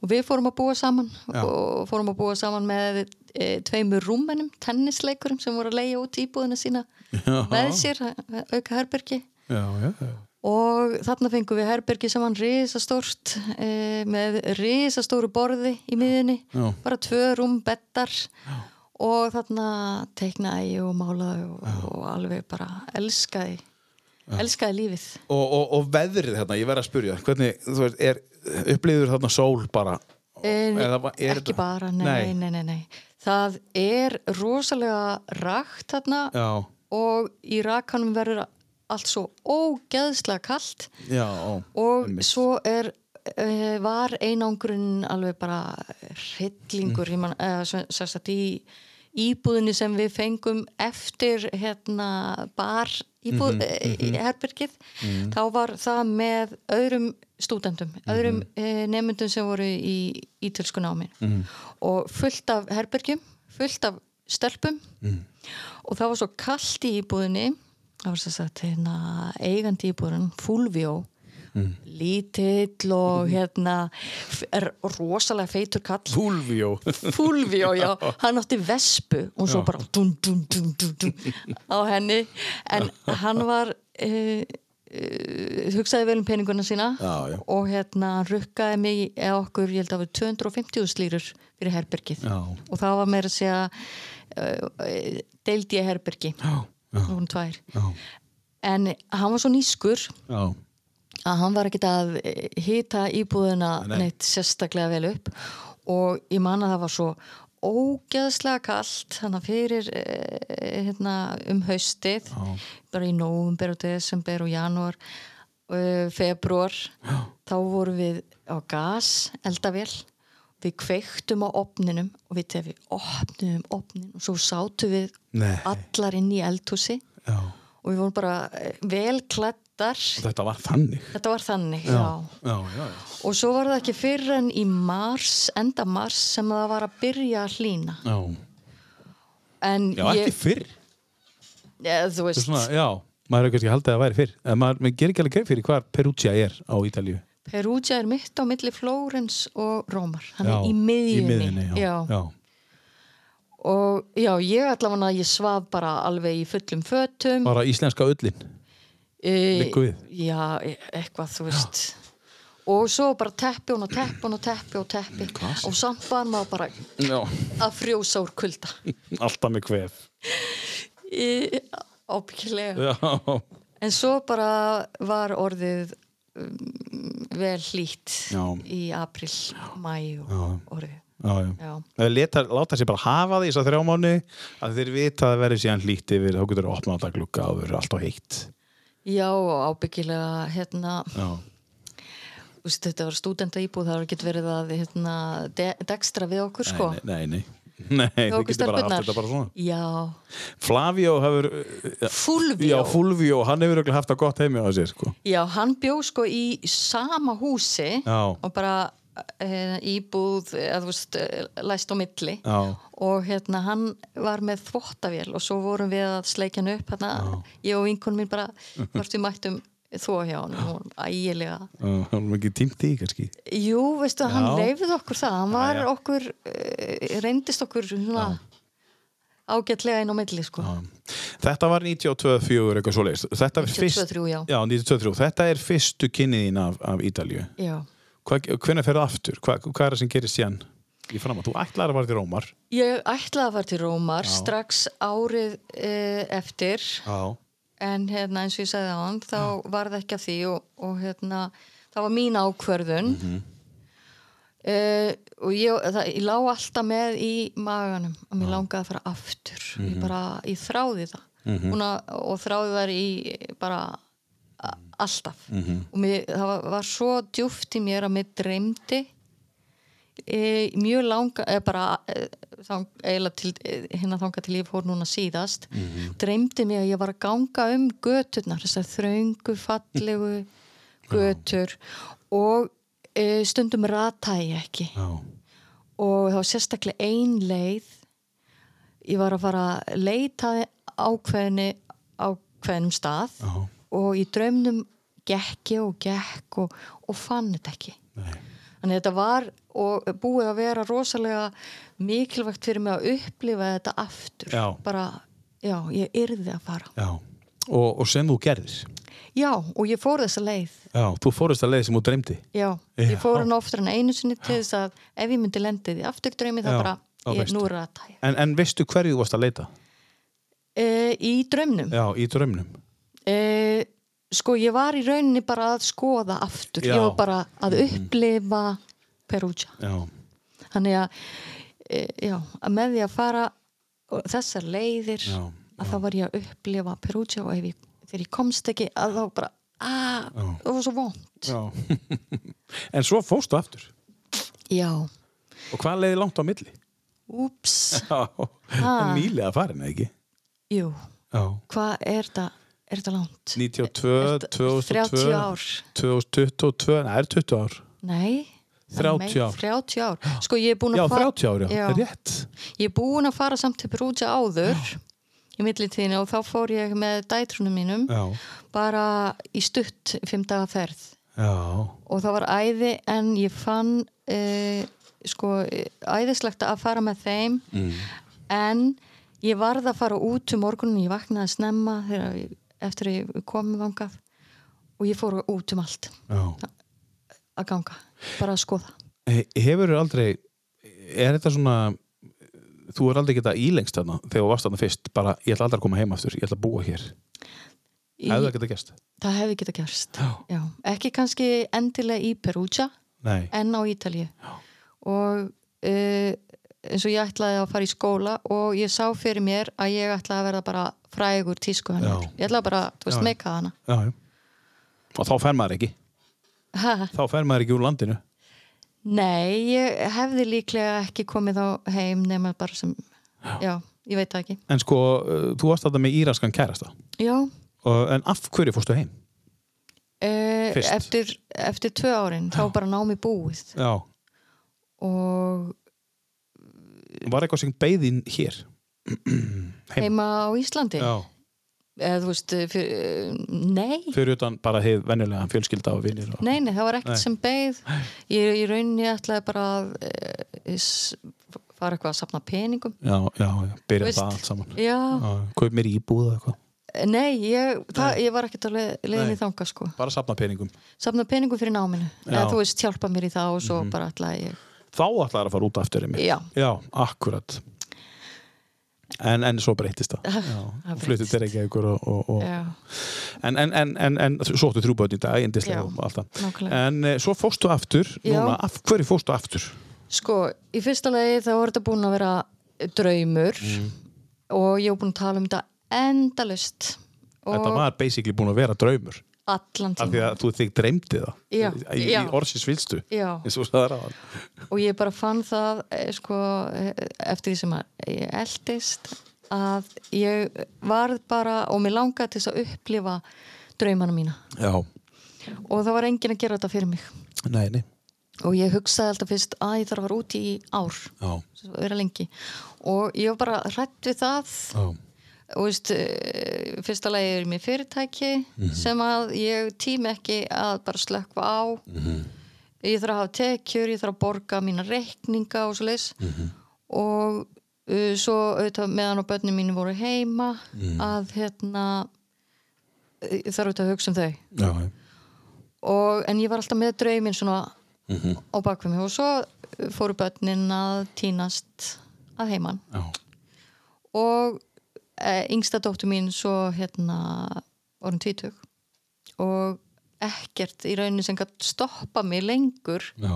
C: og við fórum að búa saman
B: Já.
C: og fórum að búa saman með e, tveimur rúmenum, tennisleikurum sem voru að leia út íbúðina sína
B: Já.
C: með sér, eh, auka herbergi
B: Já, já, já.
C: og þarna fengum við herbergi saman risastórt e, með risastóru borði í miðunni,
B: Já.
C: bara tvö rúm bettar og þarna teiknaði ég og málaði og, og alveg bara elskaði elskaði lífið
B: Og, og, og veðrið hérna, ég verð að spyrja, hvernig, þú veist, er upplýður þarna sól bara?
C: En,
B: Eða var- er
C: ekki
B: þetta-
C: bara, nei, nei, nei, nei. Það er rosalega rakt þarna
B: Já,
C: og í rakanum verður allt svo ógeðslega kalt
B: já, ó.
C: og
B: Einmitt.
C: svo er eh, var einangrun alveg bara hryllingur mm. eða sérstætt í íbúðinni sem við fengum eftir hérna bar íbúð, mm herbergið þá var það með öðrum stúdendum, öðrum mm nefndum sem voru í ítölsku námi og fullt af herbergjum fullt af stelpum og það var svo kallt í íbúðinni það var sérstætt hérna eigandi íbúðin, Fulvio lítill
B: Mhm.
C: og hérna f- er rosalega feitur kall
B: Fulvio.
C: Fulvio, já, hann átti vespu og svo bara dun, dun, dun, dun, dun, á henni en hann var uh, uh, hugsaði vel um peninguna sína
B: Já, já.
C: og hérna hann rukkaði mig eða okkur, ég held að við 250 slýrur fyrir herbergið
B: Já.
C: og það var meira að segja uh, eh, deildi ég herbergi
B: Já,
C: nú voru tvær en hann var svo nýskur
B: já,
C: að hann var ekkert að hýta íbúðina
B: Nei.
C: neitt sérstaklega vel upp og ég man að það var svo ógeðslega kalt þannig að fyrir eh, hérna, um haustið bara í nóvumber og desember og janúar eh, februar þá vorum við á gas eldavél við kveiktum á opninum og við tefi opnum opnin og svo sátum við
B: Nei.
C: allar inn í eldhúsi
B: já.
C: og við vorum bara eh, vel klættar
B: Þetta var þannig.
C: Þetta var þannig, já.
B: já, já. já.
C: Og svo var það ekki fyrr en í mars, enda mars, sem það var að byrja að hlýna.
B: Já,
C: En
B: já ekki
C: ég,
B: fyrr.
C: eða, þú
B: Þetta er
C: veist,
B: Svona, já, maður er kannski haldið að það væri fyrr. En maður, maður gerir ekki alveg greið fyrir hvað Perugia er á Ítalíu.
C: Perugia er mitt á milli Flórens og Rómar. Hann
B: Já,
C: er í miðjunni.
B: Í miðjunni, já. já.
C: Og já, ég allavega, ég svaf bara alveg í fullum fötum.
B: Bara íslenska öllin.
C: E,
B: liggur við.
C: Já, e- eitthvað, þú veist. Og svo bara teppi hún og teppi hún og teppi og teppi. Og samt var maður bara
B: Mm, Já.
C: að frjósa úr kulda.
B: Alltaf með kvef.
C: Í, ábyggilega.
B: Já.
C: En svo bara var orðið um, vel hlýtt
B: Já.
C: í april, mæ og orðið.
B: Já, já.
C: Já.
B: Ef leta, láta sér bara hafa því þess að þrjá mánu að þeir vita að það verður síðan hlýtt yfir þá getur þú opnað þetta glugga og verður allt á heitt
C: Já, og ábyggilega, hérna,
B: Já,
C: þú veist, þetta var stúdenda íbúð, það var ekki verið að hérna, de dekstra við okkur, sko.
B: nei, nei Nei,
C: Við
B: þið
C: okkur
B: getur bara haft
C: stelpurnar.
B: þetta bara svona
C: Já,
B: Flavio hefur
C: Fulvio.
B: Já, Fulvio, hann hefur örugglega haft það gott heimi á sér sko.
C: Já, hann bjó sko í sama húsi
B: Já.
C: og bara eh, íbúð, eða þú veist, eh, læst á milli
B: Já.
C: og hérna hann var með þvottavél og svo vorum við að sleikja hann upp hérna, ég og vinkunum mín bara hvort við mættum þó hjá hann og hún ægilega
B: Já, Hann er ekki tímt í kannski
C: Jú, veistu,
B: Já.
C: hann leifið okkur það hann var
B: já.
C: okkur, eh, reyndist okkur svona, ágætlega inn á milli sko
B: Já. Þetta var 92-4 eitthvað svoleiðis Þetta er
C: 92-3, já.
B: fyrst Já, 92-3 Þetta er fyrstu kynniðin af, af Ítalíu
C: Já.
B: Hvernig fer það aftur? Hva, hvað er það sem gerir síðan? Í fram þú ætlar að vera til Rómar
C: Ég ætlaði að fara til Rómar strax árið eh, eftir
B: Já
C: en hérna, eins og ég sagði á hann þá var það ekki af því og, og hérna, það var mín ákvörðun mm og ég, það, ég lá alltaf með í maganum að mér langaði að fara aftur ég bara, ég þráði það mm og þráði það í bara a- alltaf
B: Mhm.
C: og mér, það var, var svo djúft í mér að mér dreymdi e, mjög langa e, bara e, þá, eiginlega til, e, hérna þanga til ég fór núna síðast
B: Mhm.
C: dreymdi mig að ég var að ganga um göturnar, þessar þröngu fallegu götur og e, stundum rataði ég ekki
B: Já,
C: og það var sérstaklega ein leið ég var að fara að leita ákveðinni ákveðinum stað
B: Já.
C: og í draumnum gekk ég og gekk og, og fann þetta ekki
B: nei
C: þannig að þetta var og búið að vera rosalega mikilvægt fyrir mig að upplifa þetta aftur
B: Já.
C: bara, já, ég yrði að fara
B: Já, og, og sem þú gerðir
C: já, og ég fór þessa leið
B: Já, þú fórust að leið sem þú dreymdi
C: já, ég
B: Já.
C: fór hann oftar en einu sinni til þess að ef ég myndi lendið í aftur draumi þá
B: Já,
C: bara,
B: þá
C: ég,
B: veistu.
C: nú er þetta
B: En, en veistu hverju þú varst að leita?
C: e, í draumnum
B: Já, í draumnum
C: e, sko ég var í rauninni bara að skoða aftur
B: Já. Mhm.
C: ég var bara að upplifa Perugia
B: Já,
C: þannig að, e, já, að með því að fara og þessar leiðir
B: Já,
C: að þá var ég að upplifa Perugia og ef ég, þegar ég komst ekki að þá bara að, það var svo vond
B: já En svo fórstu aftur
C: já,
B: Og hvað leiði langt á milli?
C: úps,
B: Já, en nýlega farin, eða ekki?
C: jú
B: Já
C: hvað er þetta, er þetta langt?
B: 92,
C: Þetta-
B: 2002
C: 30 ár.
B: 2022, nei, það er 20 ár
C: Nei, það er
B: 30
C: meir-
B: ár.
C: 30 ár, sko ég er búin
B: Já,
C: að fara
B: 30 ár, já, það er rétt
C: Ég er búin að fara samt til Perugia áður í millitíðinu og þá fór ég með dætrunum mínum
B: Já,
C: bara í stutt fimm daga ferð
B: já,
C: og það var æði en ég fann uh, sko eh, æðislegt að fara með þeim en ég varð að fara út um morgunum, ég vaknaði snemma þegar, ég- eftir að ég komið vangað og ég fór út um allt
B: já.
C: að ganga, bara að skoða
B: Hefur aldrei Er þetta svona þú er aldrei geta ílengst þarna þegar þú varst þarna fyrst, bara ég ætla aldrei að koma heim aftur ég ætla að búa hér,
C: Í,
B: hefði það geta gæst
C: það hefði geta gerst
B: Já.
C: ekki kannski endilega í Perugia
B: Nei,
C: en á Ítalíu og uh, eins og ég ætlaði að fara í skóla og ég sá fyrir mér að ég ætlaði að verða bara frægur tísku hennar
B: Já.
C: ég ætlaði bara, þú veist,
B: Já.
C: meika hana
B: já, já og þá fer maður ekki,
C: Ha,
B: þá fer maður ekki úr landinu
C: Nei, ég hefði líklega ekki komið þá heim nema bara sem já, ég veit það ekki
B: en sko, uh, þú varst þarna með íranskan kærasta
C: Já,
B: og, en af hverju fórstu heim?
C: uh,
B: Fyrst.
C: eftir, eftir tvö árin þá bara námi búið
B: Já,
C: og
B: var eitthvað sem beðin hér heima,
C: heima á Íslandi
B: Já,
C: eða þú veist, fyrir, nei
B: fyrir utan bara heið venjulega fjölskylda og vinir og...
C: Nei, nei, það var
B: Nei.
C: ekkert sem beið ég, ég raunin ég ætlaði bara að e, s- fara eitthvað að safna peningum
B: Já, já, já, byrja
C: Veist.
B: það allt saman
C: Já,
B: Kaup mér íbúð eða eitthvað
C: nei, ég, það, ég var ekkert alveg leiðin
B: Nei.
C: í þanga sko
B: Bara safna peningum
C: safna peningum fyrir náminu
B: Já. Mhm.
C: eða þú veist, hjálpa mér í það og svo bara ætlaði ég
B: Þá ætlaði að fara út aftur einmitt
C: Já.
B: já akkurat En, en svo breytist það Já,
C: það
B: Fluttu til Reykjavíkur og, og, og.
C: Já,
B: En, en, en, en, en svo áttu þrjúböðn í dag
C: Já,
B: Indislega og allt það
C: nákvæmlega.
B: En eh, svo fórstu aftur
C: Já.
B: núna, af, Hverju fórstu aftur?
C: Sko, í fyrsta lagi þá var þetta búin að vera draumur
B: Mhm.
C: og ég var búin að tala um þetta endalust
B: Þetta
C: og
B: var basically búin að vera draumur
C: allan
B: Af því
C: tíma
B: að þú þig dreymdi það
C: Já,
B: Í, í
C: já.
B: orðsins vilstu
C: Já.
B: Eins og þú sagðir áðan.
C: og ég bara fann það eh, sko, eh, eftir því sem að ég eldist að ég varð bara og mér langaði til þess að upplifa draumana mína
B: Já,
C: og það var enginn að gera þetta fyrir mig
B: nei, nei
C: og ég hugsaði alltaf fyrst að ég þarf að vera úti í ár
B: Já,
C: vera lengi og ég var bara hrætt við það
B: já,
C: og veist, eh, fyrsta lagi er mér fyrirtæki
B: Mhm.
C: sem að ég tími ekki að bara slökva á
B: Mhm.
C: ég þarf að hafa tekjur ég þarf að borga mína reikninga og svo leis
B: Mhm.
C: og uh, svo auðvitað, meðan og börnin mínu voru heima
B: Mhm.
C: að hérna eh, ég þarf auðvitað að hugsa um þau
B: já, já. Mhm.
C: og, en ég var alltaf með drauminn svona á bakveg mig og svo eh, fóru börnin að týnast að heiman
B: já.
C: og e, yngsta dóttur mín svo hérna orðin tvítug og ekkert í raunin sem gætt stoppa mig lengur
B: já.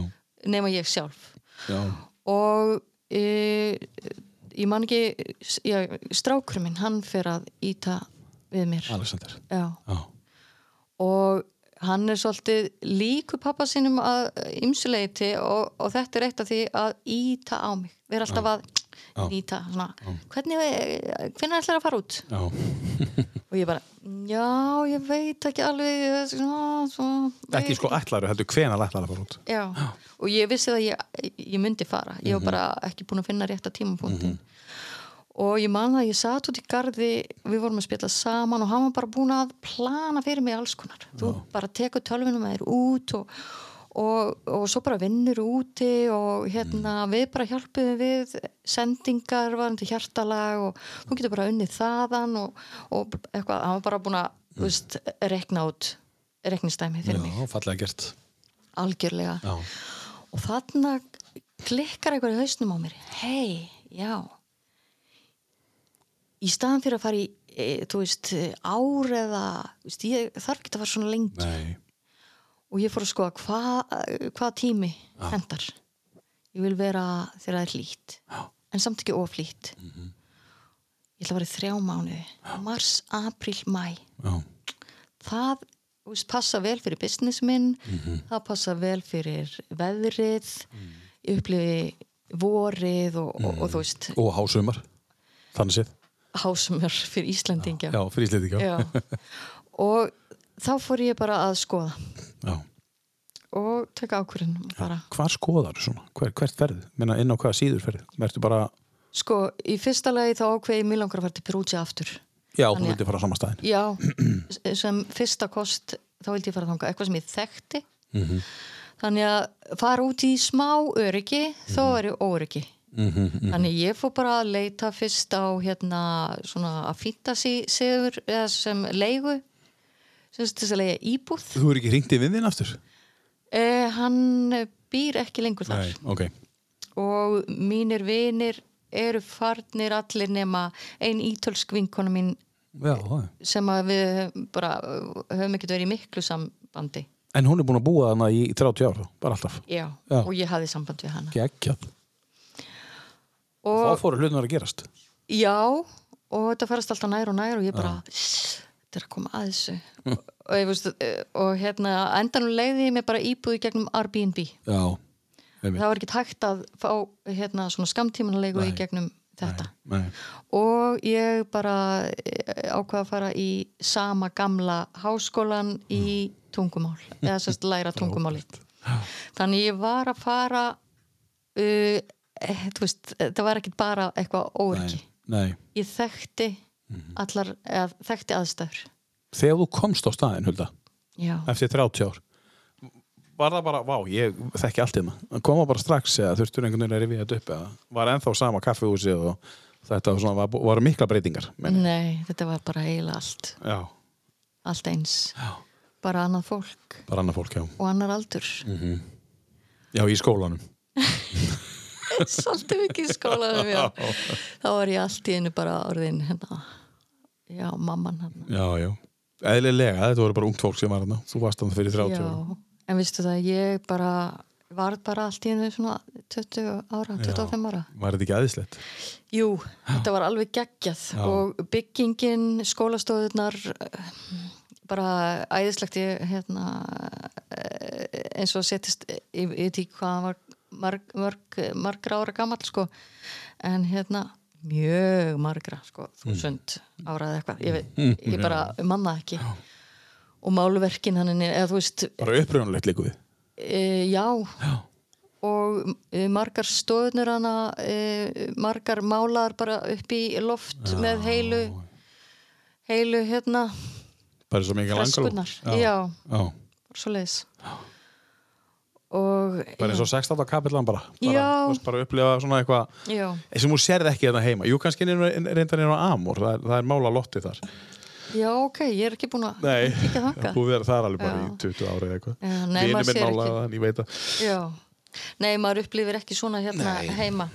C: nema ég sjálf
B: já.
C: og e, ég man ekki já, strákur minn, hann fer að íta við mér
B: Alexander
C: já.
B: Já,
C: og hann er svolítið líku pappa sínum að ymsuleiti og, og þetta er eitt af því að íta á mig við erum alltaf að
B: Já.
C: íta svona, hvernig, hvernig ætlar að fara út
B: já,
C: og ég bara, já, ég veit ekki alveg ég- svona, svona, veit
B: ekki sko ætlaru, heldur hvenar ætlaru að fara út
C: já. og ég vissi að ég, ég myndi fara ég var bara ekki búin að finna rétta tímapunktin og ég man það að ég satt út í garði við vorum að spjalla saman og hann var bara búin að plana fyrir mig alls konar þú bara tekur tölvinu með þér út og, og, og svo bara vinnur úti og hérna við bara hjálpum við sendingar varandi hjartalag og þú getur bara unnið þaðan og, og eitthvað, hann var bara búin að þú veist, rekna út reknistæmi fyrir mig
B: Já, fallega gert
C: algjörlega
B: Já,
C: og þarna klikkar eitthvað í hausnum á mér hei, já í staðan fyrir að fara í e, þú veist, ár eða þú veist, ég þarf ekki að fara svona lengi
B: nei,
C: og ég fór að skoða hvað hva tími hendar ég vil vera þegar það er hlýtt en samt ekki oflýtt
B: Mhm.
C: ég ætla að vera í þrjá mánuði mars, apríl, mæ
B: já,
C: það þú veist, passa vel fyrir business minn
B: Mhm.
C: það passa vel fyrir veðrið
B: Mm.
C: ég upplifi vorið og, og, og þú veist
B: og hásumar Þannig séð,
C: hásumur fyrir Íslandingja
B: já, fyrir ísliti, já
C: Já. og þá fór ég bara að skoða
B: Já.
C: og taka ákvörðin bara
B: Hvar skoðar svona? Hver, hvert ferð? Minna inn á hvaða síður ferð? Mertu bara,
C: sko, í fyrsta lagi þá ákveði mér langar að fara til Perugia aftur
B: já, þú
C: Þannig að-
B: vildi fara á sama staðin
C: Já, s- sem fyrsta kost þá vildi ég fara þangað, eitthvað sem ég þekkti þannig að fara út í smá öryggi þó er ég óryggi þannig ég fór bara að leita fyrst á hérna svona að fýnta sigur eða sem leigu sem sagt þess að leiga íbúð
B: Þú er ekki hringt í vinðin aftur?
C: eh, hann býr ekki lengur þar
B: ok
C: og mínir vinir eru farnir allir nema ein ítölsk vinkona mín
G: Já, já.
C: sem að við bara eh, höfum ekkert verið í miklu sambandi
G: en hún er búin að búa hana í 30 ár bara alltaf,
C: já,
G: Já.
C: og ég hafði samband við hana
G: geggja þá
C: og
G: fóru hlutunar að gerast
C: já, og þetta ferast alltaf nær og nær og ég bara, þetta er að koma að þessu og, ég veist, eh, og hérna á endanum leiði ég mig bara íbúði gegnum Airbnb,
G: já,
C: það var ekkert hægt að fá hérna svona skamtímanlegu í gegnum þetta
G: nei,
C: og ég bara eh, ákvað að fara í sama gamla háskólan í tungumál eða sérst læra tungumáli þannig ég var að fara uh, eh, þú veist, það var ekkit bara eitthvað
G: nei,
C: óörki
G: nei.
C: ég þekkti allar, eða þekkti aðstæður
G: þegar þú komst á staðin, Hulda
C: já,
G: eftir 30 ár var það bara, vá, ég þekki allt hérna koma bara strax eða þurftur einhvern veginn að rifja þetta upp eða var ennþá sama kaffihúsi og þetta var svona, var, var mikla breytingar meni.
C: nei, þetta var bara eiginlega allt
G: já,
C: allt eins,
G: já,
C: bara annað fólk
G: bara annað fólk, já
C: og annar aldur
G: já, í skólanum,
C: svolítið mikið í skólanum já. þá var ég allt í einu bara orðin hérna já, mamman hann
G: já, já eðlilega, þetta voru bara ungt fólk sem var hérna þú varst hann fyrir 30 árum.
C: Já, en vistu það, ég bara var bara allt í einu svona 20 ára, 25 ára.
G: var þetta ekki aðeinslegt
C: Jú, þetta var alveg geggjað og byggingin, skólastóðunar bara æðislegt ég hérna eh, eins og setist ég ég veit ekki hvað hann var marg, marg, margra ára gamall sko en hérna mjög margra sko, þúsund ára eða eitthvað, ég, veit, ég bara manna ekki og málverkin hann eða þú veist,
G: bara upprjónulegt líku við
C: E, já. og e, margar stóðnur hana e, margar málar bara upp í loft með heilu heilu hérna
G: bara svo mikið langar
C: Fraskurnar, já.
G: já.
C: svo leiðis og
G: bara eins og 16. kapillan bara bara,
C: Já.
G: þú veist, bara upplifa svona eitthvað
C: já,
B: sem hún sérði ekki þarna heima Jú, kannski niður- reyndar nýra á Amor það er, það er mála lotti þar
C: já ok, ég er ekki búin að
B: Nei.
C: ekki þangað
B: Þú verður þar alveg bara
C: Já.
B: í 20 ára eða eitthvað
C: Já, nei,
B: Vinur
C: maður
B: minn
C: sér
B: málaði
C: ekki.
B: það, ég veit að
C: já, nei maður upplifir ekki svona hérna heima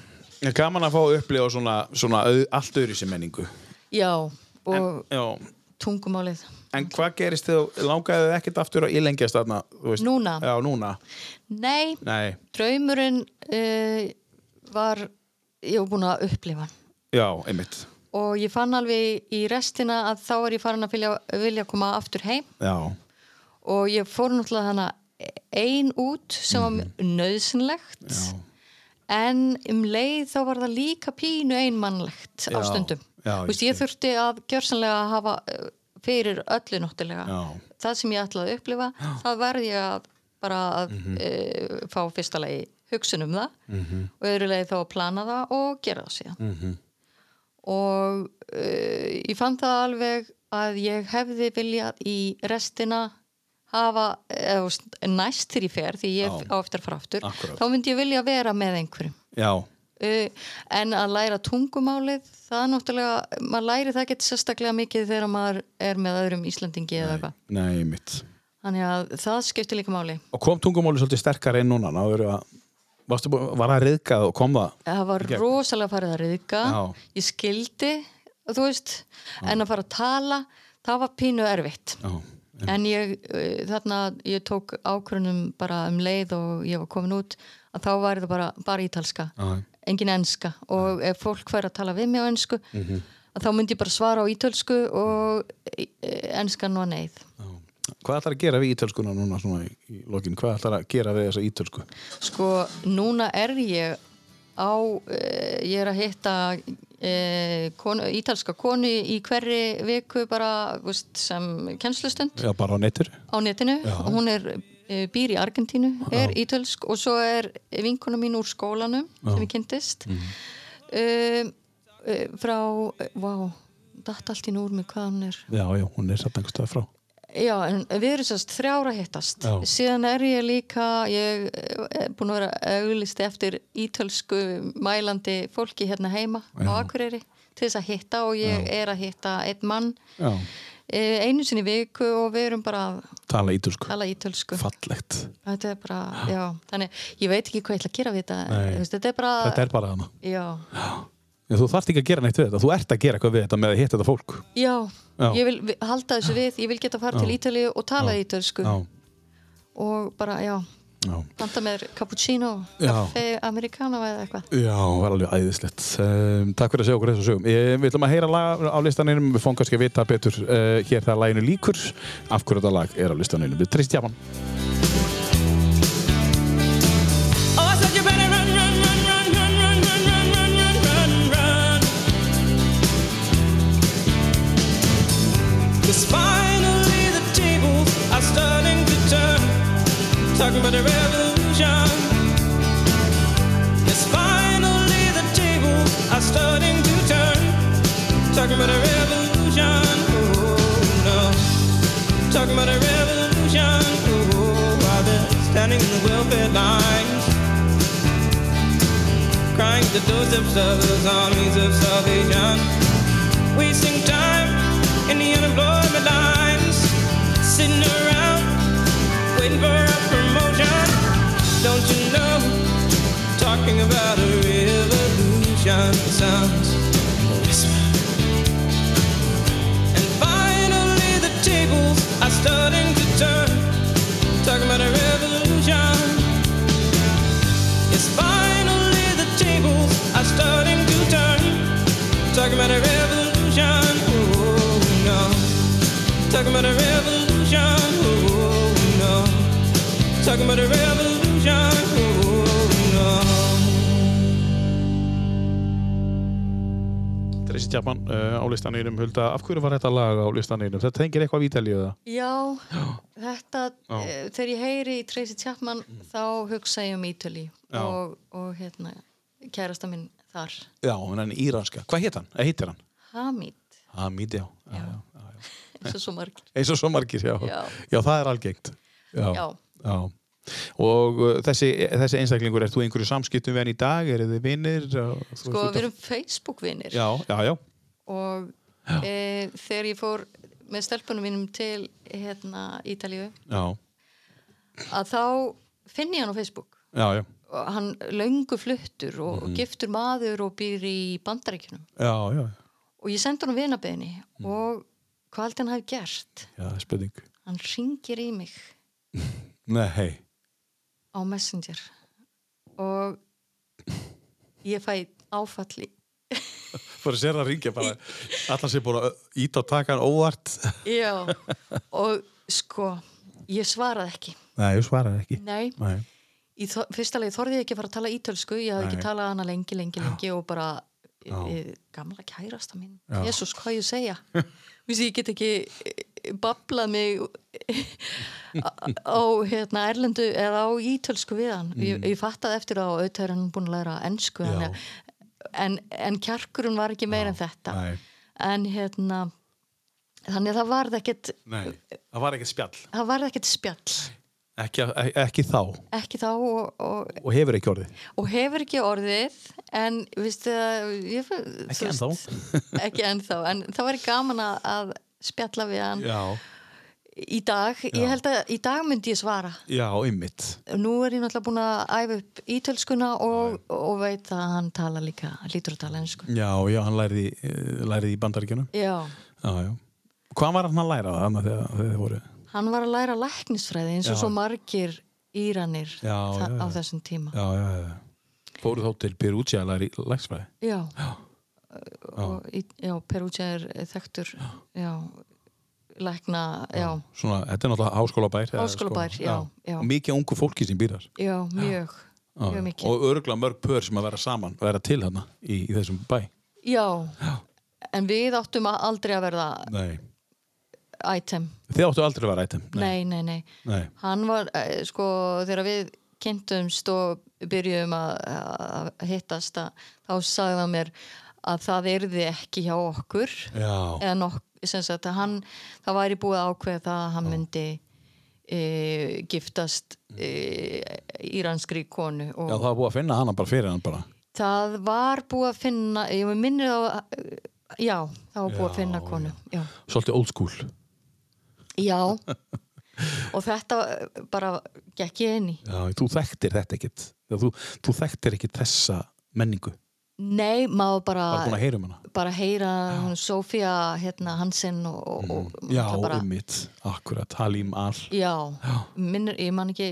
B: En Gaman að fá að upplifa svona, svona au- allt öðru sem menningu
C: já, og
B: Já,
C: tungumálið
B: en hvað gerist þegar langaði þið ekkert aftur að ílengjast þarna? þú veist?
C: Núna?
B: Já, núna,
C: nei,
B: nei,
C: draumurinn uh, var ég var búin að upplifa hann
B: já, einmitt
C: og ég fann alveg í restina að þá er ég farin að vilja, vilja koma aftur heim
B: Já,
C: og ég fór náttúrulega hana ein út sem
B: Mhm.
C: var nöðsynlegt en um leið þá var það líka pínu einmannlegt á stundum
B: já,
C: Vist, ég þurfti að gjörsanlega að hafa eh, fyrir öllu náttúrulega
B: Já.
C: það sem ég ætlaði að upplifa það verði ég að bara að
B: Mhm.
C: e, fá fyrsta lagi hugsun um það og öðru lagi þá að plana það og gera það síðan og e, ég fann það alveg að ég hefði viljað í restina hafa eða, þú veist, næst þegar ég fer því ég á eftir að fara aftur
B: Akkúrat.
C: þá myndi ég vilja vera með einhverjum
B: já,
C: Uh, en að læra tungumálið það er náttúrulega, maður læri það getur sérstaklega mikið þegar maður er með öðrum Íslandingi eða eitthvað
B: nei, einmitt
C: þannig að það skiptir líka máli
G: og kom tungumáli svolítið sterkar inn núna náður að varstu búin, var það reyðkað og kom það
C: það var rosalega farið að reyðka
G: Já.
C: ég skildi, þú veist en að fara að tala, það var pínu erfitt
G: já,
C: en ég, uh, þarna, ég tók ákvörunum bara um leið og ég var komin út að þá var það bara, bara ítalska
G: Já.
C: engin enska og ef fólk fær að tala við mig á ensku að þá myndi ég bara svara á ítalsku og eh, enskan var neyð
G: já. hvað ætlar að gera við ítölskuna núna svona í, í lokin, hvað ætlar að gera við þessa ítölsku
C: sko, núna er ég á, uh, ég er að hitta uh, konu, ítalska konu í hverri viku bara, þú veist, sem kennslustund
G: já, bara á netur
C: á netinu og hún er eh, býr í Argentínu, er ítölsk og svo er vinkona mín úr skólanum sem ég kynntist
G: Mhm.
C: mm frá wow, datt allt í núr með hvað hún er
G: já, já, hún er satt einhver stað frá
C: já, en við erum sérst þrjára hittast
G: Já.
C: síðan er ég líka ég eh, er búin að vera auglisti eftir ítölsku mælandi fólki hérna heima á Akureyri til þess að hitta og ég er að hitta einn mann
G: já,
C: eh, einu sinni í viku og við erum bara að
G: tala ítölsku,
C: tala ítölsku
G: fallegt
C: Þetta er bara, já, þannig, ég veit ekki hvað ég ætla að gera við þetta, þú veist, þetta er bara,
G: þetta er bara hana
C: já,
B: En þú þarft ekki að gera neitt við þetta, þú ert að gera eitthvað við þetta með að hitta þetta fólk
C: Já,
B: Já.
C: ég vil vi- halda þessu við, ég vil geta fara til Ítalíu og tala ítalsku
B: Já,
C: og bara, já,
B: já
C: blanda mér cappuccino,
B: Já.
C: kaffe, americano eða eitthvað.
B: Já, það var alveg æðislegt. Um, takk fyrir að sjá okkur þessu sögum. Ég, við ætlum að heyra lag á listaninu, við fórum kannski að vita betur uh, hér þegar laginu líkur af hverju þetta lag er á listaninu. Við trist jafan.
A: Oh, I said you better run, run, run, run, run, run, run, run, run, run, run, run. Cause finally the tables are starting to turn. Talking about a revolution. Yes, finally the tables are starting to turn. Talking about a revolution. Oh no. Talking about a revolution. Oh, while they're standing in the welfare lines crying the doorsteps of those armies of salvation. Wasting time in the unemployment lines, sitting around waiting for a promotion. Don't you know? Talking about a revolution sounds like a whisper. And finally the tables are starting to turn. Talking about a revolution. Yes, finally the tables are starting to turn. Talking about a revolution, oh no. Talking about a revolution, oh no. Talking about a revolution, oh no.
B: Trist jafan uh, á listaninu, Hulda, af hverju var þetta lag á listaninu? Þetta tengir eitthvað vítalíu það?
C: Já, þetta, eh, þegar ég heyri í Tracy Chapman, þá hugsa ég um Ítali
B: Mm. Já.
C: og, og hérna, kærasta minn þar,
B: Já, en hann er íranska. Hvað heit hann? Eh, Heitir hann? Ah,
C: Hamid,
B: Hamid, já. já. já.
C: eins og svo margir.
B: ah. Eins og svo margir, já.
C: Já.
B: það er algengt. Já.
C: Já.
B: já. Og uh, þessi, þessi einstaklingur, ert þú í einhverju samskiptum við hann í dag? Er þið vinnir?
C: Sko, við erum Facebook-vinir
B: Já, já, já.
C: og e, þegar ég fór með stelpunum mínum til hérna Ítalíu,
B: Já,
C: að þá finn ég hann á Facebook
B: já, já.
C: og hann löngu fluttur og giftur maður og býr í bandaríkjunum
B: Já, já,
C: og ég sendi hann vinabeðinni og hvað aldrei hann hafi gert
B: já, það er spurning
C: hann ringir í mig
B: Nei, hei,
C: á Messenger og ég fæ áfalli
B: bara sér að ringja bara Allan sér búin að íta og taka hann óvart
C: já og sko, ég svaraði ekki
B: Nei, ég svaraði ekki
C: nei,
B: Nei,
C: í þó, fyrsta leið þorði ég ekki að fara að tala ítölsku ég hafði
B: Nei.
C: ekki talað hana lengi, lengi, lengi og bara e, gamla kærasta mín Jésús, hvað á ég að segja Vissi, ég get ekki eh, bablað mig á- á hérna, erlendu eða á ítölsku við hann ég, ég fattaði eftir á auðvitað er hann búin að læra ensku
B: Mm. Já.
C: hann, en, en kjarkurinn var ekki meira en þetta
B: nei,
C: en hérna þannig að það varð ekkit
B: nei Það var ekkert spjall
C: það varð ekkit spjall
B: ekki, e- ekki þá
C: ekki þá og, og
B: Og hefur ekki orðið
C: og hefur ekki orðið en viðstu að ég, ekki
B: ennþá.
C: ekki ennþá, en það væri gaman að- að spjalla við hann
B: Já,
C: í dag, ég held að í dag myndi ég svara
B: já, ymmit
C: nú er ég náttúrulega búin að æfa upp ítölskuna og, og veit að hann tala líka lítur að tala ennsku
B: Já, já, hann læriði, eh, læriði í bandaríkjunum
C: já,
B: Já, já Hvað var hann að læra það annað þegar þegar þið voru?
C: hann var að læra læknisfræði eins og
B: Já.
C: svo margir íranir
B: Já,
C: þa-
B: já,
C: á
B: já.
C: þessum tíma
B: Já, já, já Fóru þá til Perúcia að læri læksfræði
C: já, og í, já Perúcia er þekktur já, lækna já,
B: Svona, þetta er náttúrulega háskólabær eða
C: Háskólabær,
B: sko-
C: já, já.
B: Og Mikið ungu fólki sem býrar
C: já, mjög mjög mikið
B: og örgulega mörg pör sem að vera saman að vera til hana í, í þessum bæ
C: Já, en við áttum að aldrei að verða
B: nei.
C: item
B: þið áttu aldrei að vera item
C: Nei, nei, nei,
B: Nei.
C: Hann var, eh, sko, þegar við kynntumst og byrjuðum að, að hittast að, þá sagði hann mér að það erði ekki hjá okkur
B: já,
C: eða nokk, sem sagt að hann það væri búið að ákveða það að hann myndi e, giftast e, íranskri konu og
B: já það var búið að finna hana bara fyrir hann bara
C: það var búið að finna ég minnir þá já, það var búið að finna konu já.
B: svolítið old school
C: Já og þetta bara gekk ég inn í
B: já, þú þekktir þetta ekkit þú, þú þekktir ekki þessa menningu
C: Nei, maður bara
B: Var búin að heyra um hana
C: bara heyra hún Sofía hérna, Hansen og, og, og
B: Mm. Já,
C: náttúrulega Mm, bara,
B: ummitt, akkurat, Halim Al
C: Já, minnur, ég man ekki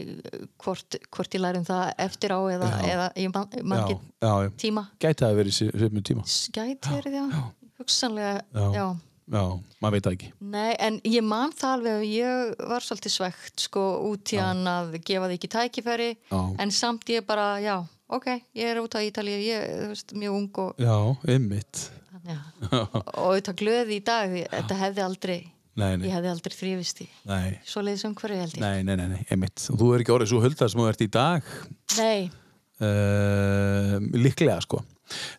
C: hvort, hvort ég læri um það eftir á eða, eða ég man, ég man
B: Já,
C: ekki
B: já, já.
C: tíma
B: Gæti að verið svipnum tíma
C: skæti verið, já, hugsanlega
B: Já.
C: já.
B: Já, maður veit það ekki
C: Nei, en ég man það alveg að ég var svolítið svegt sko út í hann að gefa því ekki tækifæri
B: Já.
C: en samt ég bara, já, ok ég er út á Ítalíu, ég, þú veist, mjög ung og,
B: Já, ummitt
C: já. og auðvitað glöði í dag því þetta hefði aldrei,
B: Nei, nei,
C: ég hefði aldrei þrýfist í
B: nei
C: svoleiðis umhverju held ég
B: Nei, nei, nei, nei, einmitt. Og Þú er ekki orðið svo huldar sem þú ert í dag
C: Nei.
B: uh, Líklega, sko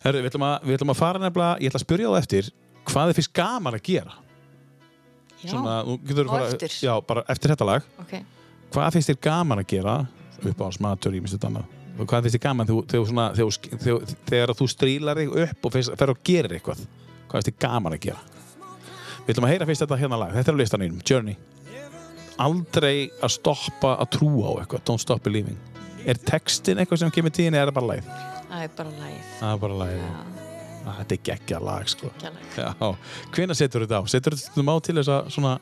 B: Herru, við ætlum, að, við ætlum að fara nefnilega Ég ætla að spyrja þá eftir Hvað er fyrst gaman að gera?
C: já,
B: Svona, þú getur
C: Á
B: bara,
C: eftir.
B: Já, bara eftir þetta lag
C: ok
B: Hvað finnst þér gaman að gera upp á smatur í minnstu annað? Og Hvað finnst þér gaman þegar, þú- þegar, þú svona, þegar, þú- þegar, þegar þú strílar þig upp og fyrst, fer og gerir eitthvað? Hvað finnst þér gaman að gera? Við ætlum að heyra fyrst þetta hérna lag. Þetta er á listanum, Journey. Aldrei að stoppa að trúa á eitthvað. Don't stop believing. Er textin eitthvað sem kemur tíðin eða er það bara lagið?
C: Það er bara læð,
B: Það er bara lagið. Ah, Þetta er geggja lag, sko.
C: kjærleik.
B: Já, hvena setur þetta á? Setur þetta stundum á til þess að svona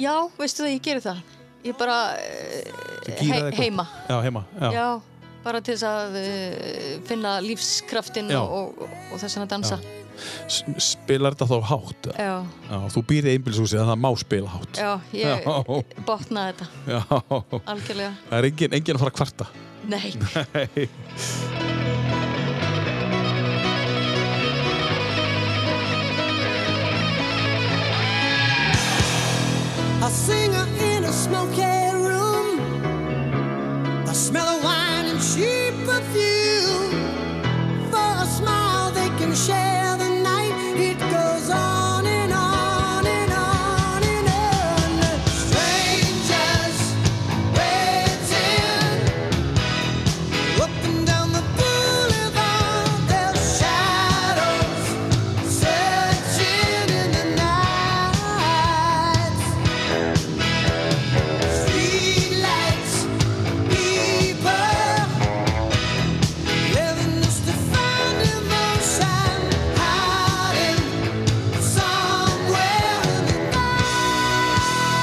C: Já, veistu það, ég gerir það. Ég bara uh,
B: gíra
C: he
B: eitthvað?
C: heima.
B: Já, heima. Já,
C: Já. bara til þess að uh, finna lífskraftin
B: Já.
C: og, og, og þess vegna dansa.
B: S- Spilar þetta þá hátt? eða?
C: Já,
B: Já, þú býr í einbilshúsi að það má spila hátt.
C: já, ég
B: Já.
C: botna þetta
B: Já.
C: algjörlega.
B: Það er engin, engin að fara að kvarta.
C: Nei,
F: A singer in a smoky room. A smell of wine and cheap perfume. For a smile, they can share the night. It goes on and on and on and on. Strangers waiting. Up and down the boulevard, their shadows searching in the night. Streetlights, people, living just to find emotion, hiding somewhere in the night.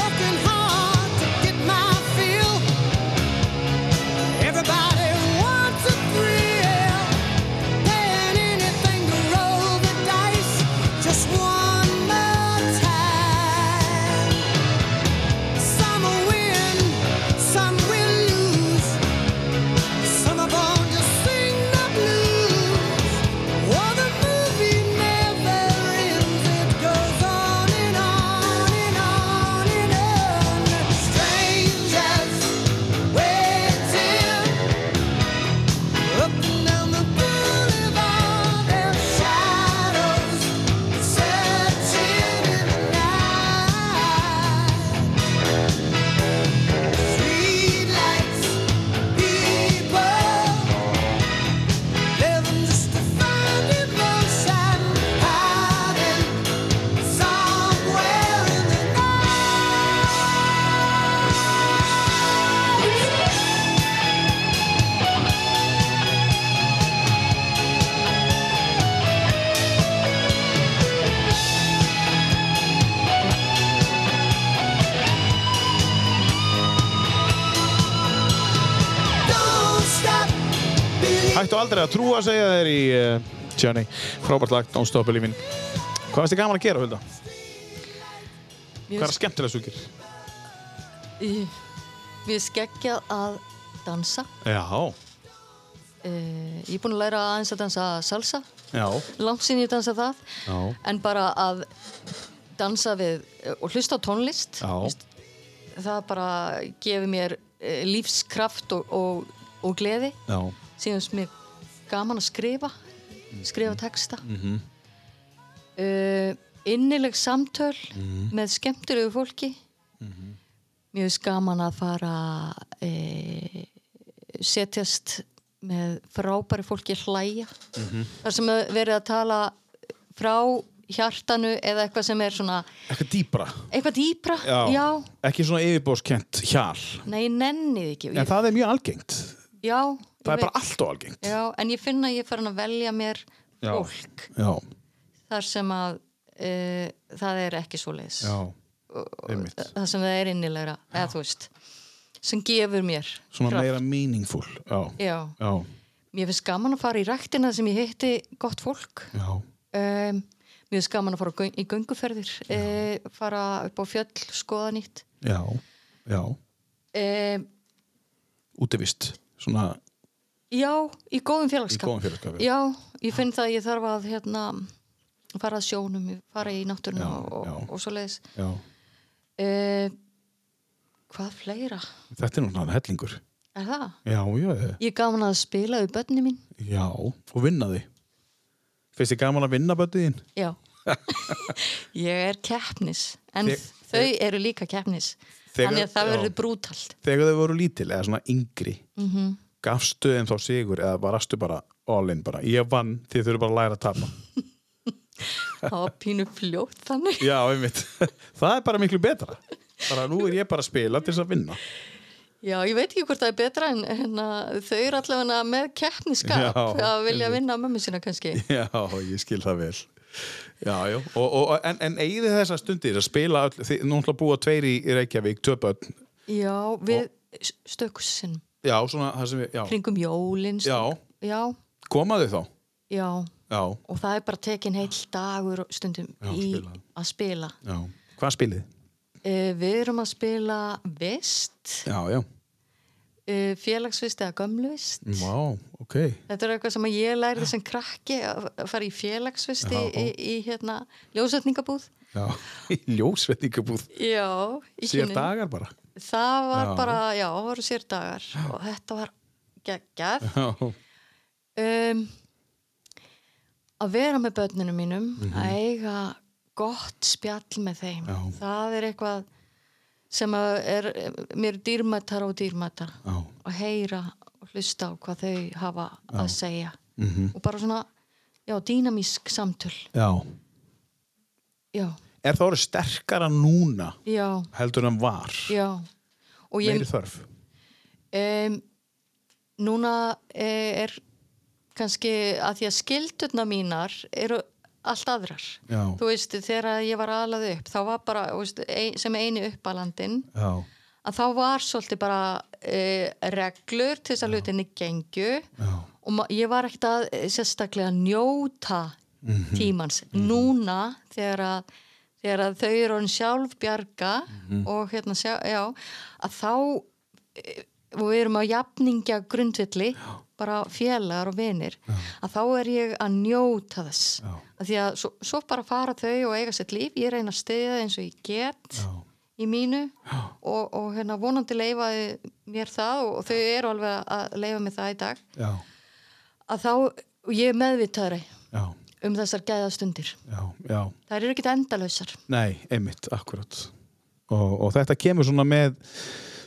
F: Working hard to get my fill. Everybody wants a thrill. Paying anything to roll the dice. Just one more time. Some will win, some will lose. Some are born to sing the blues. Oh, the movie never ends. It goes on and on and on and on. Strangers waiting up and down the boulevard. Their shadows searching in the night. Streetlights, people. Living just to find emotion, hiding somewhere in the night. Don't stop believing.
B: Hættu aldrei að trúa að segja þér í uh, Journey. Frábært lag, Don't Stop Believing. Hvað finnst þið gaman að gera, Hulda? Hvað
C: mér
B: er skemmtilega súkir?
C: við skeggjað að dansa.
B: Já.
C: Uh, ég er búin að læra aðeins að dansa salsa,
B: Já.
C: langt sín ég dansa það,
B: Já.
C: en bara að dansa við eh, og hlusta á tónlist.
B: Já.
C: það bara gefið mér eh, lífskraft og, og, og gleði
B: Já.
C: síðan finnst mér gaman að skrifa
B: Mhm.
C: skrifa texta mm -hmm. innileg samtöl
B: Mhm.
C: með skemmtilegu fólki mér finnst gaman að fara e, setjast
B: Mhm.
C: með frábæri fólki hlæja þar sem er verið að tala frá hjartanu eða eitthvað sem er svona
B: Eitthvað dýpra
C: eitthvað dýpra, já,
B: Ekki svona yfirbórskent hjal
C: nei, ég nenni því ekki
B: En
C: ég,
B: það er mjög algengt
C: já,
B: Það
C: ég
B: er bara
C: veit.
B: allt og algengt
C: já, en ég finna að ég er farin að velja mér
B: Já.
C: fólk
B: Já,
C: þar sem að e, það er ekki svo leis
B: já Einmitt.
C: það sem það er innilegra eða þú veist, sem gefur mér
B: Svona
C: kraft.
B: meira meaningful Já,
C: já,
B: já,
C: mér finnst gaman að fara í ræktina sem ég hitti gott fólk
B: já,
C: um, mér finnst gaman að fara á göng- í gönguferðir uh, fara upp á fjöll, skoða nýtt
B: já, já.
C: um,
B: Útivist Svona
C: já, í góðum
B: í
C: félagskap
B: góðum félagskapi
C: já, ég finn það að ég þarf að hérna, fara að sjónum fara í náttúruna
B: Já,
C: og,
B: já.
C: og, og svo leiðis
B: já.
C: hvað fleira
B: Þetta er nú svona hellingur
C: er það?
B: Já, já,
C: Ég er gaman að spila við börni mín
B: já Og vinna því Finnst þið gaman að vinna böttiðin?
C: Já Ég er keppnis En
B: Þeg-
C: þau eru líka keppnis
B: Þegar-
C: Þannig að það
B: já.
C: verður brútalt
B: Þegar þau voru lítil eða svona yngri -hmm.
C: Mhm.
B: Gafstu þeim þá sigur eða varastu bara all in bara Ég vann því þau eru bara að læra að tapa
C: Það var pínu fljótt þannig
B: Já, einmitt Það er bara miklu betra Bara nú er ég bara að spila til þess að vinna
C: Já, ég veit ekki hvort það er betra En, en að þau eru allavega með keppniskap
B: Já,
C: Að vilja vinna mömmu sína kannski
B: Já, ég skil það vel Já, já, og, og, en, en eigið þið þessa stundir að spila all, þið, Nú ætla að búa tveir í Reykjavík, töpöld
C: Já, við stökusinn
B: Já, svona það sem við, já,
C: Kringum jólin stök-
B: Já.
C: já,
B: komaðu þá
C: já
B: Já,
C: Og það er bara tekin heil dagur stundum
B: Já,
C: í
B: spila.
C: að spila.
B: já Hvað spilið?
C: Uh, við erum að spila vist,
B: Já, já
C: uh, félagsvist eða gömluvist.
B: Vá, ok
C: Þetta er eitthvað sem að ég lærði sem krakki að að fara í félagsvisti
B: Já.
C: í, í hérna ljósetningabúð.
B: Já, ljósvetningabúð
C: Já, í
B: Sér
C: Kinnum.
B: dagar bara
C: Það var
B: Já.
C: bara, já, það voru sér dagar og þetta var geggjað.
B: Já,
C: Um, að vera með börnunum mínum, að eiga gott spjall með þeim.
B: Mhm. Já.
C: Það er eitthvað sem að er mér dýrmættar og dýrmættar
B: já,
C: að heyra og hlusta á hvað þau hafa að segja
B: Mhm.
C: og bara svona, já, dýnamísk samtöl
B: já.
C: já,
B: Er það orðið sterkara núna
C: já,
B: heldur en var?
C: já og
B: Meiri
C: ég
B: þörf
C: um, núna eh, er kannski að því að skildurna mínar eru allt aðrar
B: Já.
C: þú veist, þegar ég var aðlaði upp þá var bara, þú veist, ein, sem eini uppalandin
B: Já,
C: að þá var svolítið bara e, reglur til þess að hlutinni gengju
B: já,
C: og ma- ég var ekkert að eh, sérstaklega njóta
B: Mhm.
C: tímans núna þegar að, þegar að þau eru hann sjálf bjarga
B: Mhm.
C: og hérna sjá, já, að þá eh, og við erum á jafningja grundvilli bara félagar og vinir að þá er ég að njóta þess
B: Já.
C: að því að svo, svo bara fara þau og eiga sitt líf, ég reyna að stiða eins og ég get
B: já,
C: í mínu og, og hérna vonandi leifaði mér það og, og þau eru alveg að leifa mér það í dag
B: já,
C: að þá, og ég er meðvitaðri
B: já,
C: um þessar gæðastundir
B: já, já.
C: þær eru ekkert endalausar
B: Nei, einmitt, akkurat og, og þetta kemur svona með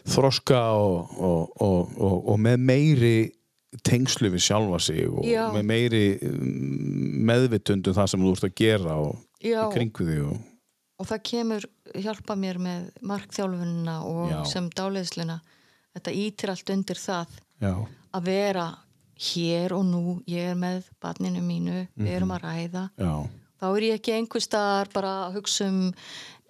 B: þroska og, og, og, og, og með meiri tengslu við sjálfa sig og
C: Já.
B: með meiri meðvitundu það sem þú ert að gera og
C: Já.
B: í kringu því og,
C: og það kemur hjálpa mér með markþjálfunina og
B: Já.
C: sem dáleiðsluna þetta ítir allt undir það
B: já,
C: að vera hér og nú ég er með barninu mínu við erum
B: Mhm.
C: að ræða
B: já,
C: þá er ég ekki einhver staðar bara að hugsa um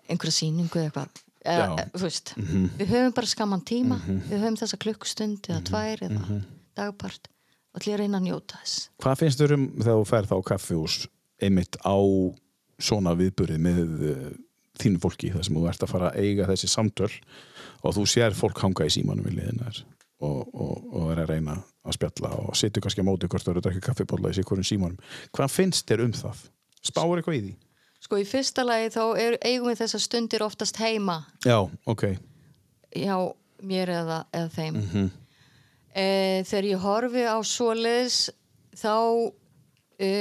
C: einhverja sýningu eða eitthvað
B: Já.
C: eða, eh, þú veist, við höfum bara skamman tíma við höfum þessa klukkstund eða tvær eða dagpart og allir reyna að njóta þess
B: Hvað finnst þér um þegar þú ferð á kaffihús einmitt á svona viðburði með uh, þínu fólki þar sem þú ert að fara að eiga þessi samtöl og þú sér fólk hanga í símanum við liðina þér og, og, og er að reyna að spjalla og situr kannski á móti hvort þú eru að drekka kaffibólla í sikurum símanum. Hvað finnst þér um það? Spáir eitthvað í því?
C: sko í fyrsta lagi þá er, eigum við þessar stundir oftast heima
B: Já, ok.
C: hjá mér eða, eða þeim e, þegar ég horfi á svoleiðis þá e,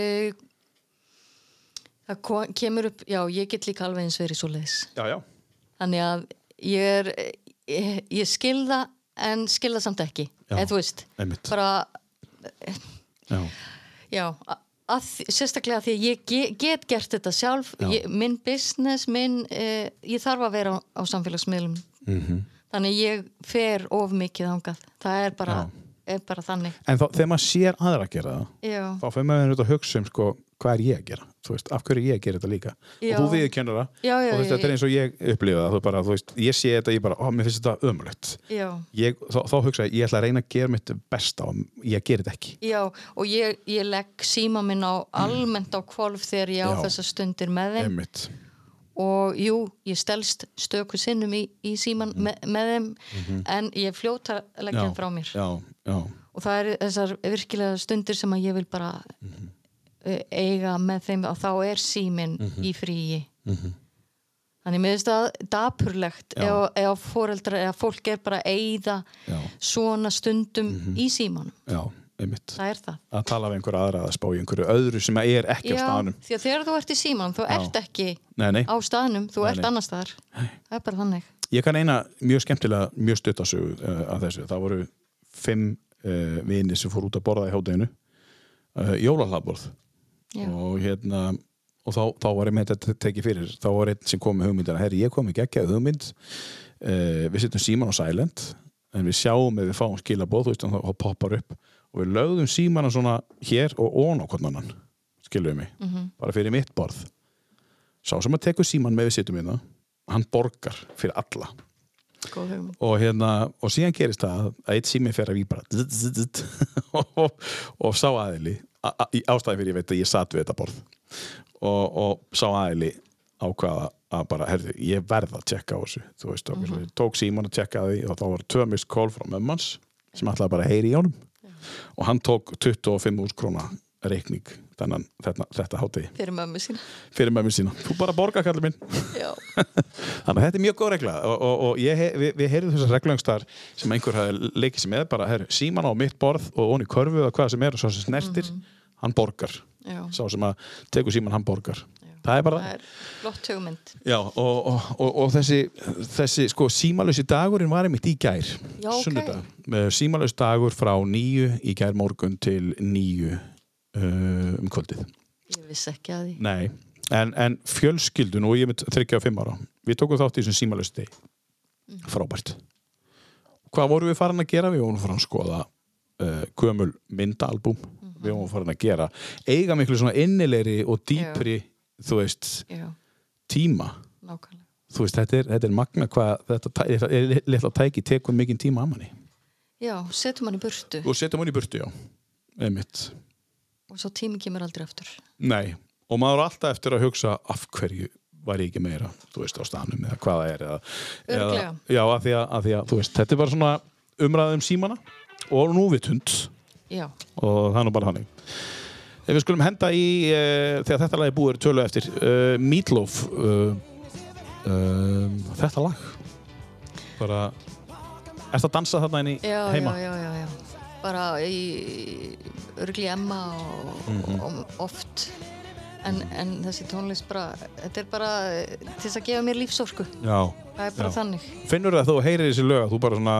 C: það ko- kemur upp já, ég get líka alveg eins verið svoleiðis
B: Já, já.
C: þannig að ég er ég, ég skilða en skilða samt ekki
B: Já,
C: eða þú veist
B: einmitt.
C: bara,
B: Já,
C: já, a- að, því- sérstaklega því að ég ge- get gert þetta sjálf ég, minn business, minn eh, ég þarf að vera á, á samfélagsmiðlum
B: Mhm.
C: þannig ég fer of mikið ángað, það er bara, er bara þannig
B: En þá, þegar maður sér aðra að gera það
C: Já.
B: þá fyrir maður þetta að hugsa um sko, hvað er ég að gera þú veist, af hverju er ég að gera þetta líka
C: Já.
B: og þú viðurkennur það
C: Já, já,
B: og þú veist,
C: já,
B: þetta er
C: já.
B: eins og ég upplifa það þú bara, þú veist, ég sé þetta, ég bara, ó, mér finnst þetta ömulegt
C: Já.
B: ég, þá, þá hugsa ég, ég ætla að reyna að gera mitt besta og ég gerir þetta ekki
C: Já, og ég, ég legg síma minn á almennt á kvolf þegar ég á
B: Mm. Já.
C: þessar stundir með þeim
B: Einmitt.
C: og jú, ég stelst stöku sinnum í, í síman með, með þeim en ég er fljót að
B: Mhm.
C: leggja
B: Já,
C: þeim frá mér
B: já, já,
C: og það eru þessar virkilega stundir sem að ég vil bara mm
B: Mhm.
C: eiga með þeim og þá er síminn
B: Mhm.
C: í fríi þannig mér finnst það dapurlegt ef, ef foreldrar eða fólk er bara að eyða
B: Já. Mhm.
C: svona stundum í símanum
B: já, einmitt
C: það er það
B: að tala við einhverja aðra að spá í einhverju öðru sem er ekki á
C: Já,
B: staðanum
C: því að þegar þú ert í símanum þú ert ekki
B: Nei, nei.
C: á staðnum þú ert
B: nei.
C: annars staðar það er bara þannig
B: ég kann eina mjög skemmtilega mjög stuttasögu uh, að þessu það voru fimm uh, vini sem fór út að borða í hátæginu uh, jólahlaðborð
C: Já.
B: og hérna og þá, þá var ég með þetta te- tekið fyrir þá var einn sem kom með hugmyndina herri ég kom ekki ekki að hugmynd uh, við setjum síman á silent en við sjáum ef við fáum skilaboð þú veist hann þá þá poppar upp og við lögðum símana svona hér og ón á hvern annan skiluðu mig, bara fyrir mitt borð sá sem að tekur síman með við setjum hérna hann borgar fyrir alla
C: góð hugmynd
B: og hérna, og síðan gerist það að eitt sími fer að víbra zzz, zzz, zzz, og, og sá aðili a- a- í ástæði fyrir ég veit að ég satt við þetta borð og, og sá aðili ákvaða að bara, herðu, ég verð að tjekka á þessu, þú veist, mm -hmm. tók síman að tjekka því og þá var tvö mist kól frá mömmans sem ætlaði bara að heyri í honum og hann tók 25 úr króna reikning þannig þetta, þetta hátti
C: fyrir mömmu sína
B: fyrir mömmu sína, þú bara borga kallið minn
C: Já.
B: Þannig að þetta er mjög góð regla og, og, og ég, he- við, við heyrðum þessar reglungstar sem einhver hafi leikið sér með bara her, síman á mitt borð og onni körfu eða hvað sem er og svo sem snertir, hann borgar
C: Mhm. Já.
B: sá sem að tekur síman hann borgar það er bara
C: það er flott hugmynd
B: Já, og, og, og, og þessi, þessi sko, símalösi dagurinn var einmitt í gær
C: Já, ok.
B: sunnudag, okay. símalösi dagur frá nýju í gær morgun til nýju uh, um kvöldið
C: ég vissi ekki að því
B: Nei, en, en fjölskyldun og ég er með 35 ára við tókum þátt í þessum símalausti frábært hvað vorum við farin að gera? Við vorum farin að skoða uh, gömul myndaalbum við vorum farin að gera eiga miklu svona innilegri og dýpri þú veist,
C: Já,
B: tíma
C: nákvæmlega
B: þú veist, þetta er, þetta er magna hvað þetta tæ- þetta er litla tæki tekur mikinn tíma að manni
C: Já, setjum hann í burtu
B: og setjum hún í burtu, já einmitt,
C: og svo tími kemur aldrei aftur
B: Nei, og maður er alltaf eftir að hugsa af hverju var ég ekki meira, þú veist, á stanum eða hvað það er eða, eða,
C: Örugglega.
B: Já, að því að, að því að, þú veist, þetta er bara svona umræðum símana og núvitund
C: Já,
B: og það er nú bara þannig Ef við skulum henda í, e, þegar þetta lag er búið er tölu eftir, e, Meatloaf e, e, þetta lag bara Er það að dansa þarna inn í
C: já,
B: heima?
C: já, já, já, já bara í örgli emma og,
B: Mhm.
C: og oft en, en þessi tónlist bara þetta er bara eh, til þess að gefa mér lífsorku
B: já.
C: það er bara
B: Já.
C: þannig
B: Finnur það að þú heyrir þessi lög að þú bara svona,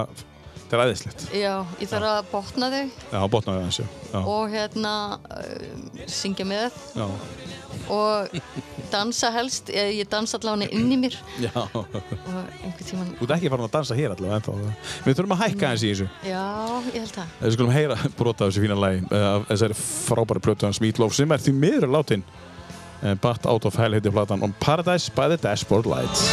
B: þetta er aðeinslegt
C: Já, ég þarf að botna þau
B: Já, botnaði aðeins, já, já.
C: og hérna uh, syngja með
B: Já,
C: og dansa helst ég, ég dansa allavega inn í mér
B: já.
C: og einhvern tíman
B: Þú ert ekki farin að dansa hér allavega ennþá. Við þurfum að hækka eins í þessu.
C: já, ég held það
B: Við skulum heyra brota af þessu fína lagi. eh, af Þessari frábæri plötu hans Meatloaf sem er því miður látin. But Out of Hell heitir platan On Paradise by the Dashboard Lights.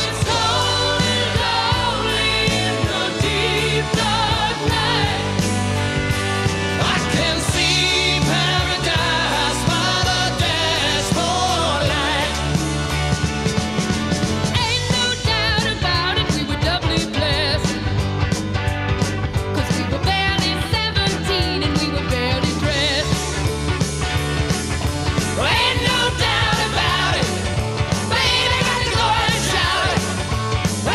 E: Ain't no doubt about it. Baby got the glory shout it. Oh,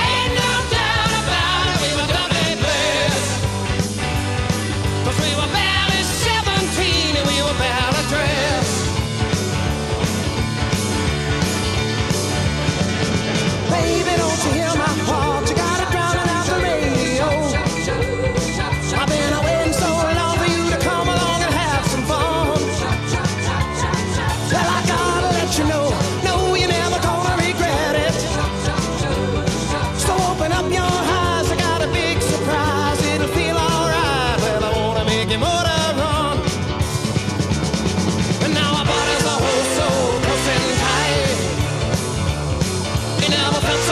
E: Oh,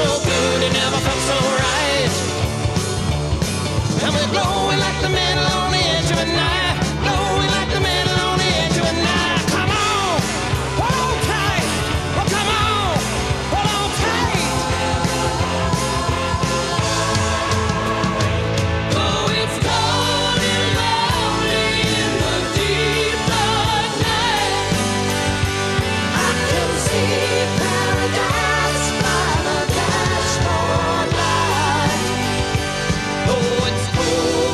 E: Oh,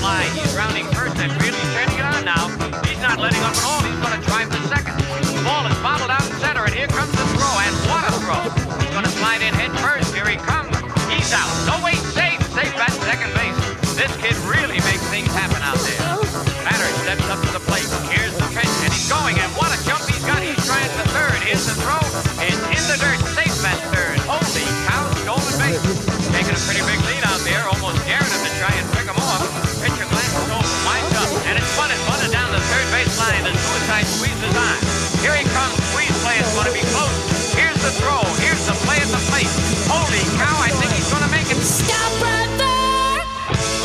H: fly. He's rounding first and really turning it on now. He's not letting up at all. He's going to drive to second. The ball is bottled out center, and here comes the throw, and what a throw. He's going to slide in head first. Here he comes. He's out. No, wait, safe. Safe at second base. This kid really makes things happen out there. Batter steps up to the plate. Here's the pitch, and he's going, and what a jump he's got. He's trying to third. Here's the throw. It's in the dirt. Safe at third. Holy cow, Golden Bay. Taking a pretty big lead out there, almost daring him to try and pick him off. Pitcher glances over, winds up, and it's bunted, bunted down the third base line. The suicide squeezes on. Here he comes. Squeeze play is going to be close. Here's the throw. Here's the play at the plate. Holy cow, I think he's going to make it.
I: Stop right there.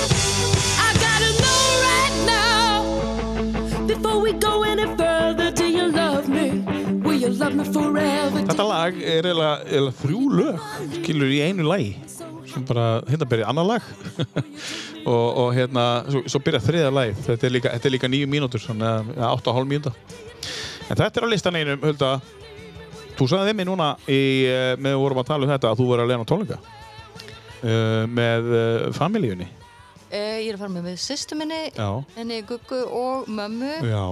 I: I gotta know right now. Before we go any further, do you love me? Will you love me forever?
B: Þetta lag er eiginlega eiginlega þrjú lög skilur í einu lagi sem bara, hérna byrja annar lag og, og hérna, svo, svo byrja þriða lagi þetta er líka, þetta er líka nýju mínútur svona eða átta og hálf mínúta en þetta er á listan einum, Hulda þú sagði við mig núna í, eh, með við vorum að tala um þetta að þú voru að leina tónleika uh, með uh, familíunni
C: Eh, Ég er að fara með með sýstu minni,
B: Já.
C: henni Guggu og mömmu.
B: Já,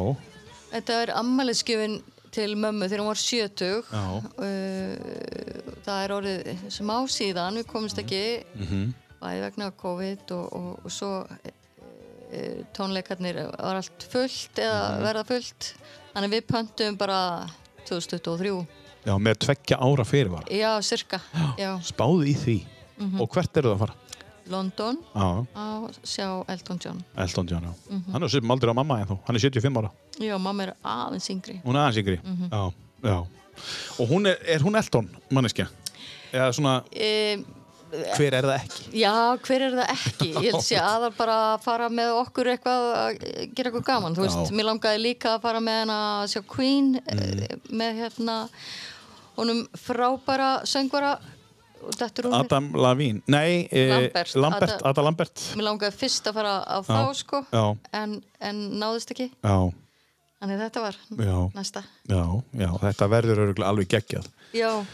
C: Þetta er ammælisgjöfin til mömmu þegar hún var 70.
B: já,
C: Uh, það er orðið smá síðan, við komumst ekki,
B: Mhm.
C: bæði vegna COVID og, og, og svo uh, tónleikarnir var allt fullt eða
B: Mhm.
C: verða fullt. Þannig við pöntum bara 2023.
B: já, með tveggja ára fyrirvara
C: Já, cirka. Já,
B: spáði í því og hvert eru það að fara?
C: London
B: Mhm. Já,
C: á sjá Elton John.
B: Elton John, já. Mhm. Hann er svipum aldrei á mamma en þú, hann er 75 ára.
C: Já, mamma er aðeins yngri.
B: Hún er aðeins yngri. Já, já. Og hún er, er hún Elton, manneskja? Eða svona,
C: Um,
B: hver er það ekki?
C: Já, hver er það ekki? Ég held sé aðal bara að fara með okkur eitthvað að gera eitthvað gaman, þú veist,
B: Já.
C: mér langaði líka að fara með hana að sjá Queen mm. með hérna honum frábæra söngvara og dettur hún
B: Adam Lavín. Nei, e,
C: Lambert.
B: Lambert,
C: Ada-
B: Ada, Lambert.
C: mér langaði fyrst að fara á þá sko
B: Já.
C: En, en náðist ekki
B: Já,
C: þannig þetta var
B: já,
C: næsta
B: já, já. Þetta verður örgulega alveg geggjað.
C: Já,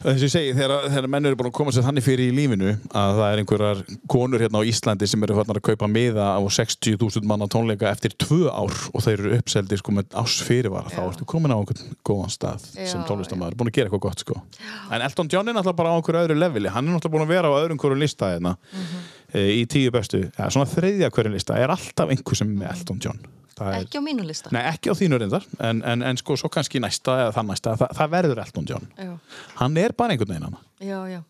B: Þess að ég segi, þegar, þegar menn eru búin að koma sér þannig fyrir í lífinu að það er einhverjar konur hérna á Íslandi sem eru farnar að kaupa miða á 60.000 manna tónleika eftir tvö ár og þeir eru uppseldi sko með ás fyrirvara þá ertu komin á einhvern góðan stað sem
C: Já,
B: tónlistamæður, búin að gera eitthvað gott sko en Elton John er náttúrulega bara á einhverju öðru leveli hann er náttúrulega búin að vera á öðrum hverju lista hérna
C: Mhm.
B: e, í tíu bestu, ja, svona þriðja hverju lista er alltaf einhver sem er með Elton John Það er,
C: ekki á mínu lista
B: Nei, ekki á þínu reyndar, en, en, en sko svo kannski næsta eða þann næsta, það, það verður Elton John
C: Já.
B: hann er bara einhvern veginn hann
C: Já, já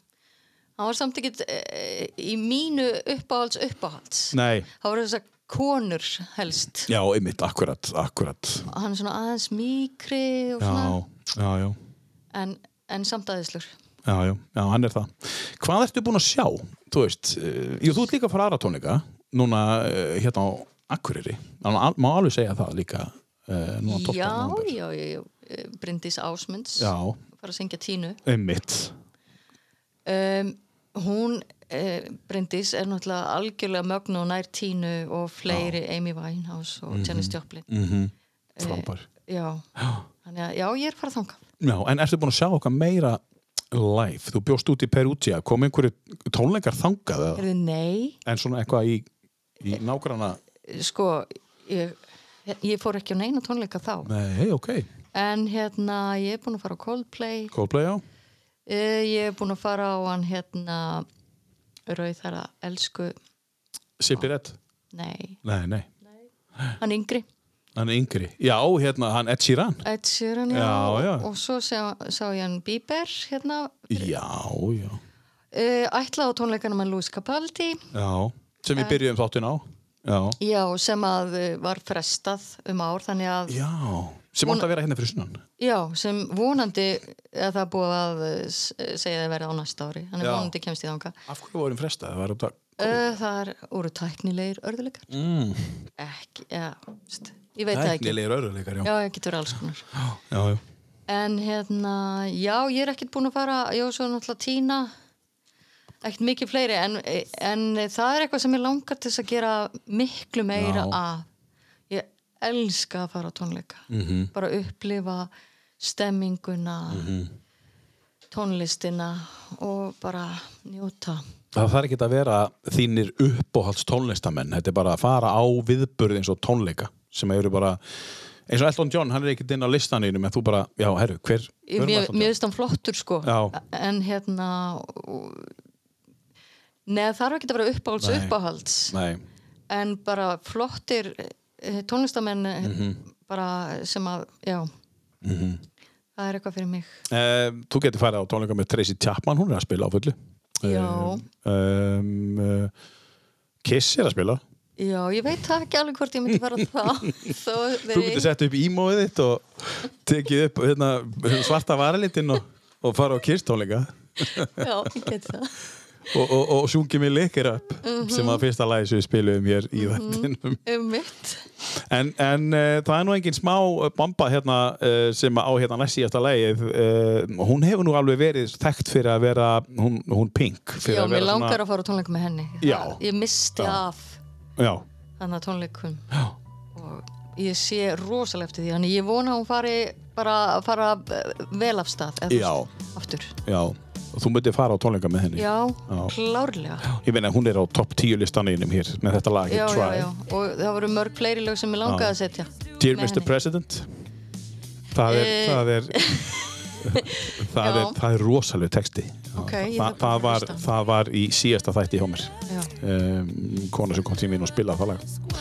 C: Hann var samt ekki e, í mínu uppáhalds uppáhalds
B: Nei.
C: Það voru þess að konur helst
B: Já, einmitt, akkurat, akkurat
C: hann er svona aðeins mýkri og svona,
B: Já, já, já,
C: en, en samt aðeinslur
B: já, já, já, hann er það Hvað ertu búin að sjá, þú veist eh, Jú, þú ert líka að fara aðra tónleika Núna, eh, hérna á Akureyri Má má alveg segja það líka eh, Núna 12.
C: já,
B: nóvember.
C: já, já, já, Bryndís Ásmunds
B: Já,
C: fara að syngja tínu
B: einmitt
C: um, hún, uh, Bryndís er náttúrulega algjörlega mögn og nær tínu og fleiri Amy Winehouse og Janis
B: Mhm.
C: Joplin
B: Mm. Frábær
C: já, þannig að já, ég er fara að þanga
B: Já, en ertu búin að sjá okkar meira live Þú bjóst út í Perugia, kom einhverju tónleikar þangað eða?
C: Herðu, nei,
B: En svona eitthvað í, í nágrana
C: sko ég, ég fór ekki á neina tónleika þá
B: Nei, ok,
C: en hérna, ég er búin að fara á Coldplay
B: Coldplay á
C: Eh, Ég hef búin að fara á hann hérna Rauðara elsku
B: Sipirett
C: Nei,
B: Nei, nei,
C: hann yngri
B: hann er yngri Já, hérna, hann Ed Sheeran
C: Ed Sheeran,
B: Já, já.
C: Og svo sá, sá ég hann Bieber hérna
B: Já, já,
C: uh, Ætla á tónleikanum hann Louis Capaldi
B: já sem
C: Eh.
B: við byrjuðum þáttun á já,
C: Já, sem að eh, var frestað um ár Þannig að,
B: já. sem átt að vera hérna fyrir sunnan
C: já, sem vonandi að það er búið að eh, s- eh, segja það verða á næsta ári Þannig
B: Já.
C: já. vonandi kemst ég þanga
B: af hverju vorum frestað það var út að
C: uh, Það eru tæknilegir örðuleikar mm. Ekki, já, st, ég veit það ekki
B: tæknilegir öruleikar já.
C: Já, ég getur alls konar
B: Já, já.
C: En hérna, já, ég er ekkert búin að fara, já, svo er náttúrulega tína, ekkert mikið fleiri, en, en það er eitthvað sem ég langar til þess að gera miklu meira
B: Já.
C: af. Ég elska að fara á tónleika,
B: Mhm.
C: -hmm. bara upplifa
B: Mhm.
C: stemminguna, tónlistina og bara njóta.
B: það þarf ekki að vera þínir uppáhalds tónlistamenn þetta er bara að fara á viðburð eins og tónleika sem eru bara eins og Elton John, hann er ekkert inn á listaninu en þú bara, já, herru, hver, hver
C: Ég-
B: er
C: mér
B: Elton John?
C: mér finnst hann flottur sko
B: Já.
C: en hérna og- neða þarf ekki að vera uppáhalds
B: Nei.
C: uppáhalds
B: Nei,
C: en bara flottir eh, tónlistamenn mm
B: Mhm.
C: bara sem að já það er eitthvað fyrir mig
B: Eh, þú getur farið á tónleika með Tracy Chapman, hún er að spila á fullu
C: Já.
B: um, uh, Kiss er að spila
C: já ég veit það ekki alveg hvort ég myndi fara það þó
B: þú getur sett upp ímóið þitt og tekið upp hérna, svarta varalitinn og, og fara á Kiss tónleika
C: já ég get það
B: og, og, og sjungið mér leikir upp
C: Mhm.
B: sem að fyrsta lagi sem við spilum hér í þættinum
C: um mitt
B: en, en uh, það er nú engin smá eh, bomba hérna uh, sem á hérna næst síðasta lagið uh, hún hefur nú alveg verið þekkt fyrir að vera hún, hún pink fyrir
C: já
B: að
C: mér
B: vera
C: langar að fara á tónleikum með henni
B: Já.
C: Það- ég misti
B: Já.
C: af
B: já,
C: þannig að tónleikum
B: já
C: og ég sé rosalega eftir því þannig ég vona að hún fari bara að fara eh, vel af stað eða þú
B: Já.
C: veist, aftur
B: Já, og þú myndir fara á tónleika með henni
C: já,
B: Já.
C: klárlega
B: Ég meina, hún er á topp 10 listaninum hér með þetta lag,
C: já, já,
B: Try
C: já. og það voru mörg fleiri lög sem ég langaði að setja
B: Dear
C: Með
B: Mr.
C: henni.
B: President Það er,
C: Eh.
B: það er það
C: Já.
B: er, það er rosaleg texti
C: Ok, ég
B: það, það,
C: þarf bara að
B: var,
C: hlusta.
B: það var í síðasta þætti hjá mér
C: Já.
B: um, kona sem kom til mín og spilaði það lag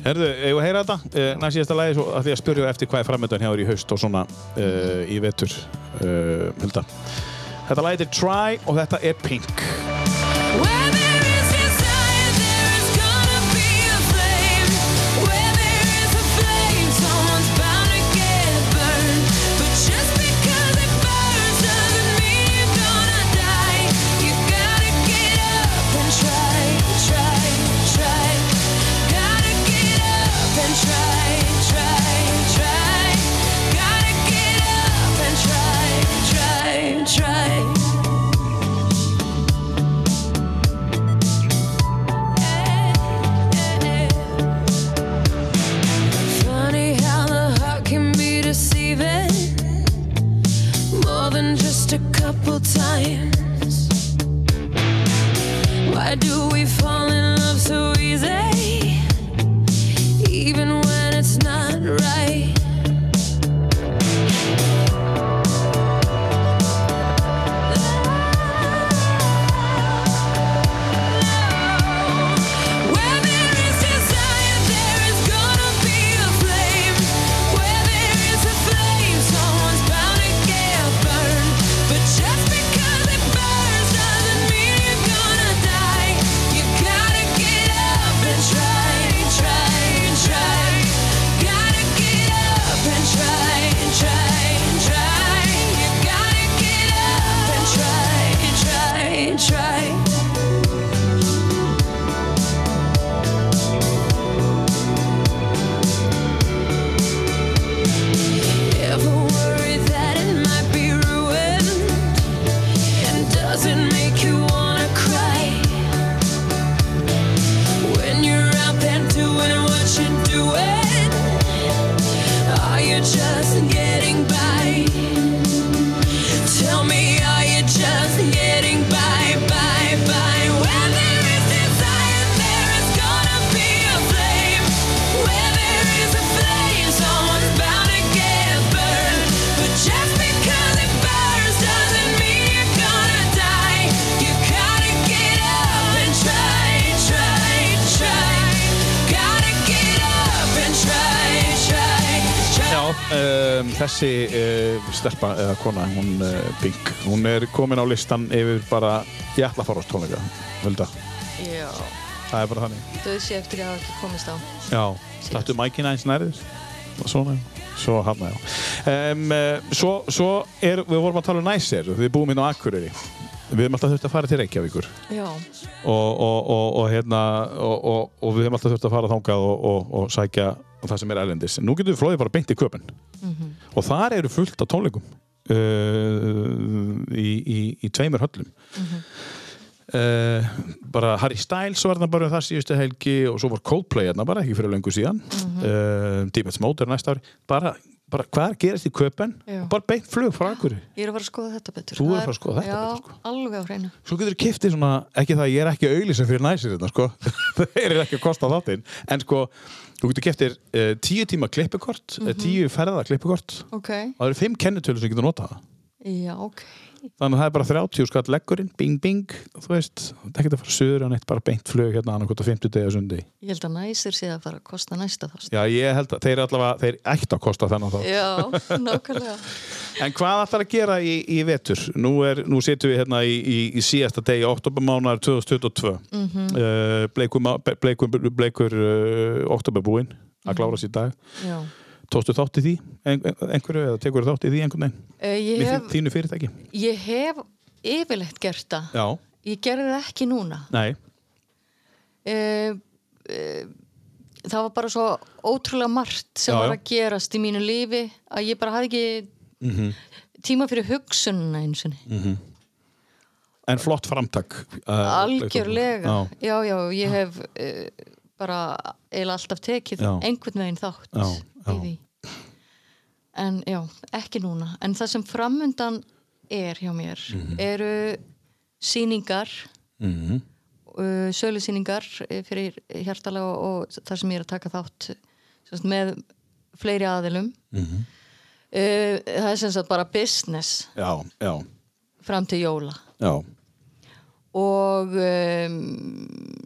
B: Herðu, ég var að heyra þetta uh, næst síðasta lagi, svo ætlum ég að spyrja eftir hvað er framöndan hjá þér í haust og svona uh, í vetur uh, Hulda Þetta lagið er Try og þetta er Pink
J: Where there is desire, there is gonna be a flame. Where there is a flame, someone's bound to get burned. But just because it burns doesn't mean you're gonna die. You gotta get up and try, try, try. Gotta get up and try, try, try. Gotta get up and try, try, try. Funny how the heart can be deceiving more than just a couple times. Why do we fall in love so easy, even when it's not right? Where there is desire, there is gonna be a flame. Where there is a flame, someone's bound to get burned. But just because it burns doesn't mean you're gonna die. You gotta get up and try, try, try. Gotta get up and try, try, try. You gotta get up and try, try, try. Ever worry that it might be ruined? And does it make you wanna cry? When you're out there doing what you're doing, are you just getting by? Tell me, are you just getting by, by, by? Where there is desire, there is gonna be a flame. Where there is a flame, someone's bound to get burned. But just because it burns doesn't mean you're gonna die. You gotta get up and try, try, try. Gotta get up and try, try, try.
B: Já, um, þessi uh, stelpa eða kona, hún uh, Pink hún er komin á listan yfir bara ég ætla að fara á tónleika, Hulda
C: já,
B: það er bara þannig
C: döð sé eftir að hafa ekki komist á
B: Já, startu mækina eins nærðis og svona, svo hann já um, uh, Svo, svo er, við vorum að tala um næsir við búum inn á Akureyri við hefum alltaf þurft að fara til Reykjavíkur
C: já,
B: og, og, og, og, hérna, og, og, og við hefum alltaf þurft að fara þangað og, og, og sækja það sem er erlendis en nú getum við flóðið bara beint í köpun og þar eru fullt af tónleikum uh, í, í, í tveimur höllum uh, bara Harry Styles var þarna bara um það síðustu helgi og svo var Coldplay hérna bara ekki fyrir löngu síðan mm -hmm. uh, Deepest Mode er næsta ári bara bara hvað gerist í köpen
C: Já.
B: og bara beint flug frá akkur
C: Ég er að fara að skoða þetta betur
B: Þú er að
C: Það
B: fara að skoða þetta
C: já,
B: betur, sko.
C: alveg á hreinu
B: svo getur þú kiftið svona, ekki það að ég er ekki auðlýsum fyrir næsir þetta sko þeir eru ekki að kosta þáttinn en sko, þú getur kiftið uh, tíu tíma klippikort mm tíu ferða klippikort
C: Ok,
B: og það eru fimm kennitölu sem getur notað það.
C: já, ok
B: þannig að það er bara 30 skall leggurinn bing bing, þú veist, það er ekki að fara söður en eitt bara beint flug hérna annarkot á 50 degi og sundi
C: Ég held að næsir sé að fara að kosta næsta þást
B: já, ég held að þeir allavega, þeir ætti að kosta þennan þá
C: Já, nákvæmlega
B: En hvað ætlar að gera í, í vetur? Nú, er, nú setjum við hérna í, í, í síðasta degi, oktobermánar 2022. Mm
C: Mhm.
B: -hmm. bleikur má- ble- bleikur, bleikur uh, oktoberbúinn
C: Mhm.
B: að klára sér dag.
C: já.
B: Tóstu þátt í því ein, einhverju eða tekur þátt í því einhvern veginn?
C: Eh, Ég
B: Með
C: hef,
B: þín- þínu fyrirtæki?
C: ég hef yfirleitt gert það
B: Já.
C: Ég gerði það ekki núna
B: Nei.
C: uh, Það var bara svo ótrúlega margt sem
B: Já,
C: var
B: já.
C: að gerast í mínu lífi að ég bara hafði ekki
B: Mhm.
C: tíma fyrir hugsunina eins og mm.
B: En flott framtak. Uh,
C: Algjörlega
B: Já.
C: Já, já, ég hef uh, bara eiginlega alltaf tekið
B: Já.
C: einhvern veginn þátt
B: Já, já.
C: í því En já, ekki núna En það sem framundan er hjá mér
B: Mhm.
C: eru sýningar uh, sölusýningar eh, fyrir hjartalega og, og þar sem ég er að taka þátt sem sagt, með fleiri aðilum
B: Mhm.
C: uh, það er sem sagt bara business
B: Já, já,
C: fram til jóla
B: já.
C: og um,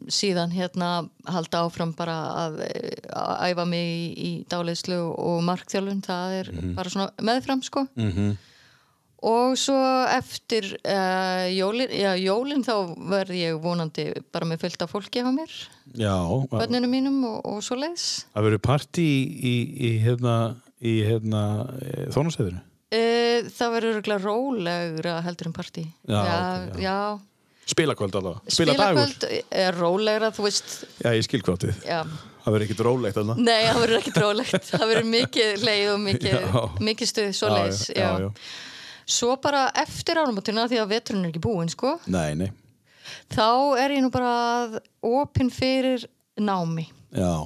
C: síðan hérna halda áfram bara að, eh, að æfa mig í, í dáleyslu og markþjálfun, það er bara svona meðfram sko
B: Mhm.
C: og svo eftir uh, jólin, já, jólin þá verð ég vonandi bara með fullt af fólki hjá mér,
B: Já.
C: börnunum mínum og, og svo leiðs
B: Það verður partí í, í, í hérna, í hérna þónasæðinu?
C: uh, það verður örugglega rólegra heldur en partí
B: Já,
C: já,
B: ok, já.
C: já.
B: Spilakvöld allavega.
C: spilakvöld er rólegra þú veist,
B: Já, ég skil hvað þið.
C: já
B: Það verður ekkert rólegt alveg.
C: Nei, það verður ekki drólegt Það verður mikið leið og mikið,
B: Já.
C: mikið stuð svo leiðis Svo bara eftir áramótina því að veturinn er ekki búinn sko,
B: Nei, nei.
C: þá er ég nú bara að opinn fyrir námi
B: Já.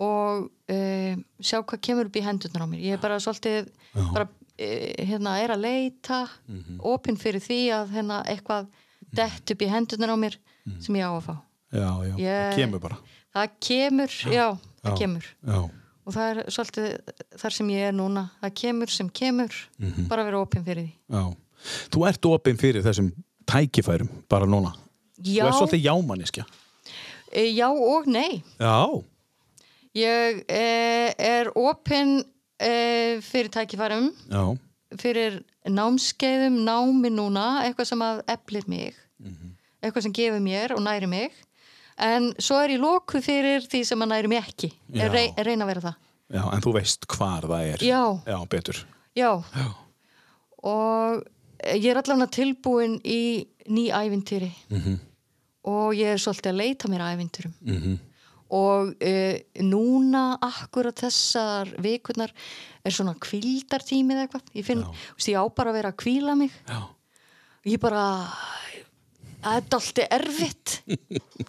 C: og uh, sjá hvað kemur upp í hendurnar á mér ég er bara svolítið bara, uh, hérna, er að leita mm
B: Mhm.
C: opinn fyrir því að hérna, eitthvað dett upp í hendurnar á mér
B: Mhm.
C: sem ég á að fá
B: Já, já. Það
C: Ég-
B: kemur bara.
C: Það kemur, já, það
B: Já.
C: kemur
B: Já.
C: og það er svolítið þar sem ég er núna það kemur sem kemur
B: Mhm.
C: bara vera opinn fyrir
B: Já. Þú ert opinn fyrir þessum tækifærum bara núna.
C: því
B: Þú
C: já,
B: ert svolítið jámanniskja.
C: e, já og nei
B: Já.
C: ég e, er opinn e, fyrir tækifærum
B: Já.
C: fyrir námskeiðum, námi núna eitthvað sem að eflir mig
B: Mhm.
C: eitthvað sem gefur mér og næri mig en svo er ég lóku fyrir því sem að næri mig ekki
B: Já.
C: er rey, reyna að vera það
B: Já, en þú veist hvar það er.
C: Já.
B: Já, betur.
C: Já. Og ég er allavega tilbúin í ný ævintýri
B: Mhm.
C: og ég er svolítið að leita mér að ævintýrum. -hmm. Og e, núna, akkurat þessar vikurnar, er svona kvildartími eða eitthvað. Ég finn, þú veist, ég á bara að vera að kvíla mig.
B: Já.
C: Ég bara, það er dalti erfitt.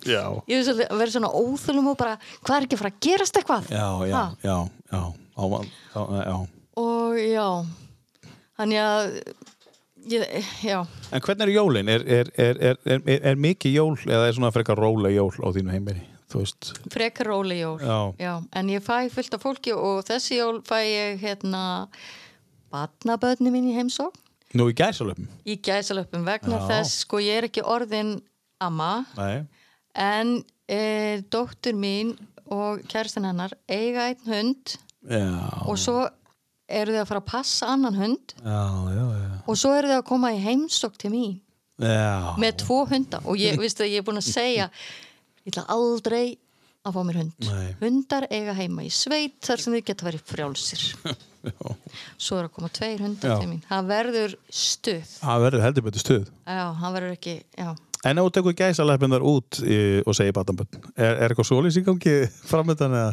B: Já.
C: Ég er svolítið að vera svona óþulum og bara, hvað er ekki að fara að gerast eitthvað?
B: Já, já,
C: Ha?
B: já, já. Á, á, á, já.
C: Og já, þannig að, ég, já,
B: En hvernig eru jólin? Er, er, er, er, er, er, er mikið jól eða er svona frekar róleg jól á þínu heimili? Þú veist.
C: frekar róli jól
B: Já.
C: en ég fæ fullt af fólki og þessi jól fæ ég hérna batnaböðni mín í heimsókn
B: Nú í gæsalöfum?
C: í gæsalöpum vegna
B: Já.
C: þess sko ég er ekki orðin amma
B: Nei.
C: en e, dóttur mín og kæristin hennar eiga einn hund
B: Já.
C: og svo eru þau að fara að passa annan hund
B: Já, já, já.
C: og svo eru þau að koma í heimsókn til mín
B: Já.
C: með tvo hunda og ég, veistu, ég er búin að segja ég ætla aldrei að fá mér hund
B: Nei.
C: hundar eiga heima í sveit þar sem þau geta verið frjálsir svo er að koma tveir hundar
B: Já.
C: til mín það verður stuð
B: Það verður heldur betur stuð.
C: já, hann verður ekki, já
B: En ef þú tekur gæsaleppin þar út í, og segir batanbönn, er, er eitthvað svolís í gangi framöndan eða?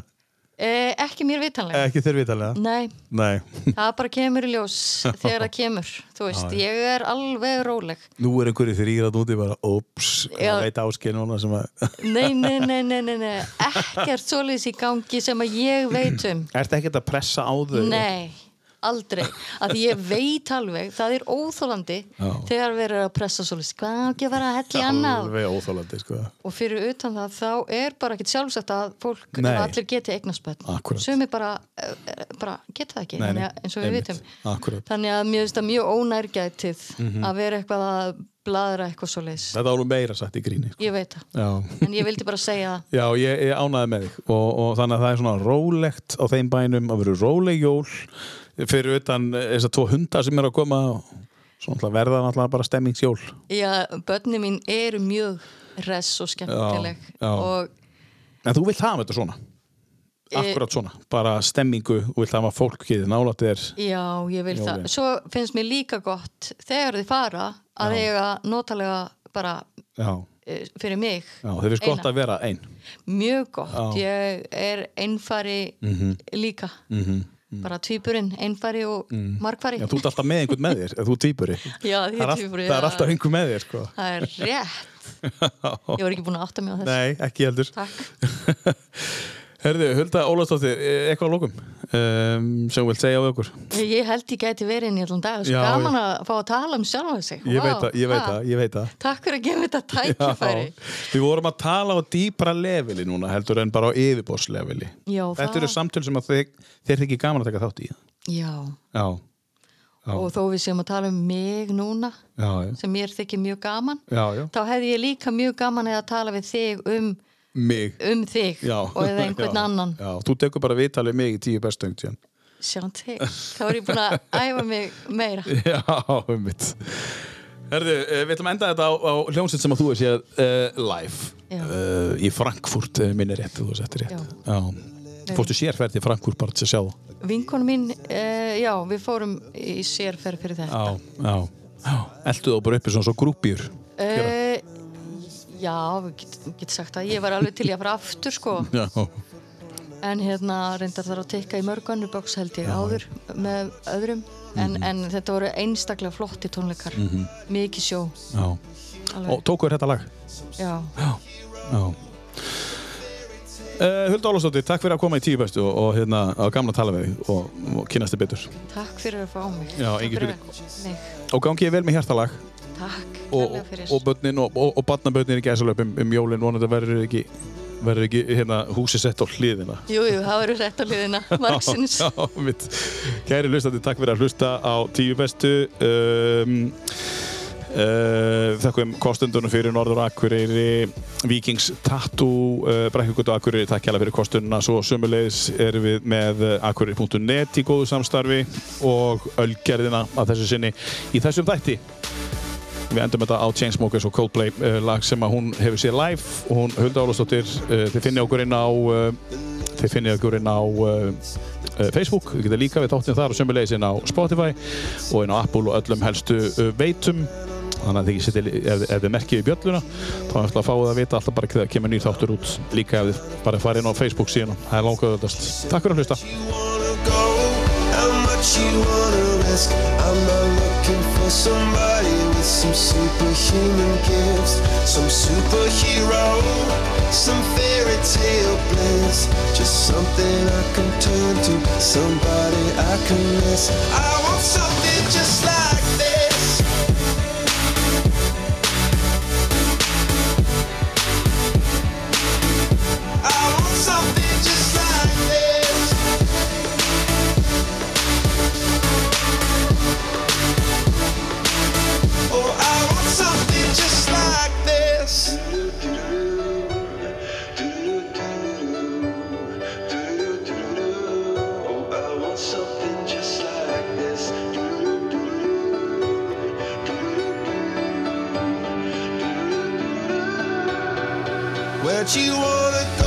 C: Eh, ekki mér vitanlega.
B: Ekki þér vitalega.
C: Nei,
B: Nei.
C: það bara kemur í ljós þegar það kemur. Þú veist, ég er alveg róleg.
B: Nú er einhverju þrýrat úti bara, ops,
C: Já.
B: hvað veit áskil núna sem að...
C: Nei, nei, nei, nei, nei, nei. Ekkert svoleiðis í gangi sem að ég veit um.
B: Ertu ekkert að pressa á þau?
C: Nei, aldrei. Af því ég veit alveg, það er óþólandi
B: Já.
C: þegar verið að pressa svoleiðis. Hvað á ekki að vera að hella í annað?
B: Alveg óþólandi, sko.
C: Og fyrir utan það, þá er bara ekkert sjálfsagt að fólk,
B: Nei.
C: ef allir geti eignarspöld.
B: Akkúrat.
C: Sumi bara, eh, eh, bara geta það ekki,
B: Nei, nei,
C: þannig að- eins og við
B: einmitt.
C: vitum.
B: Akkúrat.
C: Þannig að mér finnst það mjög ónærgætið
B: Mhm.
C: að vera eitthvað að bladra eitthvað svo leis.
B: Þetta var nú meira satt í gríni. Sko.
C: Ég veit það.
B: Já.
C: En ég vildi bara segja
B: Já, ég, ég ánaði með þig og, og þannig að það er svona rólegt á þeim bænum að vera róleg jól fyrir utan þess að tvo hunda sem er að koma og svo náttúrulega verða náttúrulega bara stemmingsjól
C: það. Já, börni mín eru mjög res og skemmtileg.
B: Já, já.
C: Og
B: En þú vilt hafa þetta svona
C: Eh,
B: Akkurat svona, bara stemmingu og vilt hafa fólk ekki nálætt þér
C: já, ég vil
B: Já,
C: það.
B: ok.
C: Svo finnst mér líka gott þegar þið fara að eiga notalega bara
B: Já,
C: eh, fyrir mig.
B: já þau finnst
C: eina.
B: gott að vera ein
C: Mjög gott,
B: Já. Mhm.
C: ég er einfari líka bara tvíburinn, einfari og margfari
B: Mm. Já, þú ert alltaf með einhvern með þér, ef þú týpuri
C: Já, ég
B: Það er, all,
C: tvíburi,
B: það er
C: já.
B: alltaf einhver með þér, sko
C: Það er rétt Ég var ekki búin að átta mig á þessu
B: Nei, ekki heldur
C: Takk.
B: Herðu, Hulda Ólafsdóttir, eh, eitthvað á lókum um, sem þú vilt segja á okkur
C: Ég held ég gæti verið inn í allan dag Svo
B: Já,
C: gaman að fá að tala um sjálfa sig
B: Ég
C: Vá,
B: veit það, ég veit
C: ha.
B: það, ég veit það
C: Takk fyrir að gefa þetta tækifæri
B: Já, við vorum að tala á dýpra leveli núna heldur en bara á yfirbóðsleveli
C: Já,
B: Þetta
C: það-
B: eru samtöl sem að þið, þér þykir gaman að taka þátt í
C: Já,
B: Já,
C: og þó við séum að tala um mig núna
B: já, já,
C: sem mér þykir mjög gaman
B: já, já.
C: þá hefði ég líka mjög gaman að tala við þig um,
B: Mig
C: um þig
B: já.
C: og eða einhvern
B: já.
C: annan
B: Já, þú tekur bara viðtalið mig í tíu bestöng síðan.
C: Sjá til, þá er ég búin að æfa mig meira.
B: Já, um mitt Herðu, eh, við ætlum að enda þetta á, á hljómsveit sem að þú er séð uh, live
C: Já.
B: uh, í Frankfurt uh, minni rétt, þú settir rétt
C: Já.
B: Já. Fórstu sérferð til Frankfurt bara til að sjá það
C: Vinkonu mín, uh, já, við fórum í sérferð fyrir þetta.
B: Já, já, já. Eltu þá bara uppi svona svo grúpjur
C: Eh, já, við getum get sagt það. Ég var alveg til ég að fara aftur, sko.
B: Já,
C: En hérna reyndar þar að tekka í mörg önnur boks held ég áður með öðrum. En,
B: Mhm.
C: en þetta voru einstaklega flotti tónleikar. Mikið sjó.
B: já
C: Alveg.
B: Mhm. Og tókuður þetta lag
C: Já,
B: Já Uh, Hulda Ólafsdóttir, takk fyrir að koma í tíu bestu og, og hérna, að gamla tala með þig og, og kynnast þig betur
C: takk fyrir að fá mig.
B: Já,
C: Takk
B: engin
C: fyrir Mig.
B: og gangi ég vel með hjartalag
C: Takk
B: og,
C: kærlega fyrir.
B: og börnin og, og, og barnabörnin í gæsalöp um, um jólin vonandi verður ekki, verður ekki hérna, húsi sett á hliðina
C: Jú, jú, það verður rétt á liðina. Margsins.
B: Já, mitt. Kæri hlustandi, takk fyrir að hlusta á tíu bestu. Um, uh, Þakkum kostundunum fyrir Norður Akureyri, Vikings Tattoo, uh, Brekkugötu Akureyri, takk kjæla fyrir kostununa. Svo sömulegis erum við með uh, akureyri.net í góðu samstarfi og Ölgerðina að þessu sinni í þessum þætti. Við endum þetta á Chainsmokers og Coldplay uh, lag sem að hún hefur séð live og hún Hulda Ólafsdóttir, uh, þið finnið okkur inn á uh, þið finnið okkur inn á uh, uh, Facebook, þið getið líka við þáttinn þar og sömulegis inn á Spotify og inn á Apple og öllum helstu uh, veitum þannig að þið ekki setja, ef, ef þið merkið í bjölluna þá er alltaf að fáið að vita alltaf bara þegar kemur nýr þáttur út líka ef þið bara farið inn á Facebook síðan það er langaðu öllast. Takk fyrir að hlusta
F: wanna go, how much you wanna risk. I'm not looking for somebody with some superhuman gifts, some superhero, some fairy tale bliss. Just something I can turn to, somebody I can miss. I want something just like this. I want something just like this. Oh, I want something just like this. Oh, I want something just like this. Where'd you wanna